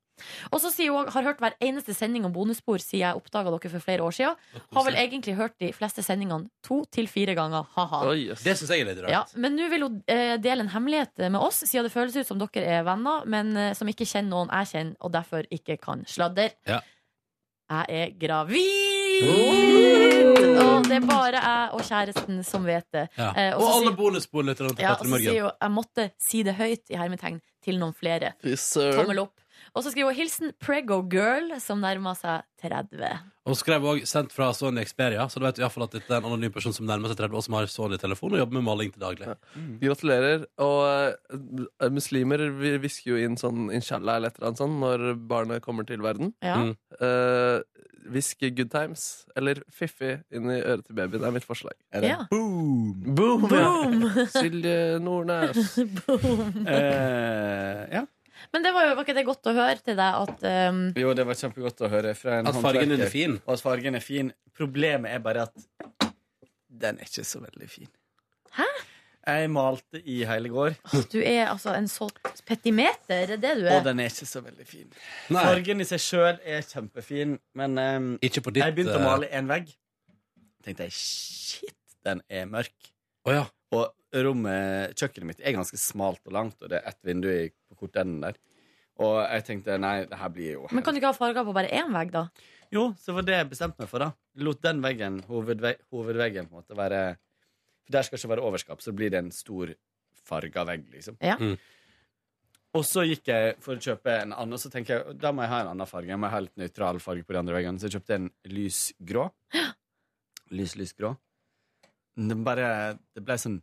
Og så sier hun har hørt hver eneste sending om bonusspor siden jeg oppdaga dere for flere år siden. Har vel egentlig hørt de fleste sendingene to til fire ganger. Ha-ha. Det syns jeg er litt rart. Ja, men nå vil hun eh, dele en hemmelighet med oss, siden det føles ut som dere er venner, men eh, som ikke kjenner noen jeg kjenner, og derfor ikke kan sladder. Ja. Jeg er gravid! Og det er bare jeg og kjæresten som vet det. Ja. Eh, og så alle sier- bonusbordene til ja, og Petter så sier Morgen. hun jeg måtte si det høyt i hermetegn til noen flere. Fy søren. Tommel opp. Og så skriver hun hilsen Prego girl, som nærmer seg 30. Og skrev også sendt fra Sony Xperia, så du vet i hvert fall at dette er en anonym person som nærmer seg 30 og som har Sony-telefon og jobber med maling til daglig. Gratulerer. Og eh, muslimer vi- hvisker jo inn sånn inshallah eller et eller annet sånt når barnet kommer til verden. Ja. Mm. Eh, Hvisk good times eller fiffi inn i øret til babyen. Det er mitt forslag. Er det? Ja. Boom! Boom, Boom. Ja. Silje Nordnes. Boom. Eh, ja. Men det var jo var ikke det godt å høre til deg at um, Jo, det var kjempegodt å høre fra en At fargen håndverker. er fin. Og at fargen er fin. Problemet er bare at den er ikke så veldig fin. Hæ? Jeg malte i hele går, du er altså en så petimeter, er det det du er? og den er ikke så veldig fin. Fargen i seg sjøl er kjempefin, men ehm, jeg begynte å eh, male en vegg. Tenkte jeg, shit, den er mørk. Og rommet, kjøkkenet mitt er ganske smalt og langt, og det er ett vindu i- på kortenden der. Og jeg tenkte nei, det her blir jo Men kan du ikke ha farger på bare én vegg, da? Jo, så var det jeg bestemte meg for, da. Lot den veggen, hovedve hovedveggen, på en måte være For der skal ikke være overskap, så blir det en stor farga vegg, liksom. Ja. Mm. Og så gikk jeg for å kjøpe en annen, og så tenker jeg da må jeg ha en annen farge. Jeg må ha litt nøytral farge på de andre veggene, så jeg kjøpte en lysgrå. Lys, lysgrå. Men Den bare Det ble sånn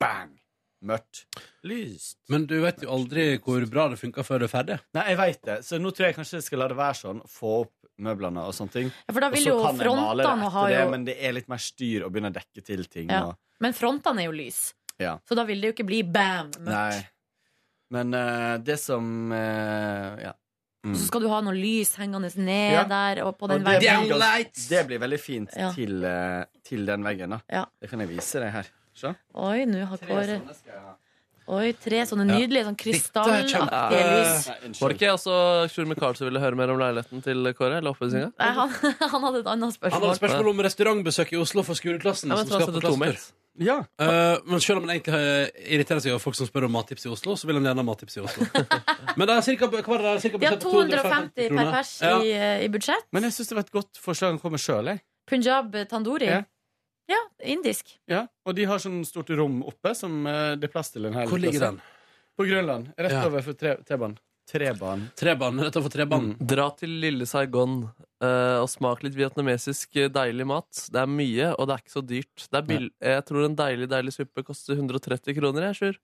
bang! Mørkt. Lyst. Men du vet jo aldri hvor bra det funka før det er ferdig. Nei, jeg veit det, så nå tror jeg kanskje jeg skal la det være sånn. Få opp møblene og sånne ting. Ja, for da Og vil så jo kan jeg male det frontene etter ha det, jo- Men det er litt mer styr å begynne å dekke til ting. Ja. Og, Men frontene er jo lys, ja. så da vil det jo ikke bli bam! Nei. Men eh, det som eh, Ja. Mm. Så skal du ha noe lys hengende ned Ja. der og på den Og det, veggen. blir gans- det blir veldig fint Ja. til, eh, til den veggen. Da. Ja. Det kan jeg vise deg her. Se. Oi, nå har Kåre sånn sånne skal jeg ha. Oi, tre sånne Ja. nydelige sånn Ja. krystallaktige lys. Var det ikke også Sjur Micaelsen ville høre mer om leiligheten til Kåre? Eller oppussinga? Nei, han, han hadde et annet Han spørsmål. hadde spørsmål om restaurantbesøk i Oslo for skoleklassen. Ja, men som så skal han på sendte to klassetur. mails. Eh, men selv om han egentlig eh, irriterer seg over folk som spør om mattips i Oslo, så vil han gjerne ha mattips i Oslo. men det er cirka, hva er det, det er cirka De har budsjett på 250 per kroner. pers Ja. i, eh, i budsjett. Men jeg syns det var et godt forslag å komme sjøl, jeg. Punjab eh, tandoori. Ja. Ja, indisk. Ja, og de har sånn stort rom oppe som eh, det er plass til en hel Hvor ligger altså. klasse. den? På Grønland. Rett Ja. over for tre- T-banen. Trebanen. Trebanen, rett overfor trebanen. Mm. Dra til lille Saigon eh, og smak litt vietnamesisk eh, deilig mat. Det er mye, og det er ikke så dyrt. Det er bill jeg tror en deilig deilig suppe koster 130 kroner. Jeg, Sjur.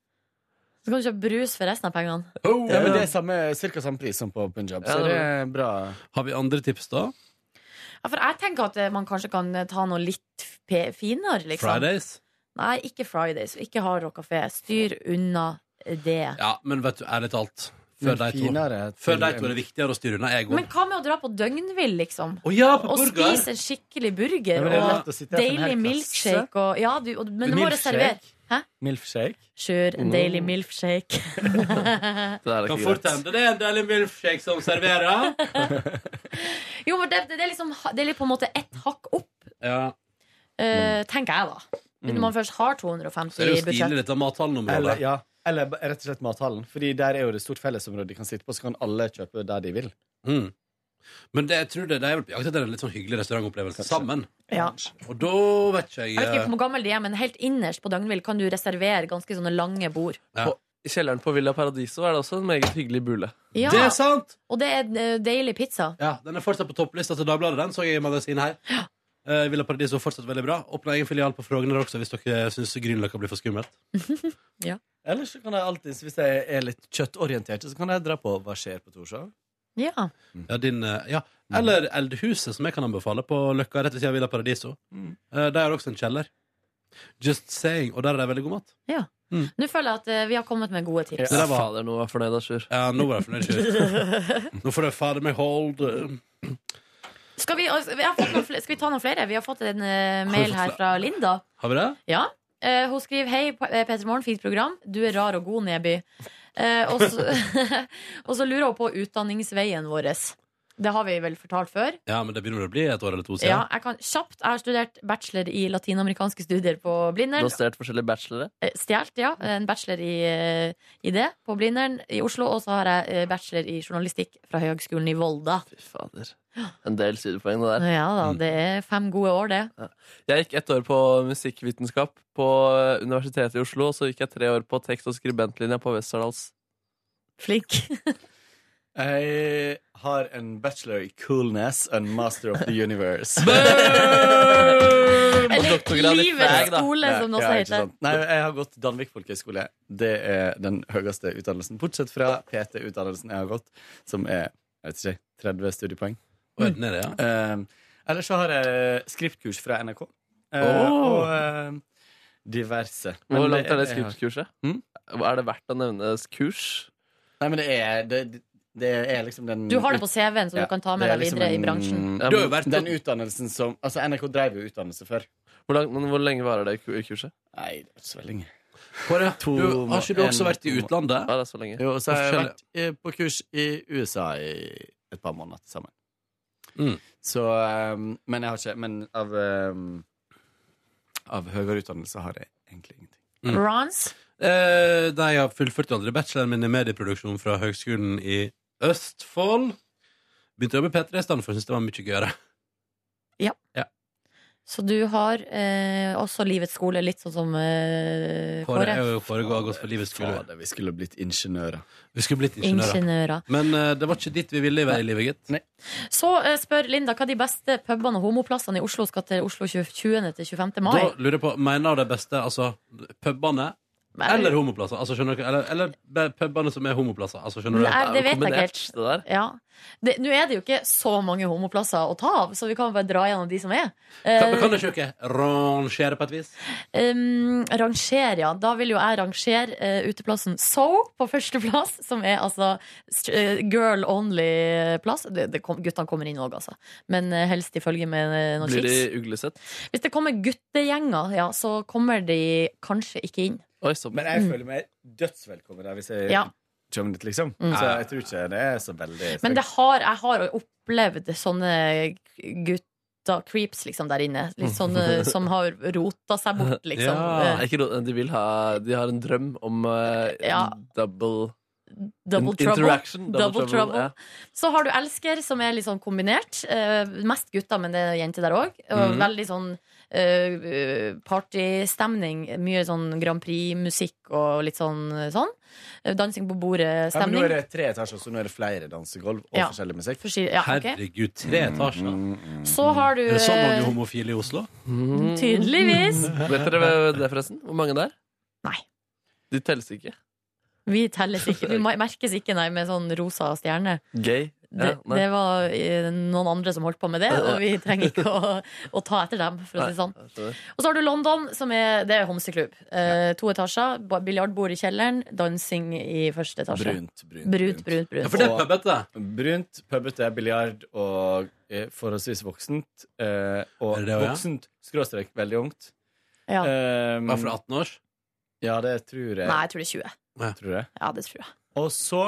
Så kan du kjøpe brus for resten av pengene. Ja, men det er samme, cirka samme pris som på Punjab, Ja, så det det er er bra. Har vi andre tips, da? Ja, for jeg tenker at eh, man kanskje kan eh, ta noe litt pe- finere, liksom. Fridays? Nei, ikke Fridays. og Ikke Hard Rock Café. Styr unna det. Ja, men vet du, ærlig talt Før Men de to finere til Før de to en- er det viktigere å styre unna jeg Men går. hva med å dra på døgnvill, liksom? Å ja, på og burger. spise en skikkelig Ja, burger men det er og lett å sitte her for en hel deilig klasse. milkshake og Ja, du, og, men du må Milkshake? reservere. Hæ? Milfshake? Kjør en Mm. deilig milkshake. Kan fort hende det er en deilig milkshake som serverer. jo, men det, det, er liksom, det er litt på en måte ett hakk opp, ja. eh, tenker jeg, da. Når Mm. man først har 250 Så er det i jo stilig, budsjett. Dette mathallenområdet. Eller, ja, eller b- rett og slett mathallen. Fordi der er jo det stort fellesområde de kan sitte på, så kan alle kjøpe der de vil. Mm. Men det, jeg tror det, det er vel på jakt etter en litt sånn hyggelig restaurantopplevelse sammen. Ja. Og da vet ikke jeg Jeg vet ikke eh, hvor gammel de er, men helt innerst på Døgnvill kan du reservere ganske sånne lange bord. På, I kjelleren på Villa Paradiso er det også en meget hyggelig bule. Ja. Det er sant! Og det er eh, deilig pizza. Ja, Den er fortsatt på topplista til Dagbladet, den så jeg i magasinet her. Eh, Villa Paradiso er fortsatt veldig bra. Åpna egen filial på Frogner også hvis dere syns Grünerløkka blir for skummelt. Ja. Ellers så kan jeg alltid, hvis jeg er litt kjøttorientert, så kan jeg dra på Hva skjer på Torshov. Ja. Ja, din, eh, ja. Eller Eldhuset, som jeg kan anbefale, på Løkka rett ved siden av Villa Paradiso. Mm. Eh, Der er det også en kjeller. Just saying. Og der er det veldig god mat. ja. Nå føler jeg at eh, vi har kommet med gode tips. Det der var- Fader, nå var jeg fornøyd, Sjur. Ja, nå var jeg fornøyd, Sjur. Nå får jeg fader meg hold eh. Skal vi, altså, vi har fått noen fl- skal vi ta noen flere? Vi har fått en eh, vi mail fått her flere? fra Linda. Har vi det? Ja. Eh, hun skriver Hei, P- eh, Peter Morgen, fint program. Du er rar og god, Neby. Eh, og, så, og så lurer hun på utdanningsveien vår. Det har vi vel fortalt før. Ja, men det begynner å bli et år eller to siden. Ja, jeg kan kjapt. Jeg har studert bachelor i latinamerikanske studier på Blindern. Du har stjålet forskjellige bachelorer. Eh, Stjålet, ja. En bachelor i, eh, i det på Blindern i Oslo. Og så har jeg eh, bachelor i journalistikk fra Høgskolen i Volda. Fader. En del studiepoeng, det der. Ja Mm. da, det er fem gode år, det. Jeg gikk ett år på musikkvitenskap på eh, Universitetet i Oslo, og så gikk jeg tre år på tekst- og skribentlinja på Westerdals. Flink. Jeg har en bachelor i coolness and master of the universe. Eller Og doktorgrad i livets fag, da. skole, som det Liksom, også ikke heter. sant. Nei, jeg har gått Danvik folkehøgskole. Det er den høyeste utdannelsen, bortsett fra PT-utdannelsen jeg har gått, som er jeg vet ikke, 30 studiepoeng. Og den er det, ja. Ehm, ellers så har jeg skriptkurs fra NRK. eh, Åh. Og ehm, diverse. Hvor Men langt er det jeg har- skriptkurset? Er det verdt å nevne kurs? Nei, men det er, det, det er liksom den Du har det på CV-en, så du kan ta med det er liksom deg videre i bransjen. Det har jo vært- Den utdannelsen som Altså, NRK drev jo utdannelse før. Hvor, lang- men hvor lenge varer det ku- kurset? Nei, det er ikke så veldig lenge. Kåre, du, har ikke du også vært i utlandet? Ja, det er så lenge. Jo, og så har jeg Forskjellig. vært eh, på kurs i USA i et par måneder til sammen. Mm. Så ehm, Men jeg har ikke Men av ehm, Av høyere utdannelse har jeg egentlig ingenting. Mm. Rons? Eh, nei, jeg har fullført aldri bacheloren min i medieproduksjon fra Høgskolen i Østfold. Begynte å jobbe i P3 i stedet for, syntes det var mye gøyere. Ja. Ja. Så du har eh, også livets skole, litt sånn som eh, Kåre Kåre. er jo Kåre har gått for livets skole. Fader, vi skulle blitt ingeniører. Vi skulle blitt ingeniører. Ingeniører. Men eh, det var ikke dit vi ville være i livet, gitt. Så eh, spør Linda hva de beste pubene og homoplassene i Oslo skal til Oslo 20. til 25. mai. Da lurer jeg på, mener du det beste, altså pubene Nei. eller homoplasser? Altså, skjønner dere, eller, eller be- pubene som er homoplasser? Altså, skjønner du? Nei, det vet jeg ikke helt. Det der. Ja. Det- Nå er det jo ikke så mange homoplasser å ta av, så vi kan bare dra gjennom de som er. Kan, Eh, men kan dere ikke rangere på et vis? Um, rangere, ja. Da vil jo jeg rangere eh, uteplassen So på førsteplass, som er altså st- eh, girl only-plass. Det- det kom- Guttene kommer inn òg, altså. Men eh, helst i følge med eh, noen Blir chicks. de uglesett? Hvis det kommer guttegjenger, ja, så kommer de kanskje ikke inn. Men jeg føler meg dødsvelkommen der hvis jeg Ja. kommer dit, liksom. Mm. Så jeg tror ikke det er så veldig Men det har, jeg har opplevd sånne gutter, creeps, liksom, der inne. Litt sånne som har rota seg bort, liksom. Ja. Eh, Ikke ro- de, vil ha, de har en drøm om eh, Ja. double Double in- trouble. Interaction. Double, trouble. Så har du elsker, som er litt sånn kombinert. Eh, mest gutter, men det er jenter der òg. Mhm. Veldig sånn eh, partystemning. Mye sånn Grand Prix-musikk og litt sånn sånn. Eh, Dansing på Ja, men nå bordet-stemning. er det tre etasjer, så nå er det flere dansegulv og Ja. forskjellig musikk. Forskjellig- ja, ok. Herregud, tre etasjer. Mm. Så har du Er det sånn så mange eh, homofile i Oslo? Mm, Tydeligvis. Mm. Vet dere hva- det, forresten? Hvor mange det er? Nei. De telles ikke. Vi telles ikke. Vi mer- merkes ikke, nei, med sånn rosa stjerne. Gay. Det, nei. det var eh, noen andre som holdt på med det, og vi trenger ikke å, å ta etter dem, for å si det sånn. Nei, jeg skjønner. Og så har du London, som er, det er homseklubb. Eh, to etasjer, ba- biljardbord i kjelleren, dansing i første etasje. Brunt, brunt, brunt. brunt, brunt. Og- Brunt, pubete, biljard og eh, forholdsvis voksent. Eh, det også, og ja? voksent skråstrek veldig ungt. Ja. Um, Var fra 18 års? Ja, det tror jeg. Nei, jeg tror det er 20. Tror jeg. Ja, det tror jeg. Og så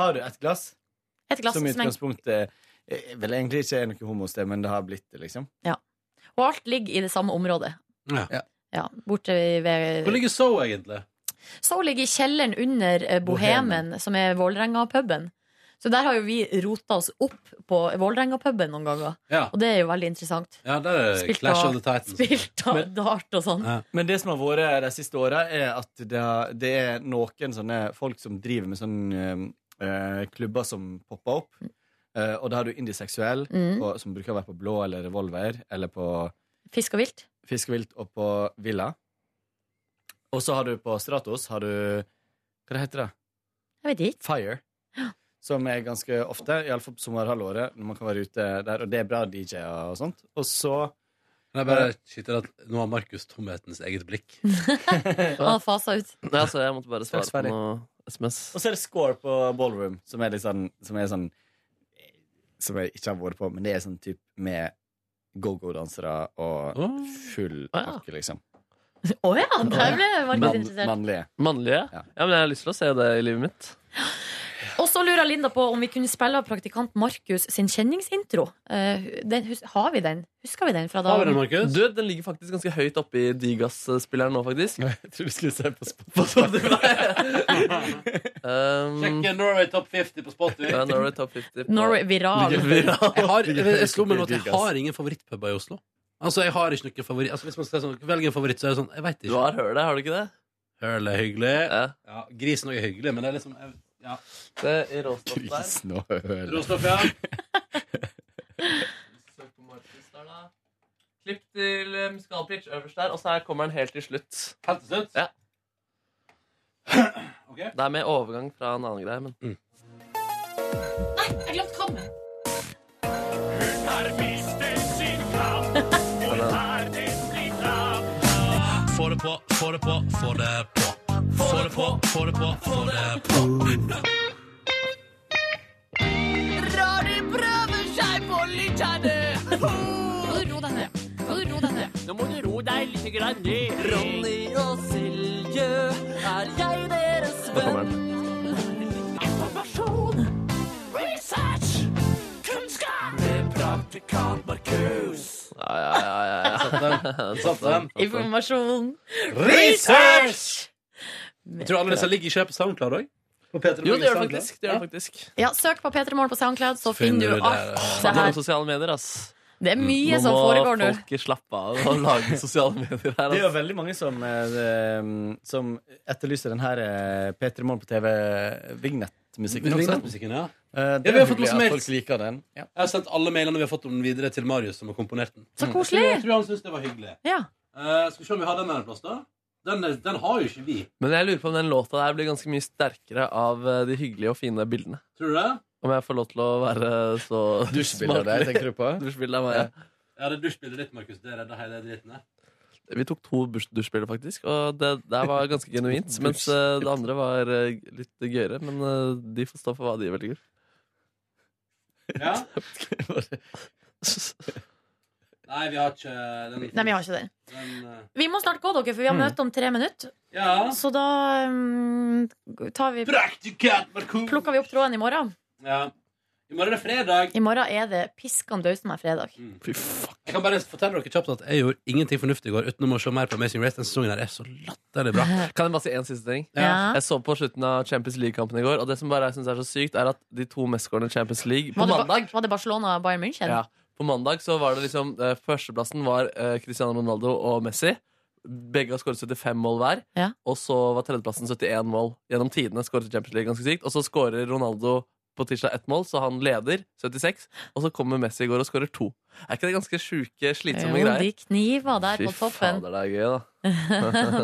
har du et glass. Et glass som i som en- utgangspunktet eh, vel egentlig ikke er noe homosted, men det har blitt det, liksom. Ja. Og alt ligger i det samme området. Ja. Ja, borte ved Hvor ligger So, egentlig? Så ligger i kjelleren under eh, Bohemen, som er Vålerenga-puben. Så der har jo vi rota oss opp på Vålerenga-puben noen ganger. Ja. Og det er jo veldig interessant. Ja, der er det Spilt Clash av- of the Titans. Spilt av dart og sånn. Men det som har vært de siste åra, er at det, har- det er sånn, noen sånne folk som driver med sånne eh, eh, klubber som popper opp. Eh, og da har du Indiseksuell, Mm. på, som bruker å være på Blå eller Revolver, eller på Fisk og vilt. Fisk og Vilt og på Villa. Og så har du på Stratos har du Hva det heter det? Jeg vet ikke. Fire. Som er ganske ofte, iallfall på sommerhalvåret, når man kan være ute der. Og det er bra DJ-er og sånt. Og så Nei, bare skyter at Nå har Markus tomhetens eget blikk. Han har fasa Ah, ut. Nei, altså, jeg måtte bare svare Straks ferdig. på noe SMS. Og så er det score på ballroom, som er litt sånn Som, er sånn, som jeg ikke har vært på, men det er sånn type med go-go-dansere og full pakke, liksom. Å ja! Der ble Markus Mann- interessert. mannlige. Mannlige? Ja. men jeg har lyst til å se det i livet mitt. Og så lurer Linda på om vi kunne spille av praktikant Markus sin kjenningsintro. Eh, den, hus har vi den? Husker vi den fra da? Du, den ligger faktisk ganske høyt oppe i Digas-spilleren nå, faktisk. Jeg tror du skulle se på Sjekk Norway Top 50 på Spotify. Ehm, Ja, Norway Top 50 på- Norway Viral. Jeg, har, jeg, jeg slo meg nå at jeg har ingen favorittpuber i Oslo. Altså, jeg har ikke noen favoritt altså, Hvis man skal sånn, velge en favoritt, så er det sånn Jeg vet ikke. Du har Hurley, har du ikke det? Hurley er hyggelig. Ja, grisen også er hyggelig, men det er liksom jeg, ja. Det er råstoff der. Grisen og Hurley. Råstoff, ja. Klipp til eh, musikalpitch øverst der, og så her kommer den helt til slutt. Helt til slutt? Ja. Det er med overgang fra en annen greie, men Nei, jeg glemte kammen. Få det på, få det på, få det på. Få det på, få det på, få det på. Rari prøver seg på lytterne. Nå må du ro deg ned. Nå må du ro deg ned. Nå må du ro deg litt grann ned. Ronny og Silje, er jeg deres venn? Informasjon, research, kunnskap. Med praktikant Markus. Ja, ja, ja. ja, ja. Satt den. Informasjon. Research! Jeg tror alle disse ligger ikke her på SoundCloud òg. Jo, det Jo, det gjør det faktisk. Det gjør det faktisk. Ja, søk på P3 Morgen på SoundCloud, så finner du Det alt det er her. sosiale medier, ass. Det er mye Nå som foregår nå. må folk slappe av og lage sosiale medier her. Det er jo Ass. veldig mange som, eh, som etterlyser den her eh, P3 Morgen på TV-vignettmusikken. Vignettmusikken, ja. Eh, Ja, Det vi har er fått hyggelig masse at mails. folk liker den. Ja. Jeg har sendt alle mailene vi har fått om den videre til Marius, som har komponert den. Så koselig. Jeg tror han syntes det var hyggelig. Ja. Eh, skal vi se om vi har den her en plass, da. Den, er- den har jo ikke vi. Men jeg lurer på om den låta der blir ganske mye sterkere av eh, de hyggelige og fine bildene. Tror du det? Om jeg får lov til å være så Dusjbilde av deg, smakelig. tenker du på? Dusjbilde av meg, ja. Ja, det er dusjbildet ditt, Markus. Det redda hele dritten her. Vi tok to bus- dusjbilder, faktisk, og det der var ganske genuint. Mens eh, det andre var eh, litt gøyere. Men eh, de får stå for hva de velger. Ja? Nei, vi har ikke eh, den. Nei, vi har ikke den. Den, eh, Vi må snart gå, dere, for vi har Mm. møte om tre minutter. Ja. Så da um, tar vi Plukker vi opp tråden i morgen. ja. I morgen er det fredag. I morgen er det piskan dausen meg fredag. Jeg kan bare fortelle dere kjapt at jeg gjorde ingenting fornuftig i går utenom å se mer på Amazing Race. Den sesongen her er så latterlig bra. Kan jeg bare si en siste ting? Ja. Jeg så på slutten av Champions League-kampen i går, og det som bare jeg synes er så sykt, er at de to mestskårende i Champions League på Var det, mandag ba var det Barcelona og Bayern München? Ja, på mandag så var det liksom eh, Førsteplassen var eh, Cristiano Ronaldo og Messi. Begge har skåret 75 mål hver. Ja. Og så var tredjeplassen 71 mål. Gjennom tidene skåret Champions League ganske sykt. Og så skårer Ronaldo på tirsdag ett mål, så han leder 76. Og så kommer Messi i går og skårer to. Er ikke det ganske sjuke, slitsomme Jo, de greier? kniver der på toppen. fader, det er gøy, da.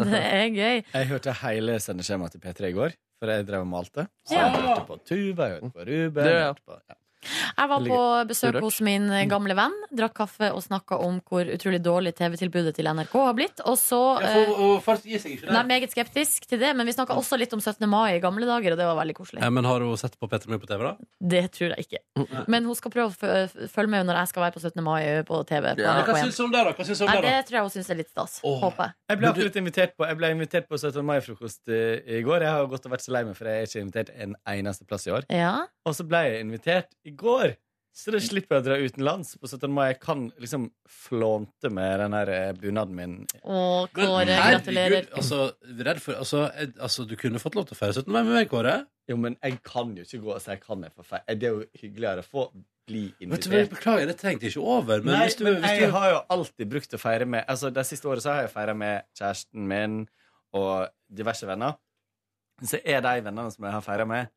det er gøy. Jeg hørte hele sendeskjemaet til P3 i går, for jeg drev og malte. Så Ja. jeg hørte på Tuva, jeg hørte på Ruben. Det gjør jeg jeg. hørte på, ja. Jeg var på Ligger- besøk Urørt. hos min eh, gamle venn, drakk kaffe og snakka om hvor utrolig dårlig TV-tilbudet til NRK har blitt. Og så Ja, eh, for- og folk gir seg ikke Nei, der. meget skeptisk til det, men vi snakka også litt om 17. mai i gamle dager, og det var veldig koselig. Ja, men har hun sett på Petter Møe på TV, da? Det tror jeg ikke. Nei. Men hun skal prøve å f- f- følge med når jeg skal være på 17. mai på TV. På Ja. NRK1. Hva syns du om det, da? Hva syns du om Nei, det, da? tror jeg hun syns er litt stas. Håper jeg. Jeg ble absolutt invitert på Jeg ble invitert på 17. mai-frokost eh, i går. Jeg har gått og vært så lei meg, for jeg er ikke invitert en eneste plass i år. Ja. Og så ble jeg invitert i går. Så da slipper jeg å dra utenlands på 17. mai. Jeg kan liksom flånte med den her eh, bunaden min. Å, Men Kåre, herregud, gratulerer. Altså, redd for, altså, jeg, altså, du kunne fått lov til å feire 17. mai med meg, Kåre. Jo, men jeg kan jo ikke gå og si kan jeg få feil. Det er jo hyggeligere å få bli Vet du hva, jeg invitert. beklager, det trengte ikke over. Men Nei, hvis du, men hvis jeg du, har jo alltid brukt å feire med Altså, De siste årene så har jeg feira med kjæresten min og diverse venner. Så er de vennene som jeg har feira med,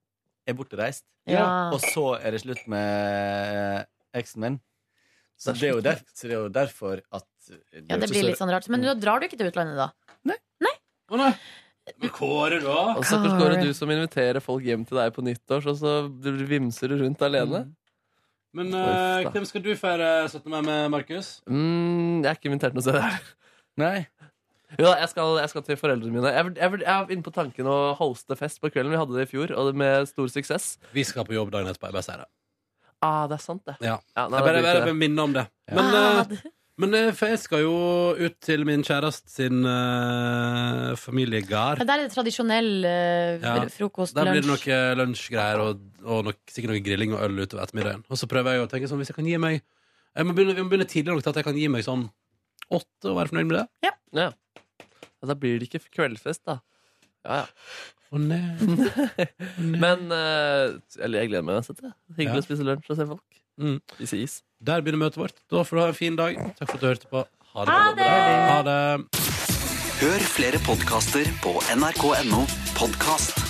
er bortreist, Ja. og så er det slutt med eh, eksen min. Så det er jo, der, så det er jo derfor at Ja, det blir litt sånn rart. Mm. Men da drar du ikke til utlandet, da? Kåre, da? Og stakkars Kåre, du som inviterer folk hjem til deg på nyttårs, og så du vimser du rundt alene. Men eh, hvem skal du feire 17. mai med, Markus? Mm, jeg er ikke invitert noe sted her. Nei. Jo da, jeg skal, jeg skal til foreldrene mine. Jeg, vurd- jeg, vurd- jeg var inne på tanken å hoste fest på kvelden. Vi hadde det i fjor, og det med stor suksess. Vi skal på jobb dagen etterpå. Jeg bare sier det. Ah, det er sant, det. Ja. Ja, jeg nei, bare, det blir bare, ikke det. bare minner om det. Men, Ah, eh, men eh, for jeg skal jo ut til min kjæreste sin eh, familiegard. Men der er det tradisjonell eh, Ja. fr- frokost, Der blir det lunsj. noe lunsjgreier og, og nok, sikkert noe grilling og øl utover ettermiddagen. Og så prøver jeg å tenke sånn, hvis jeg kan gi meg jeg må begynne, Vi må begynne tidlig nok til at jeg kan gi meg sånn åtte og være fornøyd med det. Ja. Ja, da blir det ikke kveldsfest, da. Ja, ja. Å nei. Men eh, Eller jeg gleder meg uansett. jeg. Hyggelig Ja. Mm. å spise lunsj og se folk. Spise is. Der begynner møtet vårt. Da får du ha en fin dag. Takk for at du hørte på. Ha det. Ha det. Ha det. Hør flere podkaster på nrk.no podkast.